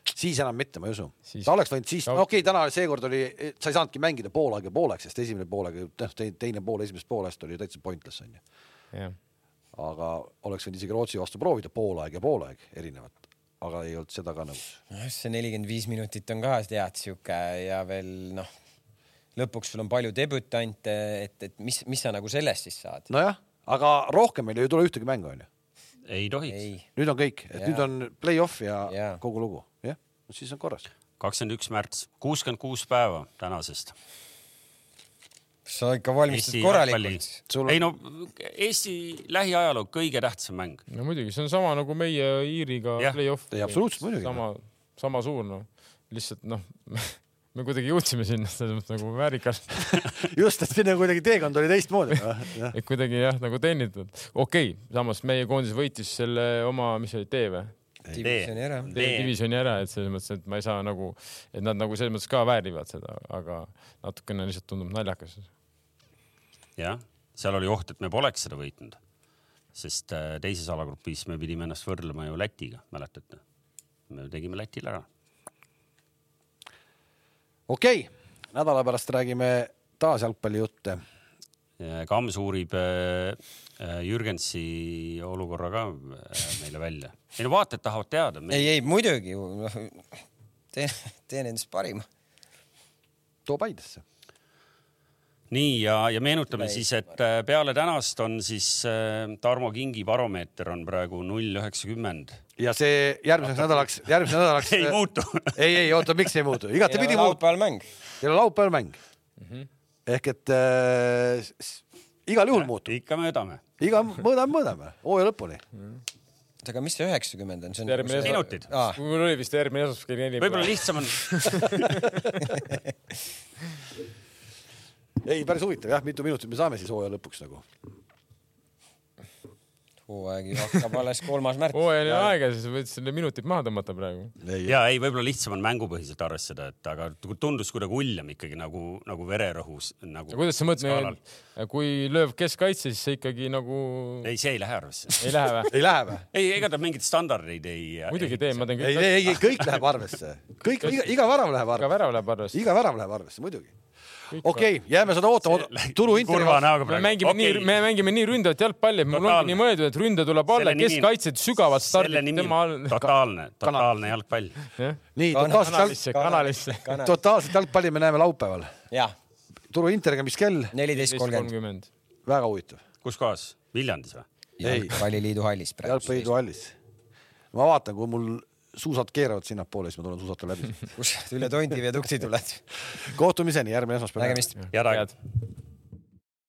Speaker 1: siis enam mitte , ma ei usu .
Speaker 3: Siis-
Speaker 1: ta oleks võinud siis ,
Speaker 3: Ta-
Speaker 1: no okei okay, , täna seekord oli , sa ei saanudki mängida pool aega pooleks , sest esimene poolega , noh , teine pool esimesest poolest oli ju täitsa pointless onju .
Speaker 3: jah ,
Speaker 1: aga oleks võinud isegi Rootsi vastu proovida poolaeg ja poolaeg erinevat , aga ei olnud seda ka nagu- nõus .
Speaker 4: noh , see nelikümmend viis minutit on ka tead sihuke ja veel noh , lõpuks sul on palju debütante , et , et mis , mis sa nagu sellest siis saad ?
Speaker 1: nojah , aga rohkem meil ju ei tule ühtegi mängu onju .
Speaker 2: ei tohiks .
Speaker 4: ei ,
Speaker 1: nüüd on kõik , et
Speaker 4: Jaa.
Speaker 1: nüüd on play-off ja, ja.
Speaker 4: Jaa.
Speaker 1: kogu lugu , jah , siis on korras .
Speaker 2: kakskümmend üks märts , kuuskümmend kuus päeva tänasest .
Speaker 4: sa ikka valmistud Eesti korralikult .
Speaker 1: Sul on-
Speaker 2: ei no Eesti lähiajaloo kõige tähtsam mäng .
Speaker 3: no muidugy , see on sama nagu meie Iiriga
Speaker 2: Jah.
Speaker 3: play-off .
Speaker 1: Ei, absoluutselt muidugi.
Speaker 3: sama , sama suur noh , lihtsalt noh , me kuidagi jõudsime sinna selles mõttes nagu väärikalt ,
Speaker 1: just , et sinna kuidagi teekond oli teistmoodi . jah ,
Speaker 3: et kuidagi jah , nagu teenitud . okei okay, , samas meie koondis võitis selle oma , mis see oli , tee või ?
Speaker 4: divisjoni ära .
Speaker 3: tee divisjoni ära , et selles mõttes , et ma ei saa nagu , et nad nagu selles mõttes ka väärivad seda , aga natukene lihtsalt tundub naljakas .
Speaker 2: jah , seal oli oht , et me poleks seda võitnud . sest äh, teises alagrupis me pidime ennast võrdlema ju Lätiga , mäletate ? me tegime Lätile ära .
Speaker 1: okei okay. , nädala pärast räägime taas jalgpallijutte .
Speaker 2: Kams uurib äh, äh, Jürgensi olukorra ka äh, meile välja . ei no vaatajad tahavad teada .
Speaker 4: ei , ei muidugi , noh teen , teen endast parima .
Speaker 1: too Paidesse .
Speaker 2: nii ja , ja meenutame siis , et äh, peale tänast on siis äh, Tarmo Kingi baromeeter on praegu null üheksakümmend .
Speaker 1: ja see järgmiseks nädalaks , järgmiseks nädalaks .
Speaker 2: Ei muutu.
Speaker 1: ei , ei oota , miks ei muutu , igatepidi muutub .
Speaker 4: laupäeval mäng .
Speaker 1: teil on laupäeval mäng mm . -hmm. ehk et äh, s- igal juhul muutub ,
Speaker 2: ikka möödame .
Speaker 1: iga mõõdame , mõõdame hooaja lõpuni .
Speaker 4: oota , aga mis see üheksakümmend on , see on
Speaker 3: Järgmine
Speaker 4: see...
Speaker 2: minutid .
Speaker 4: Aa,
Speaker 3: mul oli vist järgmine esmaspäev kell neli .
Speaker 2: võib-olla lihtsam on
Speaker 1: ei , päris huvitav jah , mitu minutit me saame siis hooaja lõpuks nagu .
Speaker 4: hooaeg ju hakkab alles kolmas märts .
Speaker 3: hooajal ei ole aega , siis võid selle minutid maha tõmmata praegu .
Speaker 1: ei ,
Speaker 2: ja ei , võib-olla lihtsam on mängupõhiselt arvestada , et aga tundus kuidagi uljem ikkagi nagu , nagu vererõhus nagu .
Speaker 3: ja kuidas sa mõtled ,? kui lööb keskkaitse , siis see ikkagi nagu ei,
Speaker 2: ei , see ei lähe arvesse .
Speaker 3: ei lähe või ?
Speaker 1: ei lähe või ?
Speaker 2: ei , ega ta mingeid standardeid ei .
Speaker 3: muidugi teen , ma teen
Speaker 1: ei ,
Speaker 3: kõik .
Speaker 1: ei , ei kõik läheb arvesse , kõik iga, iga värav läheb
Speaker 3: iga
Speaker 1: arvesse ,
Speaker 3: värav läheb arvesse .
Speaker 1: iga värav läheb arvesse muidugi . okei okay, , jääme seda ootama , turuintervjuu
Speaker 2: kurva . näoga
Speaker 3: me
Speaker 2: praegu .
Speaker 3: mängime okay. nii , me mängime nii ründavat jalgpalli , et mul
Speaker 2: Totaalne.
Speaker 3: ongi nii mõeldud , et ründe tuleb alla , keskkaitsed sügavad
Speaker 2: selle
Speaker 3: stardid
Speaker 2: nimi
Speaker 3: tema
Speaker 2: on
Speaker 3: all .
Speaker 2: totaalne , totaalne jalgpall .
Speaker 3: jah ,
Speaker 1: nii , totaalselt
Speaker 3: kanalisse , kanalisse .
Speaker 1: jalg- , totaalselt jalgpalli me näeme laupäeval .
Speaker 4: jah ,
Speaker 1: turuintervjuuga , mis kell ,
Speaker 4: neliteist kolmkümmend .
Speaker 3: kolmkümmend .
Speaker 1: väga huvitav .
Speaker 2: kus kohas ? Viljandis või ?
Speaker 1: Ei.
Speaker 4: jalgpalliliidu hallis praegu .
Speaker 1: jalgpalliliidu hallis . ma vaatan , kui mul suusad keeravad sinnapoole , siis ma tulen suusata läbi .
Speaker 4: kus üle tondi viadukti tuled .
Speaker 1: kohtumiseni järgmine esmaspäev .
Speaker 4: nägemist .
Speaker 2: head aega
Speaker 3: Head. .